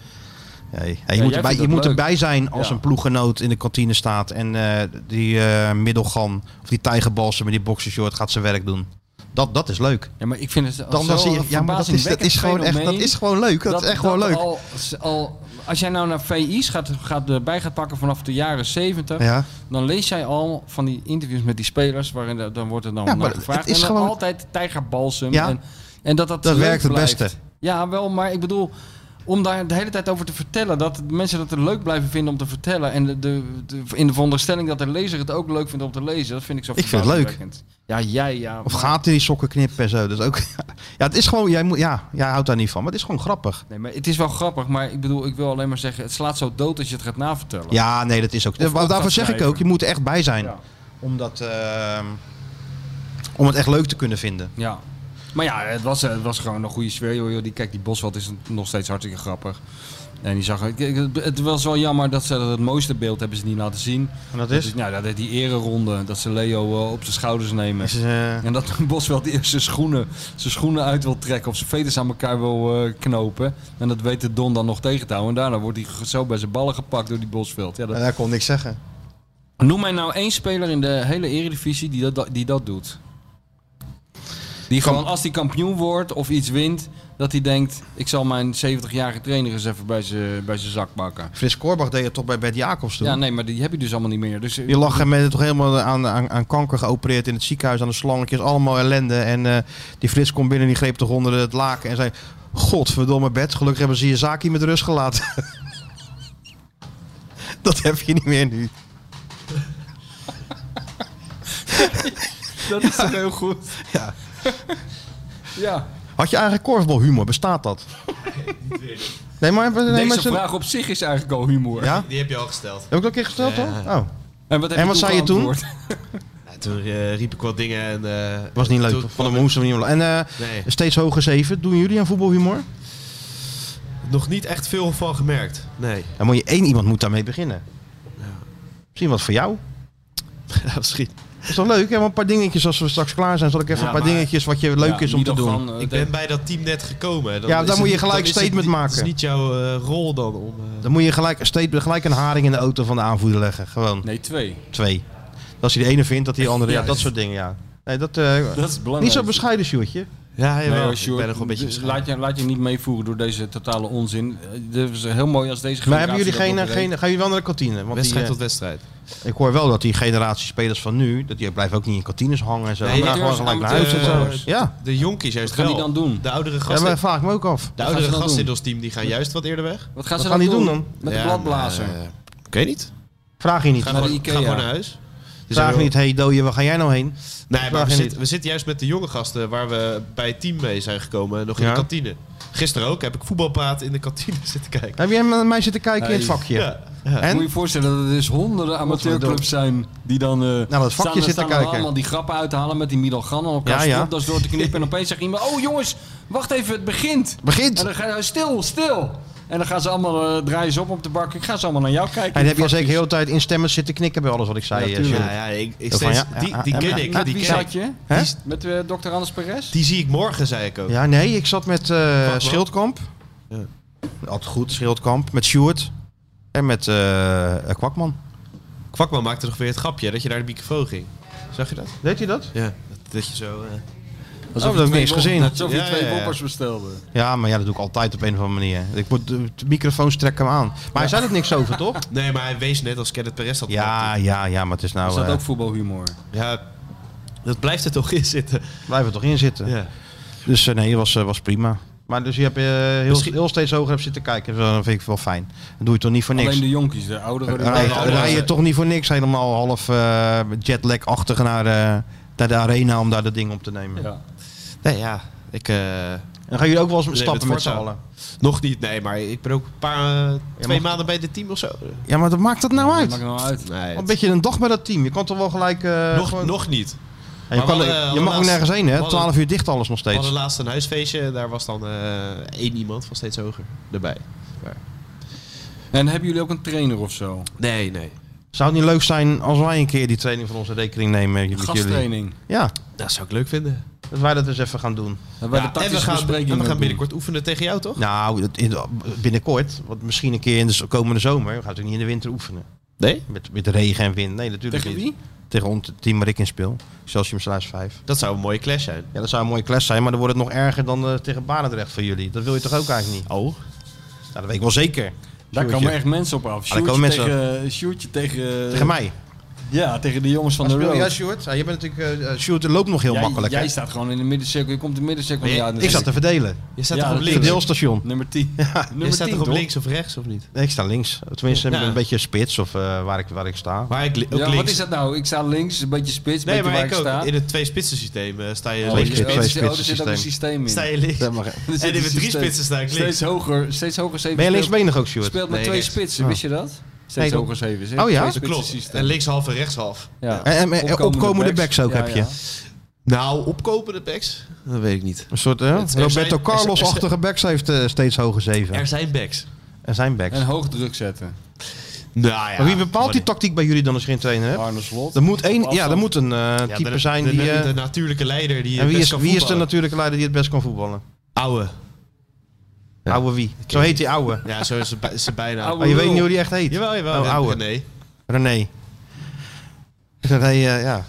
S2: Ja, je- je
S4: jij
S2: moet,
S4: vindt
S2: erbij, je
S4: dat
S2: moet
S4: leuk.
S2: erbij zijn als
S4: Ja.
S2: een ploeggenoot in de kantine staat en eh, die eh middelgan of die tijgerbalsen met die boxershort gaat zijn werk doen. Dat, dat is leuk.
S4: Ja, maar ik vind het
S2: Dan,
S4: zo
S2: dan zie je,
S4: een
S2: ja, maar dat is, dat
S4: verbazingwekkend
S2: is gewoon echt, dat
S4: fenomeen
S2: is gewoon leuk. Dat, is echt gewoon
S4: dat
S2: leuk.
S4: Al, al, als jij nou naar VI's gaat, gaat, erbij gaat pakken vanaf de jaren 70,
S2: Ja.
S4: dan lees jij al van die interviews met die spelers, waarin de- dan wordt er dan
S2: Ja,
S4: naar
S2: maar
S4: gevraagd.
S2: het is
S4: en dan
S2: gewoon-
S4: altijd tijgerbalsem.
S2: Ja.
S4: En, en dat dat,
S2: Dat
S4: leuk
S2: werkt het
S4: blijft.
S2: beste.
S4: Ja, wel, maar ik bedoel, om daar de hele tijd over te vertellen, dat de mensen dat het leuk blijven vinden om te vertellen. En de, de, de- in de veronderstelling dat de lezer het ook leuk vindt om te lezen, dat vind ik zo
S2: Ik vind het leuk.
S4: verbazingwekkend. Ja, jij, ja.
S2: Of
S4: maar-
S2: gaten die sokken knippen en zo. Dat is ook, ja, het is gewoon, jij, moet, ja, jij houdt daar niet van, maar het is gewoon grappig.
S4: Nee, maar het is wel grappig, maar ik bedoel, ik wil alleen maar zeggen, het slaat zo dood als je het gaat navertellen.
S2: Ja, nee, dat is ook.
S4: Of
S2: Maar
S4: op
S2: daarvoor
S4: gaat
S2: zeg ik
S4: schrijven.
S2: ook, je moet er echt bij zijn.
S4: Ja.
S2: Om, dat, ehm, om het echt leuk te kunnen vinden.
S4: Ja. Maar ja, het was, eh, het was gewoon een goede sfeer. Joh, joh. Die, kijk, die Boswald is nog steeds hartstikke grappig. En die zag, ik- ik- het was wel jammer dat ze het mooiste beeld hebben ze niet laten zien.
S2: En dat is?
S4: nou, dat, die ereronde, dat ze Leo eh, op zijn schouders nemen.
S2: Is, eh,
S4: En dat Bosweld eerst zijn schoenen, zijn schoenen uit wil trekken of zijn veters aan elkaar wil eh, knopen. En dat weet de Don dan nog tegen te houden. En daarna wordt hij zo bij zijn ballen gepakt door die Bosveld. Ja, dat,
S2: daar kon niks zeggen.
S4: Noem mij nou één speler in de hele eredivisie die dat, die dat doet. Die gewoon als hij kampioen wordt of iets wint, dat hij denkt: ik zal mijn 70-jarige trainer eens even bij zijn bij zijn zak bakken.
S2: Frits Korbach deed het toch bij Bert Jacobs toen?
S4: Ja, nee, maar die heb je dus allemaal niet meer. Dus, eh,
S2: Je lag hem met toch helemaal aan, aan, aan kanker geopereerd in het ziekenhuis, aan de slangetjes, allemaal ellende. En eh, die Frits komt binnen en die greep toch onder het laken en zei... Godverdomme bed, gelukkig hebben ze je zaak hier met rust gelaten. dat heb je niet meer nu.
S4: dat is toch heel goed.
S2: Ja.
S4: Ja,
S2: Had je eigen korfbalhumor? Bestaat dat? Nee, maar... Nee, maar
S4: deze
S2: ze-
S4: vraag op zich is eigenlijk al humor.
S2: Ja?
S3: Die heb je al gesteld.
S2: Heb ik dat een keer gesteld dan? Oh.
S4: En wat, heb
S2: En wat zei je toen?
S4: geantwoord?
S3: Nou, toen eh, riep ik wat dingen en... eh,
S2: Was niet leuk.
S3: toen
S2: toch? Van
S3: kwam
S2: de
S3: het-
S2: moesten we niet meer. En eh,
S3: Nee.
S2: steeds hoger zeven. Doen jullie aan voetbalhumor?
S3: Nog niet echt veel van gemerkt. Nee.
S4: Nou,
S2: Dan moet je één iemand moet daarmee beginnen. Misschien wat voor jou.
S3: Ja, misschien.
S2: Is toch leuk? Hè? Maar een paar dingetjes als we straks klaar zijn, zal ik even
S4: Ja,
S2: een paar
S4: maar
S2: dingetjes wat je leuk is om te doen.
S4: Nidogan, eh,
S3: Ik ben bij dat team net gekomen. Dan
S2: Ja, daar
S3: is het
S2: moet je
S3: niet-
S2: gelijk
S3: dan is het
S2: statement
S3: niet-
S2: maken.
S3: Het is niet jouw eh, rol dan om... eh,
S2: Dan moet je gelijk, steeds, gelijk een haring in de auto van de aanvoerder leggen. Gewoon
S4: Nee, twee.
S2: twee. Als hij de ene vindt, dat hij de andere. Ja,
S4: Ja,
S2: dat
S4: dus-
S2: soort dingen, ja. Nee, dat, eh,
S4: Dat is belangrijk.
S2: niet zo bescheiden, Sjoerdje.
S3: Ja,
S4: Nee,
S3: jawel.
S4: hoor,
S3: ik
S4: Sjoerd,
S3: ben nog een beetje
S4: d-
S3: bescheiden.
S4: laat, je, dus laat je niet meevoeren door deze totale onzin. Eh, Dit is heel mooi als deze
S2: Maar hebben jullie
S4: generatie
S2: geen,
S4: dat
S2: eh,
S4: ook
S2: geen, gaan jullie wel naar de kantine? Want die,
S3: Wedstrijd
S2: eh,
S3: tot wedstrijd.
S2: ik hoor wel dat die generatie spelers van nu, dat die blijven ook niet in kantines hangen en zo.
S3: Nee,
S2: maar
S4: amateurs-
S2: gewoon gelijk naar huis
S4: amateurs-
S2: en zo.
S3: eh,
S2: Ja,
S3: De jonkies juist
S4: Wat gaan
S3: wel.
S4: die dan doen?
S3: De oudere
S2: ja
S3: gasten,
S2: maar vraag ik me ook af.
S3: de
S4: gaan
S3: oudere
S4: ze dan
S3: gasten in
S4: doen?
S3: ons team die gaan juist wat eerder weg.
S4: weet. Wat gaan
S2: Wat
S4: ze
S2: gaan
S4: dan
S2: die
S4: doen?
S2: doen dan?
S4: Met
S3: Ja,
S4: de bladblazer.
S3: nou, eh, Ik weet niet.
S2: Vraag je niet.
S3: Ga
S4: Naar de
S3: gewoon,
S4: Ikea.
S3: ga gewoon naar huis. Dus
S2: vraag
S3: ik wil-
S2: niet, hey dooie, waar ga jij nou heen?
S3: Nee, maar
S2: vraag
S3: we,
S2: je
S3: zit-
S2: niet.
S3: we zitten juist met de jonge gasten waar we bij het team mee zijn gekomen. Nog in
S2: Ja.
S3: de kantine. Gisteren ook heb ik voetbalpraat in de kantine zitten kijken.
S2: Heb jij met mij zitten kijken in het vakje?
S3: Ja. ja.
S2: En?
S4: Moet je je voorstellen dat er dus honderden amateurclubs zijn die dan eh
S2: Nou, dat vakje
S4: staan,
S2: zitten
S4: staan er
S2: kijken.
S4: allemaal die grappen uit te halen met die Milan Gan en elkaar
S2: Ja, ja.
S4: stropdas door te knippen en opeens zegt iemand, oh jongens, wacht even, het begint.
S2: Begint!
S4: En dan ga je, stil, stil. En dan gaan ze allemaal eh, draaien ze op op de bak. Ik ga ze allemaal naar jou kijken.
S2: En dan heb je zeker heel de tijd instemmend zitten knikken bij alles wat ik zei. eh, Sjoerd.
S3: Ja, ja, ik, ik
S2: Van,
S3: steeds,
S2: ja, ja,
S3: die, die
S2: ja,
S3: ken
S2: ja,
S3: ik.
S2: ja,
S4: Met
S3: die
S4: wie
S3: ken
S4: zat
S3: ik.
S4: je?
S2: Hè?
S4: Met eh, dokter Anders Perez?
S3: Die zie ik morgen, zei ik ook.
S2: Ja, nee, ik zat met eh,
S3: wat?
S2: Schildkamp.
S3: Ja.
S2: Altijd goed, Schildkamp. Met Sjoerd. En met eh, eh, Kwakman.
S3: Kwakman maakte nog weer het grapje dat je naar de microfoon ging. Zag je dat?
S2: Deed hij dat?
S3: Ja. Dat, dat je zo... eh,
S2: Alsof oh, dat heb ik niks gezien.
S4: Alsof je
S3: Ja,
S4: twee
S3: ja, ja.
S4: poppers bestelde.
S2: Ja, maar ja, dat doe ik altijd op een of andere manier. Ik moet, de de microfoons trekken hem aan. Maar hij zei er niks over, toch?
S3: Nee, maar hij wees net als Kenneth Perez dat
S2: Ja,
S3: maakte.
S2: ja, ja, maar het is
S4: Is
S2: nou...
S3: Oh,
S4: dat
S2: eh
S4: ook voetbalhumor?
S3: ja. Dat blijft er toch in zitten.
S2: blijf er toch in zitten.
S3: Ja.
S2: Dus eh, nee, was, eh, was prima. Maar dus je hebt eh, heel,
S3: Misschien-
S2: heel steeds hoger hebt zitten kijken. Dus Dat vind ik wel fijn. Dat doe je toch niet voor niks.
S4: Alleen de jonkies, de ouderen.
S2: Dan rij,
S4: die-
S2: je- dan rij je toch niet voor niks helemaal half eh jetlag-achtig naar, eh, naar de arena om daar dat ding op te nemen.
S4: Ja.
S3: Nee, ja. Ik... eh,
S2: Dan gaan jullie ook wel eens
S3: Nee,
S2: stappen
S3: met
S2: met z'n
S3: Forza.
S2: allen.
S3: nog niet, nee, maar ik ben ook een paar... eh, twee
S2: mag-
S3: maanden bij dit team of zo.
S2: Ja, maar dat maakt dat nou
S4: Dat
S2: uit?
S4: maakt nou uit.
S3: Nee,
S2: Een beetje een dag bij dat team. Je kan toch wel gelijk... eh,
S3: nog,
S2: gewoon-
S3: nog niet.
S2: Ja, je
S3: maar
S2: kan-
S3: we hadden-
S2: je
S3: hadden
S2: mag ook
S3: laatst-
S2: nergens heen,
S3: we
S2: hè?
S3: hadden-
S2: 12 uur dicht alles nog
S3: We
S2: steeds.
S3: hadden laatst een huisfeestje. Daar was dan eh, één iemand van steeds hoger erbij.
S4: En hebben jullie ook een trainer of zo?
S3: Nee, nee.
S2: Zou het niet leuk zijn als wij een keer die training van onze rekening nemen? eh,
S4: Een
S2: met jullie?
S4: gasttraining.
S2: Ja,
S3: Dat zou ik leuk vinden.
S2: dat wij dat eens even gaan doen.
S3: Ja,
S4: En wij de
S3: en we
S4: tactische
S3: gaan, en
S4: besprekingen
S3: we gaan
S4: doen.
S3: binnenkort oefenen tegen jou, toch?
S2: Nou, dat in- binnenkort. Want misschien een keer in de z- komende zomer. We gaan natuurlijk niet in de winter oefenen.
S3: Nee?
S2: Met, met regen en wind. Nee, natuurlijk
S4: Tegen
S2: niet.
S4: wie?
S2: Tegen ons team waar ik in speel. Celsius Sluis 5.
S3: Dat zou een mooie clash zijn.
S2: Ja, dat zou een mooie klas zijn. Maar dan wordt het nog erger dan eh, tegen Barendrecht voor jullie. Dat wil je toch ook eigenlijk niet?
S3: Oh.
S2: Nou, dat weet ik wel zeker.
S4: Daar
S2: Sjoerdje.
S4: komen echt mensen op
S3: Ah,
S4: af.
S2: daar komen
S4: Sjoerdje
S2: mensen
S4: tegen, Sjoerdje tegen...
S2: Tegen mij.
S4: Ja, tegen de jongens van
S2: Waar
S4: de
S2: speel
S4: road.
S2: jij, Sjoerd? Ja, je bent natuurlijk... eh, eh, Sjoerd loopt nog heel
S4: Jij-
S2: makkelijk,
S4: Jij
S2: hè?
S4: staat gewoon in de middencirkel. Je komt de middencirkel
S3: Maar
S4: niet
S3: jij-
S4: uit.
S2: Ik zat te verdelen.
S3: Je staat
S4: Ja,
S3: toch op
S4: natuurlijk.
S3: links?
S2: Verdeelstation.
S4: Nummer 10.
S3: je
S4: Nummer
S3: staat
S4: 10,
S3: toch op
S4: toch?
S3: links of rechts of niet?
S2: Nee, ik sta links. Tenminste,
S3: Ja.
S2: een beetje spits of eh, waar, ik, waar ik sta.
S3: Maar ik li- ook
S4: Ja, wat
S3: links.
S4: is dat nou? Ik sta links, een beetje spits, een
S3: Nee,
S4: beetje
S3: maar
S4: waar
S3: ik
S4: ik,
S3: ook.
S4: sta.
S3: In het twee spitsen systeem sta je
S4: Oh,
S2: Twee
S4: er zit-
S2: spitsen,
S4: oh, er
S2: twee
S4: zit- oh, er zit ook een
S2: spitsen
S4: systeem in.
S3: Sta je links.
S2: Dat mag-
S4: Er zit
S3: En in
S4: een
S3: de drie
S4: systeem.
S3: spitsen sta ik links.
S4: Steeds hoger, steeds hoger zeven.
S2: Ben je
S4: speelt-
S2: linksbenig ook, Sjoerd?
S4: Speelt met
S3: Nee,
S4: twee
S3: rechts.
S4: spitsen, wist je dat? Steeds
S2: Nee,
S4: hoger zeven. is,
S2: Oh ja?
S4: hè? Twee
S3: Dat
S4: spitsen
S3: klopt.
S4: systeem.
S3: En links half en rechts half.
S4: Ja.
S2: En- en- en opkomende backs ook
S4: Ja,
S2: heb je.
S4: ja.
S3: Nou, opkopende backs? Dat weet ik niet.
S2: Een soort eh,
S3: Het- er
S2: Roberto
S3: zijn- er- er-
S2: Carlos-achtige backs heeft eh, steeds hoger zeven.
S3: Er zijn backs.
S2: Er zijn backs.
S4: En hoog druk zetten.
S3: Nou ja.
S2: maar wie bepaalt die
S3: Wanneer-
S2: tactiek bij jullie dan als je geen trainer hebt?
S4: Arne Slot.
S2: Er moet, één, ja,
S4: afstand.
S2: er moet een eh,
S3: Ja,
S2: type
S3: de-
S2: zijn
S3: de,
S2: die... eh,
S3: de natuurlijke leider die
S2: en wie
S3: best
S2: is,
S3: kan
S2: wie is de
S3: voetballen.
S2: natuurlijke leider die het best kan voetballen?
S3: Ouwe. Ja.
S2: Ouwe wie? Zo heet die ouwe.
S3: Ja, zo is ze bij- ze bijna.
S4: Ouwe.
S2: Maar je
S4: lul.
S2: weet niet hoe die echt heet.
S3: Jawel, jawel.
S2: Oh, ouwe.
S3: Nee.
S2: René. René, eh, ja.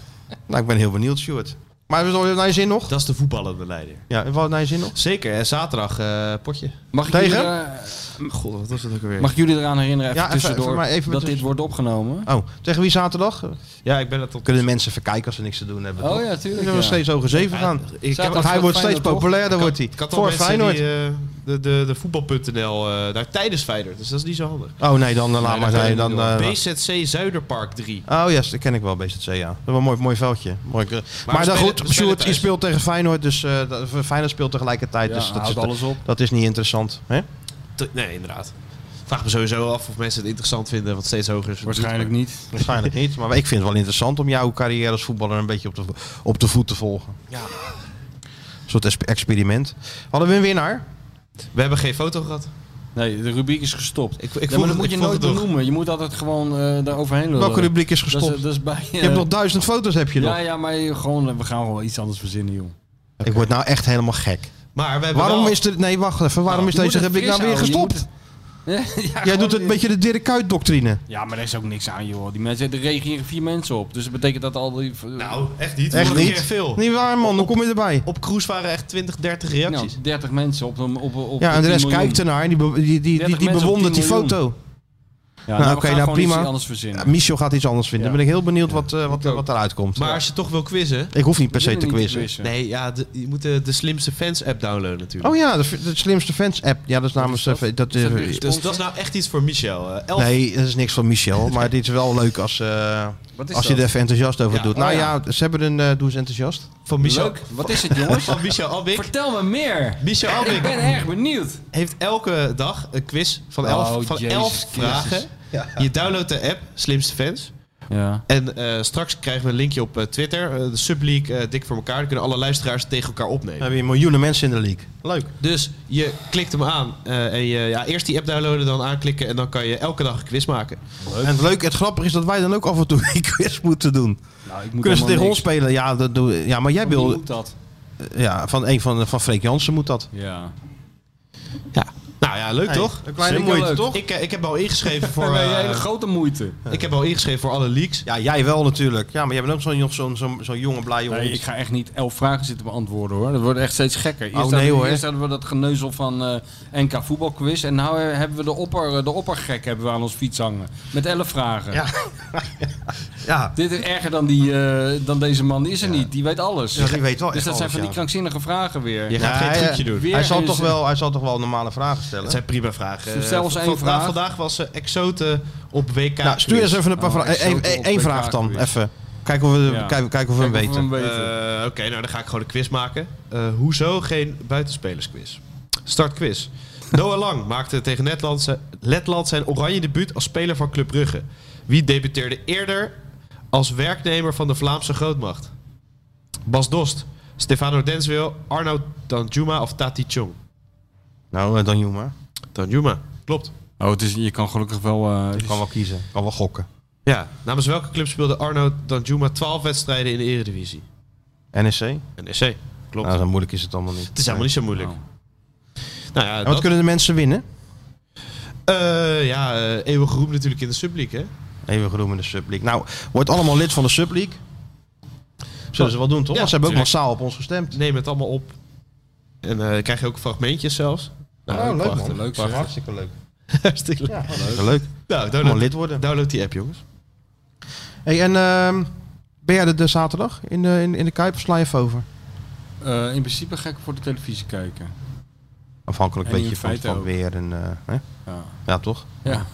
S2: Nou, ik ben heel benieuwd, Stuart. Maar hebben we het naar je zin nog?
S3: Dat is de voetballende leider.
S2: Ja, hebben we het naar je zin nog?
S3: Zeker, en zaterdag eh, potje.
S4: Mag ik,
S2: Tegen?
S4: jullie, eh,
S3: God, wat was dat ook alweer?
S4: mag ik jullie eraan herinneren even
S2: Ja, even-
S4: tussendoor
S2: even maar even
S4: dat
S2: tussen-
S4: dit wordt opgenomen?
S2: Oh, tegen wie zaterdag?
S3: Ja, ik ben het op.
S2: Kunnen de mensen verkijken als ze niks te doen hebben, toch?
S4: Oh ja, tuurlijk.
S2: Dan
S4: ja.
S2: we steeds hoger zeven gaan.
S3: Ik
S4: Zaterdag
S2: Want
S3: heb
S2: hij
S4: dat
S2: wordt
S4: Feyenoord
S2: steeds
S4: toch?
S2: populairder, wordt hij.
S3: ik had al
S2: Voor
S3: mensen
S2: Feyenoord.
S3: die, eh, de, de, de voetbal.nl eh, daar tijdens Feyenoord, dus dat is niet zo handig.
S2: Oh nee, dan eh, laat maar
S4: kan je
S2: zijn.
S4: niet
S2: Dan,
S4: doen.
S2: eh,
S3: BZC Zuiderpark 3.
S2: oh yes, dat ken ik wel, BZC, ja. Dat is wel een mooi, mooi veldje. Mooi, eh, maar
S3: we
S2: dan
S3: spelen-
S2: goed,
S3: we spelen
S2: Sjoerd die
S3: thuis.
S2: speelt tegen Feyenoord, dus eh, dat- Feyenoord speelt tegelijkertijd.
S4: Ja,
S2: dus dat
S4: houdt
S2: is,
S4: alles op.
S2: dat is niet interessant. Hè?
S3: T- Nee, inderdaad. Vraag me sowieso af of mensen het interessant vinden, wat steeds hoger is.
S4: Waarschijnlijk niet.
S2: Waarschijnlijk niet, maar ik vind het wel interessant om jouw carrière als voetballer een beetje op de, vo- op de voet te volgen.
S3: Ja.
S2: Een soort espe- experiment. Hadden we een winnaar?
S3: We hebben geen foto gehad.
S4: Nee, de rubriek is gestopt.
S3: Ik, ik
S4: Ja,
S3: vond
S4: maar dat
S3: het-
S4: moet
S3: ik
S4: je
S3: vond
S4: nooit
S3: het nog.
S4: benoemen. Je moet altijd gewoon eh daar overheen lullen.
S2: Welke rubriek is
S4: Dat
S2: gestopt?
S4: is, dat is bij... eh,
S2: je hebt nog duizend foto's, heb je nog.
S4: ja, ja, maar gewoon, eh, we gaan wel iets anders verzinnen, joh.
S2: Ik word nou echt helemaal gek.
S3: Maar we hebben
S2: Waarom
S3: wel-
S2: is er... Nee, wacht even. Waarom
S4: Nou,
S2: is
S4: je moet
S2: deze
S4: het
S2: rubriek
S4: fris
S2: nou weer
S4: houden. Je
S2: gestopt?
S4: moet het-
S2: Jij doet het een
S4: beetje.
S2: beetje de Dirk Kuyt doctrine.
S4: Ja, maar daar is ook niks aan, joh. Die mensen, er reageren vier mensen op. Dus dat betekent dat al die... Nou,
S3: Nou, echt niet.
S2: Echt
S3: Vorige
S2: niet.
S3: keer veel.
S2: Niet waar man, hoe kom je erbij?
S3: Op cruise waren echt 20, 30 reacties.
S4: 30 Nou, mensen op, een- op, op
S2: Ja, en de
S4: 10
S2: rest
S4: miljoen.
S2: kijkt ernaar en die, be- die, die, die, die
S4: 30 mensen op
S2: bewondert die
S4: 10 miljoen.
S2: foto.
S4: Ja,
S2: Nou,
S4: nou,
S2: oké,
S4: oké,
S2: nou,
S4: prima.
S2: prima.
S4: anders
S2: Ja,
S4: verzinnen.
S2: Michel gaat iets anders vinden.
S4: Ja.
S2: Dan ben ik heel benieuwd wat, eh, wat, wat eruit komt.
S3: Maar als je toch wil quizzen...
S2: ik hoef niet per se
S4: Jullie
S2: te
S4: niet
S2: quizzen.
S3: Nee, ja, de- je moet de, de slimste fans app downloaden natuurlijk.
S2: Oh ja, de, de slimste fans app. Ja, dat is namens... eh, Dat, eh,
S3: Dus dat is nou echt iets voor Michel. eh, elf-
S2: nee, dat is niks van Michel. Maar dit is wel leuk als, eh,
S4: Wat is
S2: als je er
S4: dat?
S2: even enthousiast over
S3: Ja,
S2: doet.
S3: oh
S2: nou ja.
S4: ja.
S2: ze hebben een... eh doe ze enthousiast.
S3: Van Michel.
S4: Leuk. Wat is het, jongens?
S3: Van Michel Albik.
S4: Vertel me meer.
S3: Michel
S2: Nou,
S4: Ik
S3: Albik
S4: ben erg benieuwd.
S3: heeft elke dag een quiz van elf,
S4: Oh,
S3: van
S4: Jezus
S3: elf
S4: Christus.
S3: vragen. Je downloadt de app, slimste fans.
S4: Ja.
S3: En eh, straks krijgen we een linkje op eh, Twitter. eh, de subleague eh, dik voor elkaar. Dan kunnen alle luisteraars tegen elkaar
S2: Dan
S3: opnemen.
S2: heb je miljoenen mensen in de league. Leuk.
S3: Dus je klikt hem aan. eh, en je, ja, eerst die app downloaden, dan aanklikken. En dan kan je elke dag een quiz maken.
S2: En het leuke, het grappige is dat wij dan ook af en toe een quiz moeten doen.
S4: Nou, ik moet
S2: Kunnen ze tegen
S4: helemaal
S2: ons spelen? Ja, dat doe, ja maar jij
S4: niks. Hoe
S2: wil... Eh,
S4: moet dat?
S2: Ja, van een van, van Freek Jansen moet dat.
S4: Ja.
S3: Nou ja, leuk
S2: Hey,
S3: toch?
S2: Een kleine
S4: Zeker
S2: moeite,
S4: leuk.
S2: toch?
S3: Ik, eh, ik heb al ingeschreven voor.
S4: Voor een
S3: eh,
S4: hele grote moeite.
S3: ik heb al ingeschreven voor alle leaks.
S2: Ja, jij wel natuurlijk. Ja, maar jij bent ook zo'n zo'n zo'n zo'n jonge, blije hond.
S4: Nee, ik ga echt niet elf vragen zitten beantwoorden hoor. Dat wordt echt steeds gekker. Eerst,
S2: Oh,
S4: hadden,
S2: nee,
S4: we-
S2: hoor.
S4: eerst hadden we dat geneuzel van eh, NK voetbalquiz. En nou eh, hebben we de, opper, de oppergek hebben we aan ons fiets hangen. Met elf vragen.
S2: Ja. ja.
S4: Dit is erger dan, die, eh, dan deze man is er niet. Die weet alles.
S2: Ja, die weet wel
S4: dus
S2: echt
S4: dat zijn
S2: alles,
S4: van
S2: ja.
S4: die krankzinnige vragen weer.
S3: Je gaat
S2: Nee,
S3: geen trucje
S2: eh,
S3: doen.
S4: Weer
S2: Hij zal,
S4: is-
S2: toch wel, hij zal toch wel normale vragen stellen?
S3: Het zijn prima vragen.
S4: Dus stel
S3: Eh,
S4: ons één
S3: van-
S4: vraag.
S3: nou, vandaag was ze exoten op WK.
S2: nou, stuur eens
S3: quiz.
S2: even een paar
S4: Oh,
S2: vragen.
S4: ik zou het
S2: Eén
S4: op
S2: één
S4: WK
S2: vraag dan,
S4: quiz.
S2: even. Kijken of we,
S4: Ja.
S2: kijken, kijken of we hem
S4: Kijken of
S2: weten.
S4: we hem weten.
S3: Eh, Oké, nou dan ga ik gewoon een quiz maken. Eh, hoezo geen buitenspelersquiz? Start quiz. Noah Lang maakte tegen Letland zijn, Letland zijn oranje debuut als speler van Club Brugge. Wie debuteerde eerder als werknemer van de Vlaamse grootmacht? Bas Dost, Stefano Denswil, Arno Danjuma of Tati Chong?
S2: Nou, eh, dan Juma.
S3: Danjuma, klopt.
S4: Oh, het is, je kan gelukkig wel... eh,
S2: Ik kan wel kiezen. Kan wel gokken.
S3: Ja, namens welke club speelde Arno Danjuma 12 wedstrijden in de Eredivisie?
S2: NSC? Nou,
S3: Een SC, klopt.
S2: zo moeilijk is het allemaal niet.
S3: het is helemaal niet zo moeilijk. Nou ja,
S2: En wat
S3: dat-
S2: kunnen de mensen winnen?
S3: Eh, ja, eh, eeuwig roem natuurlijk in de subliek, hè?
S2: Even genoemd in de Subleague. Nou, wordt allemaal lid van de Subleague. Zullen ze wel doen, toch?
S3: Ja,
S2: Want ze hebben ook
S3: tuurlijk.
S2: massaal op ons gestemd.
S3: Neem het allemaal op. En eh, krijg je ook fragmentjes zelfs. Nou, prachtig.
S4: Leuk zeg.
S2: Prachtig. Hartstikke Oh, leuk.
S3: Hartstikke leuk.
S2: Hartstikke leuk.
S3: Nou,
S2: Allemaal
S3: download,
S2: lid worden.
S3: download die app, jongens.
S2: Hey, en ehm, ben jij er de zaterdag in de, in, in de Kuip of sla je even over?
S4: Eh, in principe ga ik voor de televisie kijken.
S2: Afhankelijk
S4: En
S2: beetje
S4: in
S2: van,
S4: feite
S2: van
S4: ook.
S2: weer en... eh, hè?
S4: Ja.
S2: Ja, toch?
S4: ja.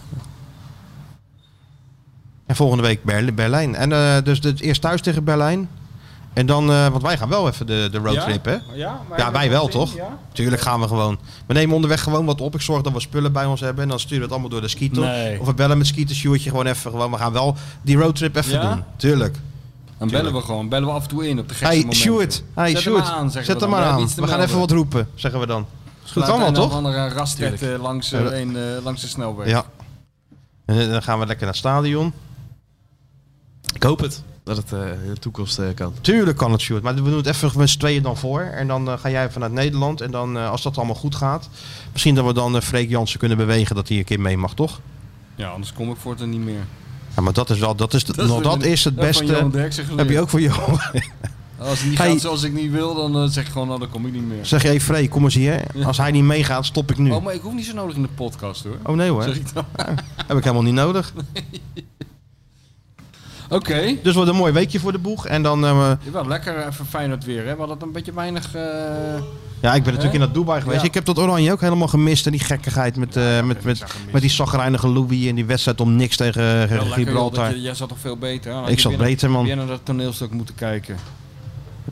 S2: En volgende week Berl- Berlijn. En eh, dus het eerst thuis tegen Berlijn. En dan, eh, want wij gaan wel even de, de roadtrip, hè?
S4: Ja, maar-
S2: Ja, wij wel, toch?
S4: Ja?
S2: Tuurlijk gaan we gewoon. We nemen onderweg gewoon wat op. Ik zorg dat we spullen bij ons hebben. En dan sturen we het allemaal door de skito.
S4: Nee.
S2: Of we bellen met skito Sjoerdje gewoon even. Gewoon, we gaan wel die roadtrip even
S4: Ja?
S2: doen. Tuurlijk.
S4: Dan bellen we gewoon. Bellen we af en toe in op de gekste
S2: Hey,
S4: momenten.
S2: Sjoerd. Hey,
S4: Zet hem
S2: Sjoerd.
S4: maar aan, zeggen
S2: Zet
S4: we
S2: hem
S4: dan.
S2: maar aan.
S4: We hebben iets te
S2: We gaan
S4: melden.
S2: even wat roepen, zeggen we dan. Is goed allemaal,
S4: een of
S2: toch?
S4: andere rastret eh, langs, eh, een, eh, langs de snelweg.
S2: Ja. En dan gaan we lekker naar het stadion.
S3: Ik hoop het. Dat het eh, in de toekomst eh, kan.
S2: Tuurlijk kan het, Sjoerd. Maar we doen het even met z'n tweeën dan voor. En dan eh, ga jij vanuit Nederland. En dan, eh, als dat allemaal goed gaat... Misschien dat we dan eh, Freek Jansen kunnen bewegen dat hij een keer mee mag, toch?
S4: Ja, anders kom ik voortaan niet meer.
S2: Ja, maar dat is, wel, dat is, de-
S4: is
S2: nou, dat
S4: natuurlijk-
S2: is het
S4: dat heb van Johan
S2: beste.
S4: Derksen
S2: Heb je
S4: geleerd.
S2: ook voor jou.
S4: Als het niet
S2: Hey.
S4: gaat zoals ik niet wil, dan eh, zeg ik gewoon, nou, dan kom ik niet meer.
S2: Zeg je, hey, Freek, kom eens hier. Als hij niet meegaat, stop ik nu.
S4: Oh, maar ik hoef niet zo nodig in de podcast, hoor.
S2: Oh nee Hm. hoor,
S4: Zeg ik dan.
S2: heb ik helemaal niet nodig.
S4: Oké.
S2: Dus wat een mooi weekje voor de boeg. En dan, eh,
S4: Wel lekker even Feyenoord weer, hè. We hadden een beetje weinig... eh,
S2: ja, ik ben natuurlijk in
S4: Hè?
S2: dat Dubai geweest.
S4: Ja.
S2: Ik heb dat Oranje ook helemaal gemist. En die gekkigheid met, eh, met, met, met die zagrijnige Louis. En die wedstrijd om niks tegen eh,
S4: wel lekker, joh,
S2: Gibraltar.
S4: dat je- jij zat toch veel beter? hè? Had
S2: Ik
S4: je
S2: zat
S4: weer naar-
S2: beter, man.
S4: Weer naar dat toneelstuk moeten kijken.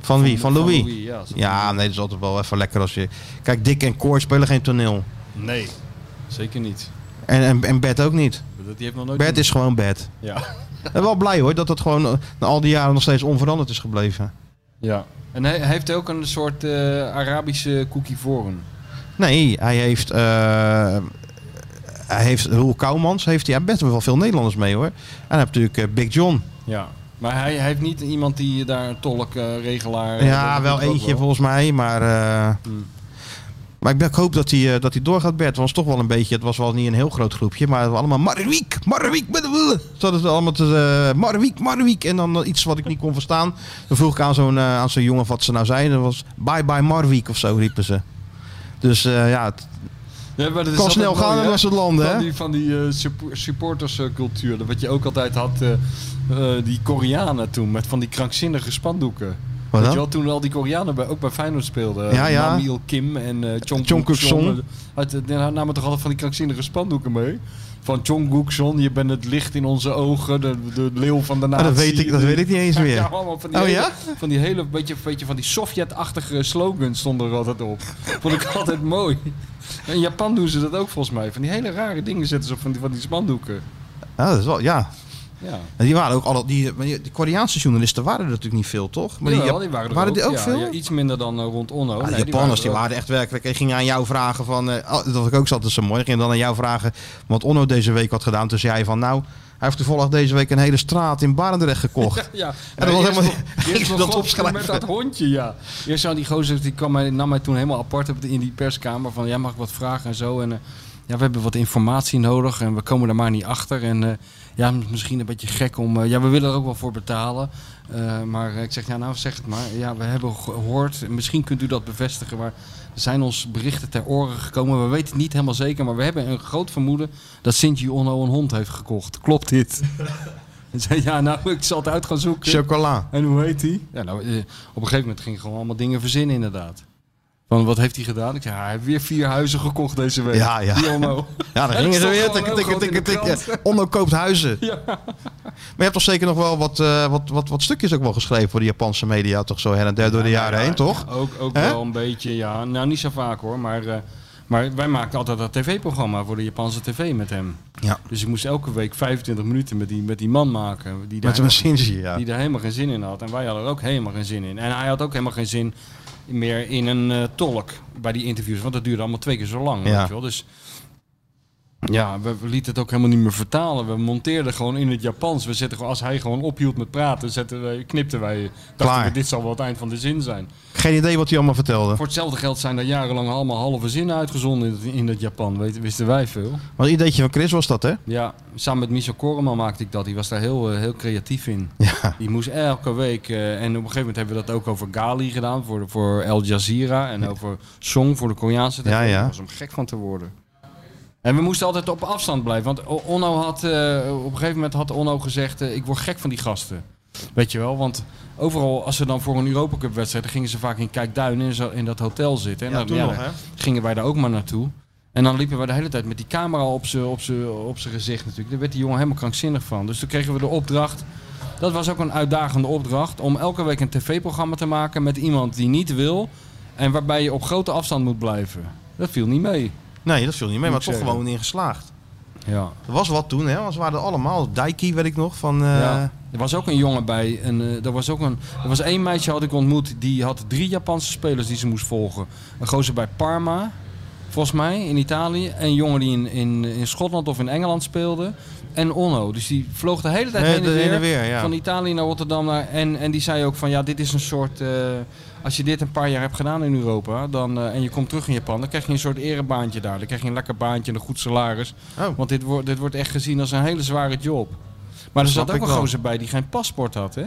S2: Van wie? Van Louis?
S4: ja, zat-
S2: Ja, nee, dat is altijd wel even lekker als je... Kijk, Dick en Koor spelen geen toneel.
S4: Nee, zeker niet.
S2: En, en, en Bert ook niet.
S4: Dat- Die heeft nog nooit...
S2: Bert is gewoon Bert.
S4: Ja.
S2: En wel blij hoor, dat dat gewoon eh, na al die jaren nog steeds onveranderd is gebleven.
S4: ja. En hij hij heeft ook een soort eh, Arabische cookie voor hem.
S2: Nee, hij heeft. eh, hij heeft Roel Kouwmans. Heeft hij, hij best wel veel Nederlanders mee hoor. En hij heeft natuurlijk eh, Big John.
S4: Ja, maar hij, hij heeft niet iemand die daar een tolk, eh, regelaar... eh,
S2: ja,
S4: dat
S2: wel
S4: doet ook
S2: eentje volgens mij, maar. eh, Maar ik, ben- ik hoop dat hij, eh, dat hij doorgaat, Bert. Want het was toch wel een beetje, het was wel niet een heel groot groepje. Maar het was allemaal Marwiek, Marwiek met de willen. Zodat het allemaal te, eh Marwiek, Marwiek. En dan eh, iets wat ik niet kon verstaan. Dan vroeg ik aan zo'n, eh, aan zo'n jongen wat ze nou zeiden. Dat was bye bye Marwiek of zo riepen ze. Dus eh, ja, het
S4: Ja, maar dat is
S2: kan
S4: altijd
S2: snel
S4: mooi,
S2: gaan
S4: hè?
S2: als het landen.
S4: Van
S2: Hè?
S4: die, van die eh, suppo- supporterscultuur. Dat Wat je ook altijd had, eh, eh, die Koreanen toen. Met van die krankzinnige spandoeken.
S2: Wat
S4: Weet je
S2: dan?
S4: wel, toen al die Koreanen bij, ook bij Feyenoord speelden.
S2: Ja, ja.
S4: Namiel Kim en eh Chong
S2: Chong
S4: Guk
S2: Guk-song.
S4: Son. Uit, eh, die namen toch altijd van die krankzinnige spandoeken mee? Van Chong Guk Son, je bent het licht in onze ogen, de, de leeuw van de
S2: Ah,
S4: natie.
S2: dat, weet ik, dat weet ik niet eens
S4: Ja,
S2: meer.
S4: allemaal van die
S2: Oh,
S4: hele,
S2: ja?
S4: Van die hele beetje, beetje van die Sovjet-achtige slogans stonden er altijd op. Vond ik altijd mooi. In Japan doen ze dat ook volgens mij. Van die hele rare dingen zetten ze op van die, van die spandoeken.
S2: Ja, dat is wel, ja.
S4: Ja.
S2: En die waren ook alle, die, maar die- die Koreaanse journalisten waren er natuurlijk niet veel, toch? Maar
S4: Jawel,
S2: Jap-
S4: die waren er
S2: waren
S4: ook,
S2: die ook
S4: ja,
S2: veel?
S4: ja, iets minder dan eh, rond Onno.
S2: Ja,
S4: Nee,
S2: de
S4: die
S2: Japanners die
S4: er ook.
S2: waren echt werkelijk. Ik ging aan jou vragen van. eh, oh, dat ik ook zat zo mooi. Ik ging dan aan jou vragen. Wat Onno deze week had gedaan. Toen zei hij van. Nou, hij heeft toevallig deze week een hele straat in Barendrecht gekocht.
S4: Ja, en
S2: dat was helemaal niet- ik
S4: eerst
S2: wil
S4: dat
S2: dat opschrijven.
S4: Met dat hondje, ja. Eerst zou die gozer, die kwam mij, nam mij toen helemaal apart op de- in die perskamer van, ja, mag ik wat vragen en zo. En eh, ja, we hebben wat informatie nodig en we komen er maar niet achter. En eh, ja, m- misschien een beetje gek om, eh, ja, we willen er ook wel voor betalen. Eh, maar eh, ik zeg, ja, nou zeg het maar. Ja, we hebben gehoord, misschien kunt u dat bevestigen, maar er zijn ons berichten ter oren gekomen. We weten het niet helemaal zeker, maar we hebben een groot vermoeden dat Sint Onno een hond heeft gekocht. Klopt dit? En zei, ja, nou, ik zal het uit gaan zoeken.
S2: Chocola.
S4: En hoe heet hij? Ja, nou, eh, op een gegeven moment ging ik gewoon allemaal dingen verzinnen, inderdaad. Van wat heeft hij gedaan? Ik zei, hij heeft weer vier huizen gekocht deze week.
S2: Ja, ja.
S4: Die homo.
S2: Ja, dan
S4: En
S2: gingen
S4: het
S2: ze
S4: stond
S2: weer.
S4: gewoon
S2: Tik,
S4: heel
S2: tik,
S4: groot in
S2: tik,
S4: de
S2: tik.
S4: krant.
S2: Ja, Onno koopt huizen. Maar je hebt toch zeker nog wel wat, eh, wat, wat, wat stukjes ook wel geschreven voor de Japanse media. Toch zo her en der door de jaren heen, toch?
S4: Ook, ook
S2: Hè?
S4: wel een beetje, ja. Nou, niet zo vaak hoor, maar, eh, maar wij maakten altijd dat tv-programma voor de Japanse tv met hem.
S2: Ja.
S4: Dus ik moest elke week 25 minuten met die, met die man maken. Die daar
S2: Met een Shinji, ja.
S4: die daar helemaal geen zin in had. En wij hadden er ook helemaal geen zin in. En hij had ook helemaal geen zin meer in een eh, tolk bij die interviews. Want dat duurde allemaal twee keer zo lang.
S2: Ja.
S4: Weet je wel. Dus ja, we, we lieten het ook helemaal niet meer vertalen. We monteerden gewoon in het Japans. We zetten gewoon, als hij gewoon ophield met praten, zetten wij, knipten wij. Dachten
S2: Klaar.
S4: we, dit zal wel het eind van de zin zijn.
S2: Geen idee wat hij allemaal vertelde.
S4: Voor hetzelfde geld zijn daar jarenlang allemaal halve zinnen uitgezonden in, het- in het Japan. Weet, wisten wij veel.
S2: Want een ideetje van Chris was dat, hè?
S4: Ja, samen met Michel Koreman maakte ik dat. Die was daar heel, eh, heel creatief in.
S2: Ja.
S4: Die moest elke week. eh, en op een gegeven moment hebben we dat ook over Gali gedaan. Voor, de- voor El Jazeera. En over Song voor de Koreaanse.
S2: Ja, ja.
S4: Dat was om gek van te worden. En we moesten altijd op afstand blijven. Want O- Onno had. eh, op een gegeven moment had Onno gezegd. eh, ik word gek van die gasten. Weet je wel, want overal als ze dan voor een Europa Cup wedstrijd, dan gingen ze vaak in Kijkduin in, zo, in dat hotel zitten. En dan, ja, dan gingen wij daar ook maar naartoe. En dan liepen we de hele tijd met die camera op zijn op z'n- op z'n gezicht natuurlijk. Daar werd die jongen helemaal krankzinnig van. Dus toen kregen we de opdracht dat was ook een uitdagende opdracht om elke week een tv-programma te maken met iemand die niet wil en waarbij je op grote afstand moet blijven. Dat viel niet mee.
S2: Nee, dat viel niet mee, maar
S4: Moet
S2: toch
S4: zeggen.
S2: gewoon ingeslaagd.
S4: Ja.
S2: Er was wat toen, hè? Want ze waren er allemaal. Daiki, weet ik nog, van... eh,
S4: ja. Er was ook een jongen bij. En, eh, er, was ook een, er was één meisje had ik ontmoet die had drie Japanse spelers die ze moest volgen. Een gozer bij Parma, volgens mij, in Italië. Een jongen die in, in, in Schotland of in Engeland speelde. En Onno. Dus die vloog de hele tijd
S2: Nee,
S4: heen en
S2: de
S4: weer.
S2: heen en weer, ja.
S4: Van Italië naar Rotterdam. Naar, en, en die zei ook van ja, dit is een soort. eh, als je dit een paar jaar hebt gedaan in Europa dan, eh, en je komt terug in Japan, dan krijg je een soort erebaantje daar. Dan krijg je een lekker baantje en een goed salaris.
S2: Oh.
S4: Want dit, wordt dit wordt echt gezien als een hele zware job. Maar
S2: Dat
S4: er
S2: snap
S4: zat ook
S2: ik
S4: een
S2: wel.
S4: gozer bij die geen paspoort had, hè?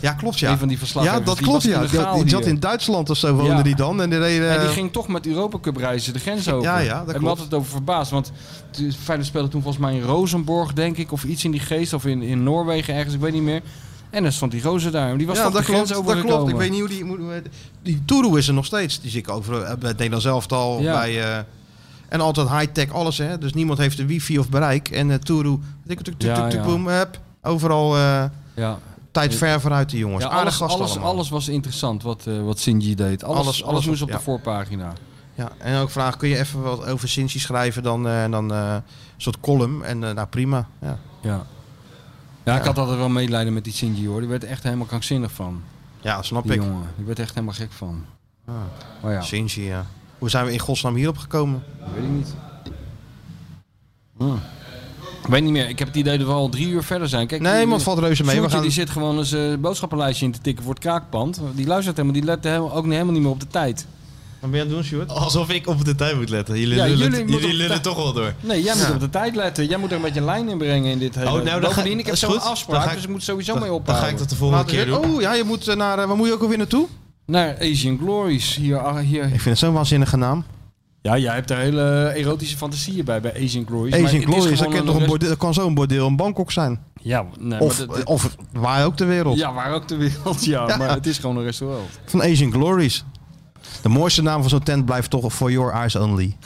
S2: Ja, klopt ja.
S4: Een van die verslaggevers,
S2: Ja, dat
S4: die
S2: klopt
S4: was
S2: ja. Die,
S4: illegaal
S2: had- die zat
S4: hier.
S2: in Duitsland of zo woonde
S4: Ja.
S2: die dan. En die reed,
S4: en die
S2: eh,
S4: ging toch met Europa Cup reizen de grens over.
S2: Ja, ja, dat klopt.
S4: en we hadden het over verbaasd. Want de Feyenoord speelde toen volgens mij in Rosenborg, denk ik. Of iets in die geest. Of in, in Noorwegen ergens, ik weet niet meer. En dan stond die gozer daar. Die was
S2: ja,
S4: toch
S2: dat
S4: de grens
S2: klopt, dat
S4: overgekomen.
S2: klopt. Ik weet niet hoe die... hoe- hoe- Die Toeroe is er nog steeds. Die zie ik over eh, bij het Nederlands elftal.
S4: Ja.
S2: Bij, eh, en altijd high-tech alles hè. Dus niemand heeft de wifi of bereik. En eh Toeroe... tuk, tuk, tuk,
S4: Ja,
S2: tuk, tuk,
S4: ja.
S2: boem, hup. Overal eh,
S4: Ja.
S2: tijd ver vooruit die jongens.
S4: Ja,
S2: Aardig
S4: alles,
S2: gast
S4: alles,
S2: allemaal.
S4: alles was interessant wat, eh wat Sinji deed. Alles,
S2: Alles-
S4: alles,
S2: alles
S4: moest op
S2: ja.
S4: de voorpagina.
S2: Ja, en ook vraag, kun je even wat over Sinti schrijven dan? eh, en dan eh, een soort column. En eh, nou, prima. Ja.
S4: Ja. Ja, ik had altijd wel medelijden met die Sinji hoor. Die werd er echt helemaal krankzinnig van.
S2: Ja, snap
S4: Die
S2: ik.
S4: jongen. Die werd er echt helemaal gek van.
S9: Ah.
S4: Maar ja,
S2: Sinti, ja. Hoe zijn we in godsnaam hierop gekomen?
S4: weet ik niet. Ik weet niet meer. Ik heb het idee dat we al drie uur verder zijn. Kijk,
S2: Nee,
S4: die-
S2: man, het valt reuze mee. We
S4: Sjoerdje,
S2: gaan...
S4: die zit gewoon eens eh, een boodschappenlijstje in te tikken voor het kraakpand. Die luistert helemaal, die let helemaal, ook niet- helemaal niet meer op de tijd.
S2: Wat ben je aan het doen, Stuart?
S3: Alsof ik op de tijd moet letten. Jullie
S9: Ja,
S3: lullen,
S9: jullie
S3: jullie
S9: moeten op de
S3: lullen
S9: tijd-
S3: toch wel door.
S9: Nee, jij moet op de tijd letten. Jij moet er een beetje lijn in brengen in dit hele...
S3: nou, dan
S9: Bovendien,
S3: ga-
S9: ik heb
S3: is
S9: zo'n
S3: goed. Dan
S9: afspraak,
S3: ga ik-
S9: dus ik moet sowieso mee
S3: Dan, dan
S9: ophouden.
S3: ga ik dat de volgende
S2: Laten we-
S3: keer doen.
S2: Oh ja, je moet eh, naar. eh, waar moet je ook alweer naartoe?
S9: Naar Asian Glories. Hier, ah, hier.
S2: Ik vind het zo'n waanzinnige naam.
S9: Ja, jij hebt er hele erotische fantasieën bij, bij Asian Glories. maar
S2: Asian
S9: het is
S2: Glories, dat
S9: gewoon
S2: kan, toch een
S9: rest-
S2: bordeel, dat kan zo'n bordeel in Bangkok zijn.
S9: Ja, nee,
S2: Of, eh,
S9: maar dat- dat-
S2: of waar ook ter wereld.
S9: ja, waar ook de wereld, ja, Maar het is gewoon een restaurant.
S2: Van Asian Glories. De mooiste naam van zo'n tent blijft toch For Your Eyes Only.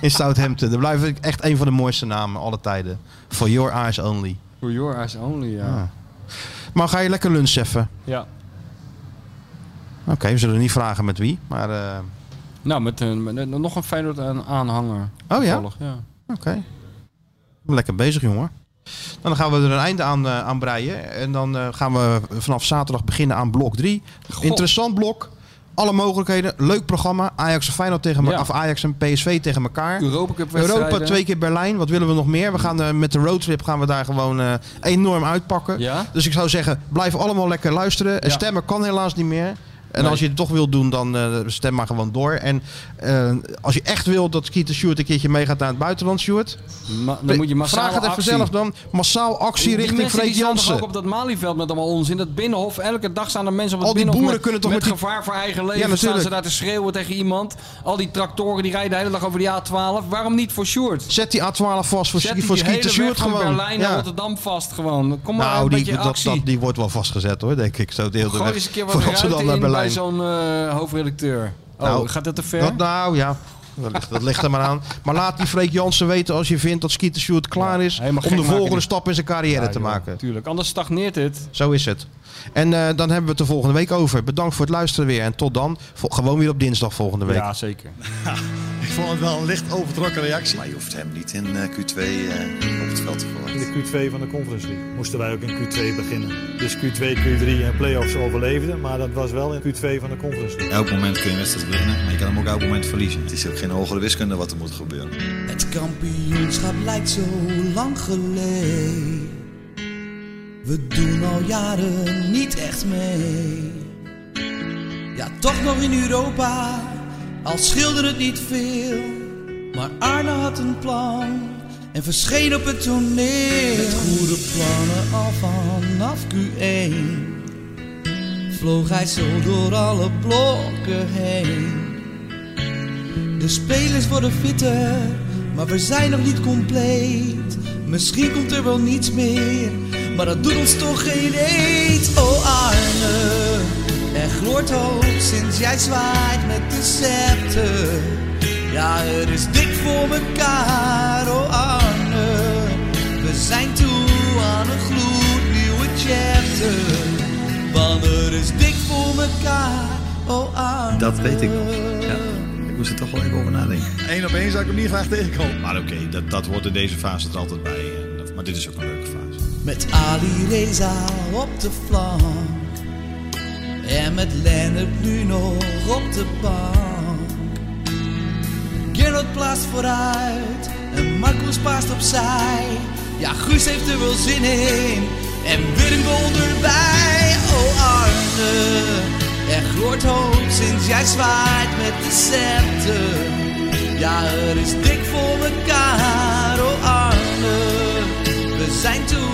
S2: in Southampton. Dat blijft echt een van de mooiste namen alle tijden. For Your Eyes Only.
S9: For your eyes only, ja.
S2: Ah. Maar ga je lekker luncheffen?
S9: Ja.
S2: Oké, we zullen niet vragen met wie. Maar eh,
S9: Nou, met een, met een- nog een Feyenoord aan- aanhanger.
S2: Oh ja?
S9: Toevallig, ja.
S2: oké. Ik ben Lekker bezig, jongen. Nou, dan gaan we er een einde aan, eh, aan breien. En dan eh, gaan we vanaf zaterdag beginnen aan blok 3. Interessant blok. Alle mogelijkheden. Leuk programma. Ajax en Feyenoord tegen elkaar.
S9: Ja.
S2: Of Ajax en PSV tegen elkaar.
S9: Europa Cup
S2: Europa,
S9: wedstrijden.
S2: twee keer Berlijn. Wat willen we nog meer? We gaan eh, met de roadtrip gaan we daar gewoon eh, enorm uitpakken.
S9: Ja?
S2: Dus ik zou zeggen, blijf allemaal lekker luisteren. En
S9: Ja.
S2: stemmen kan helaas niet meer. En
S9: Nee.
S2: als je het toch wilt doen, dan eh, stem maar gewoon door. En eh, als je echt wilt dat Kieter Sjoerd een keertje meegaat naar het buitenland, Sjoerd.
S9: Ma- dan moet je massaal
S2: Vraag het even zelf dan. Massaal actie richting Freek
S9: ook
S2: Jansen.
S9: op dat Malieveld met allemaal onzin. Dat Binnenhof, elke dag staan er mensen op het
S2: Al die
S9: Binnenhof
S2: boeren
S9: met,
S2: kunnen toch
S9: met
S2: met die-
S9: gevaar voor eigen leven. staan
S2: natuurlijk.
S9: ze daar te schreeuwen tegen iemand. Al die tractoren die rijden de hele dag over die A12. Waarom niet voor Sjoerd?
S2: Zet die A12 vast voor,
S9: Zet
S2: voor
S9: die hele
S2: Kieter Sjoerd
S9: weg van
S2: gewoon.
S9: Berlijn naar Rotterdam vast gewoon. Kom maar
S2: Nou,
S9: een
S2: die,
S9: beetje
S2: dat,
S9: actie.
S2: dat, die wordt wel vastgezet hoor, denk ik. Zo deel de
S9: Gooi
S2: weg.
S9: eens een keer wat
S2: Voordat ze
S9: ruiten
S2: dan
S9: in
S2: naar
S9: bij
S2: Berlijn.
S9: zo'n eh, hoofdredacteur. Oh,
S2: Nou,
S9: gaat dat te ver?
S2: Dat, nou ja, dat ligt, dat ligt er maar aan. Maar laat die Freek Jansen weten als je vindt dat Skeeter Stewart klaar is...
S9: helemaal
S2: om
S9: gek
S2: de
S9: maken
S2: volgende
S9: dit.
S2: stap in zijn carrière te maken.
S9: Tuurlijk, anders stagneert het.
S2: Zo is het. En eh, dan hebben we het de volgende week over. Bedankt voor het luisteren weer. En tot dan, Vo- gewoon weer op dinsdag volgende week.
S9: Ja, zeker.
S1: Ik vond het wel een licht overtrokken reactie. Maar je hoeft hem niet in eh, Q2 eh, op het veld te gooien.
S10: In de Q2 van de Conference League moesten wij ook in Q2 beginnen. Dus Q2, Q3 en play-offs overleefden, maar dat was wel in Q2 van de Conference League.
S1: Elk moment kun je een wedstrijd winnen, maar je kan hem ook elk moment verliezen. Het is ook geen hogere wiskunde wat er moet gebeuren.
S6: Het kampioenschap lijkt zo lang geleden. We doen al jaren niet echt mee. Ja, toch nog in Europa, al schilderde het niet veel. Maar Arne had een plan en verscheen op het toneel. Met goede plannen al vanaf Q1 vloog hij zo door alle blokken heen. De spelers worden fitter, maar we zijn nog niet compleet. Misschien komt er wel niets meer, maar dat doet ons toch geen eet. Oh Arne, er gloort hoop sinds jij zwaait met de scepter. Ja, het is dik voor mekaar, oh Arne. We zijn toe aan een gloednieuwe chapter. Want er is dik voor mekaar, oh Arne.
S1: Dat weet ik nog. Ja, ik moest er toch wel even over nadenken.
S10: Eén op één zou ik hem niet graag tegenkomen.
S1: Maar oké, dat, dat hoort in deze fase er altijd bij. En dat- maar dit is ook een leuke fase.
S6: Met Ali Reza op de flank. En met Lennart nu nog op de bank. Gerard plaatst vooruit. En Marcus paast opzij. Ja, Guus heeft er wel zin in. En Willingwol erbij. Oh Arne, er gloort hoop sinds jij zwaait met de scepter. Ja, er is dik voor mekaar, oh Arne. We zijn toe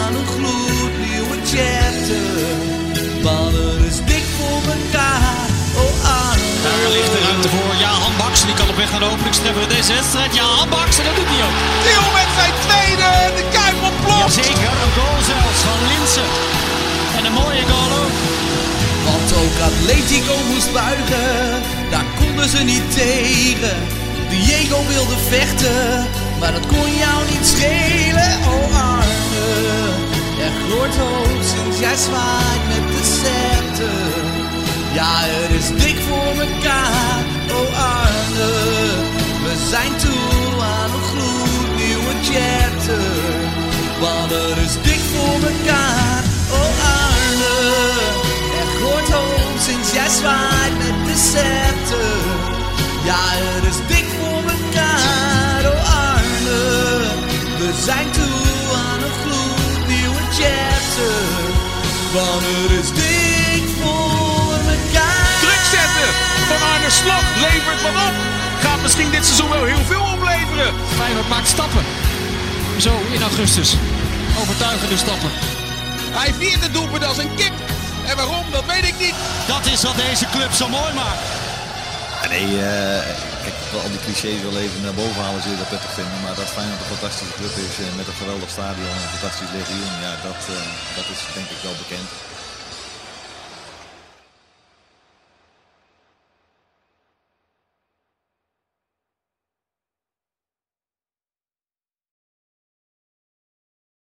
S6: aan een gloednieuwe chapter. Want er is dik voor mekaar, oh Arne.
S10: Daar ligt de ruimte voor Jahan Baks. Die kan op weg naar de openingstreffer in deze wedstrijd. Jahan Baks, en dat doet hij ook.
S1: Theo met zijn tweede, de Kuip ontploft!
S10: Jazeker, een goal zelfs van Linsen. En een mooie goal ook.
S6: Want ook Atletico moest buigen, daar konden ze niet tegen. Diego wilde vechten, maar dat kon jou niet schelen, oh Arne. Er gloort hoop sinds jij zwaait met de scepter. Ja, het is dik voor mekaar, oh Arne. We zijn toe aan een gloednieuwe chapter. Want er is dik voor mekaar, oh Arne. Er gloort hoop sinds jij zwaait met de scepter. Ja, het is dik voor mekaar, oh Arne. We zijn toe aan een gloednieuwe chapter. Want het is er dik voor mekaar.
S1: Druk zetten!
S4: Van Aarde Slap levert wat op. Gaat misschien dit seizoen wel heel veel opleveren. Feyenoord maakt stappen. Zo in augustus. Overtuigende stappen. Hij viert het doelpunt als een kip. En waarom, dat weet ik niet. Dat is wat deze club zo mooi maakt.
S1: Ja, nee, eh, kijk, ik wil al die clichés wel even naar boven halen, zul je dat prettig vinden. Maar dat Feyenoord een fantastische club is eh, met een geweldig stadion en een fantastisch legioen, ja, dat, eh, dat is denk ik wel bekend.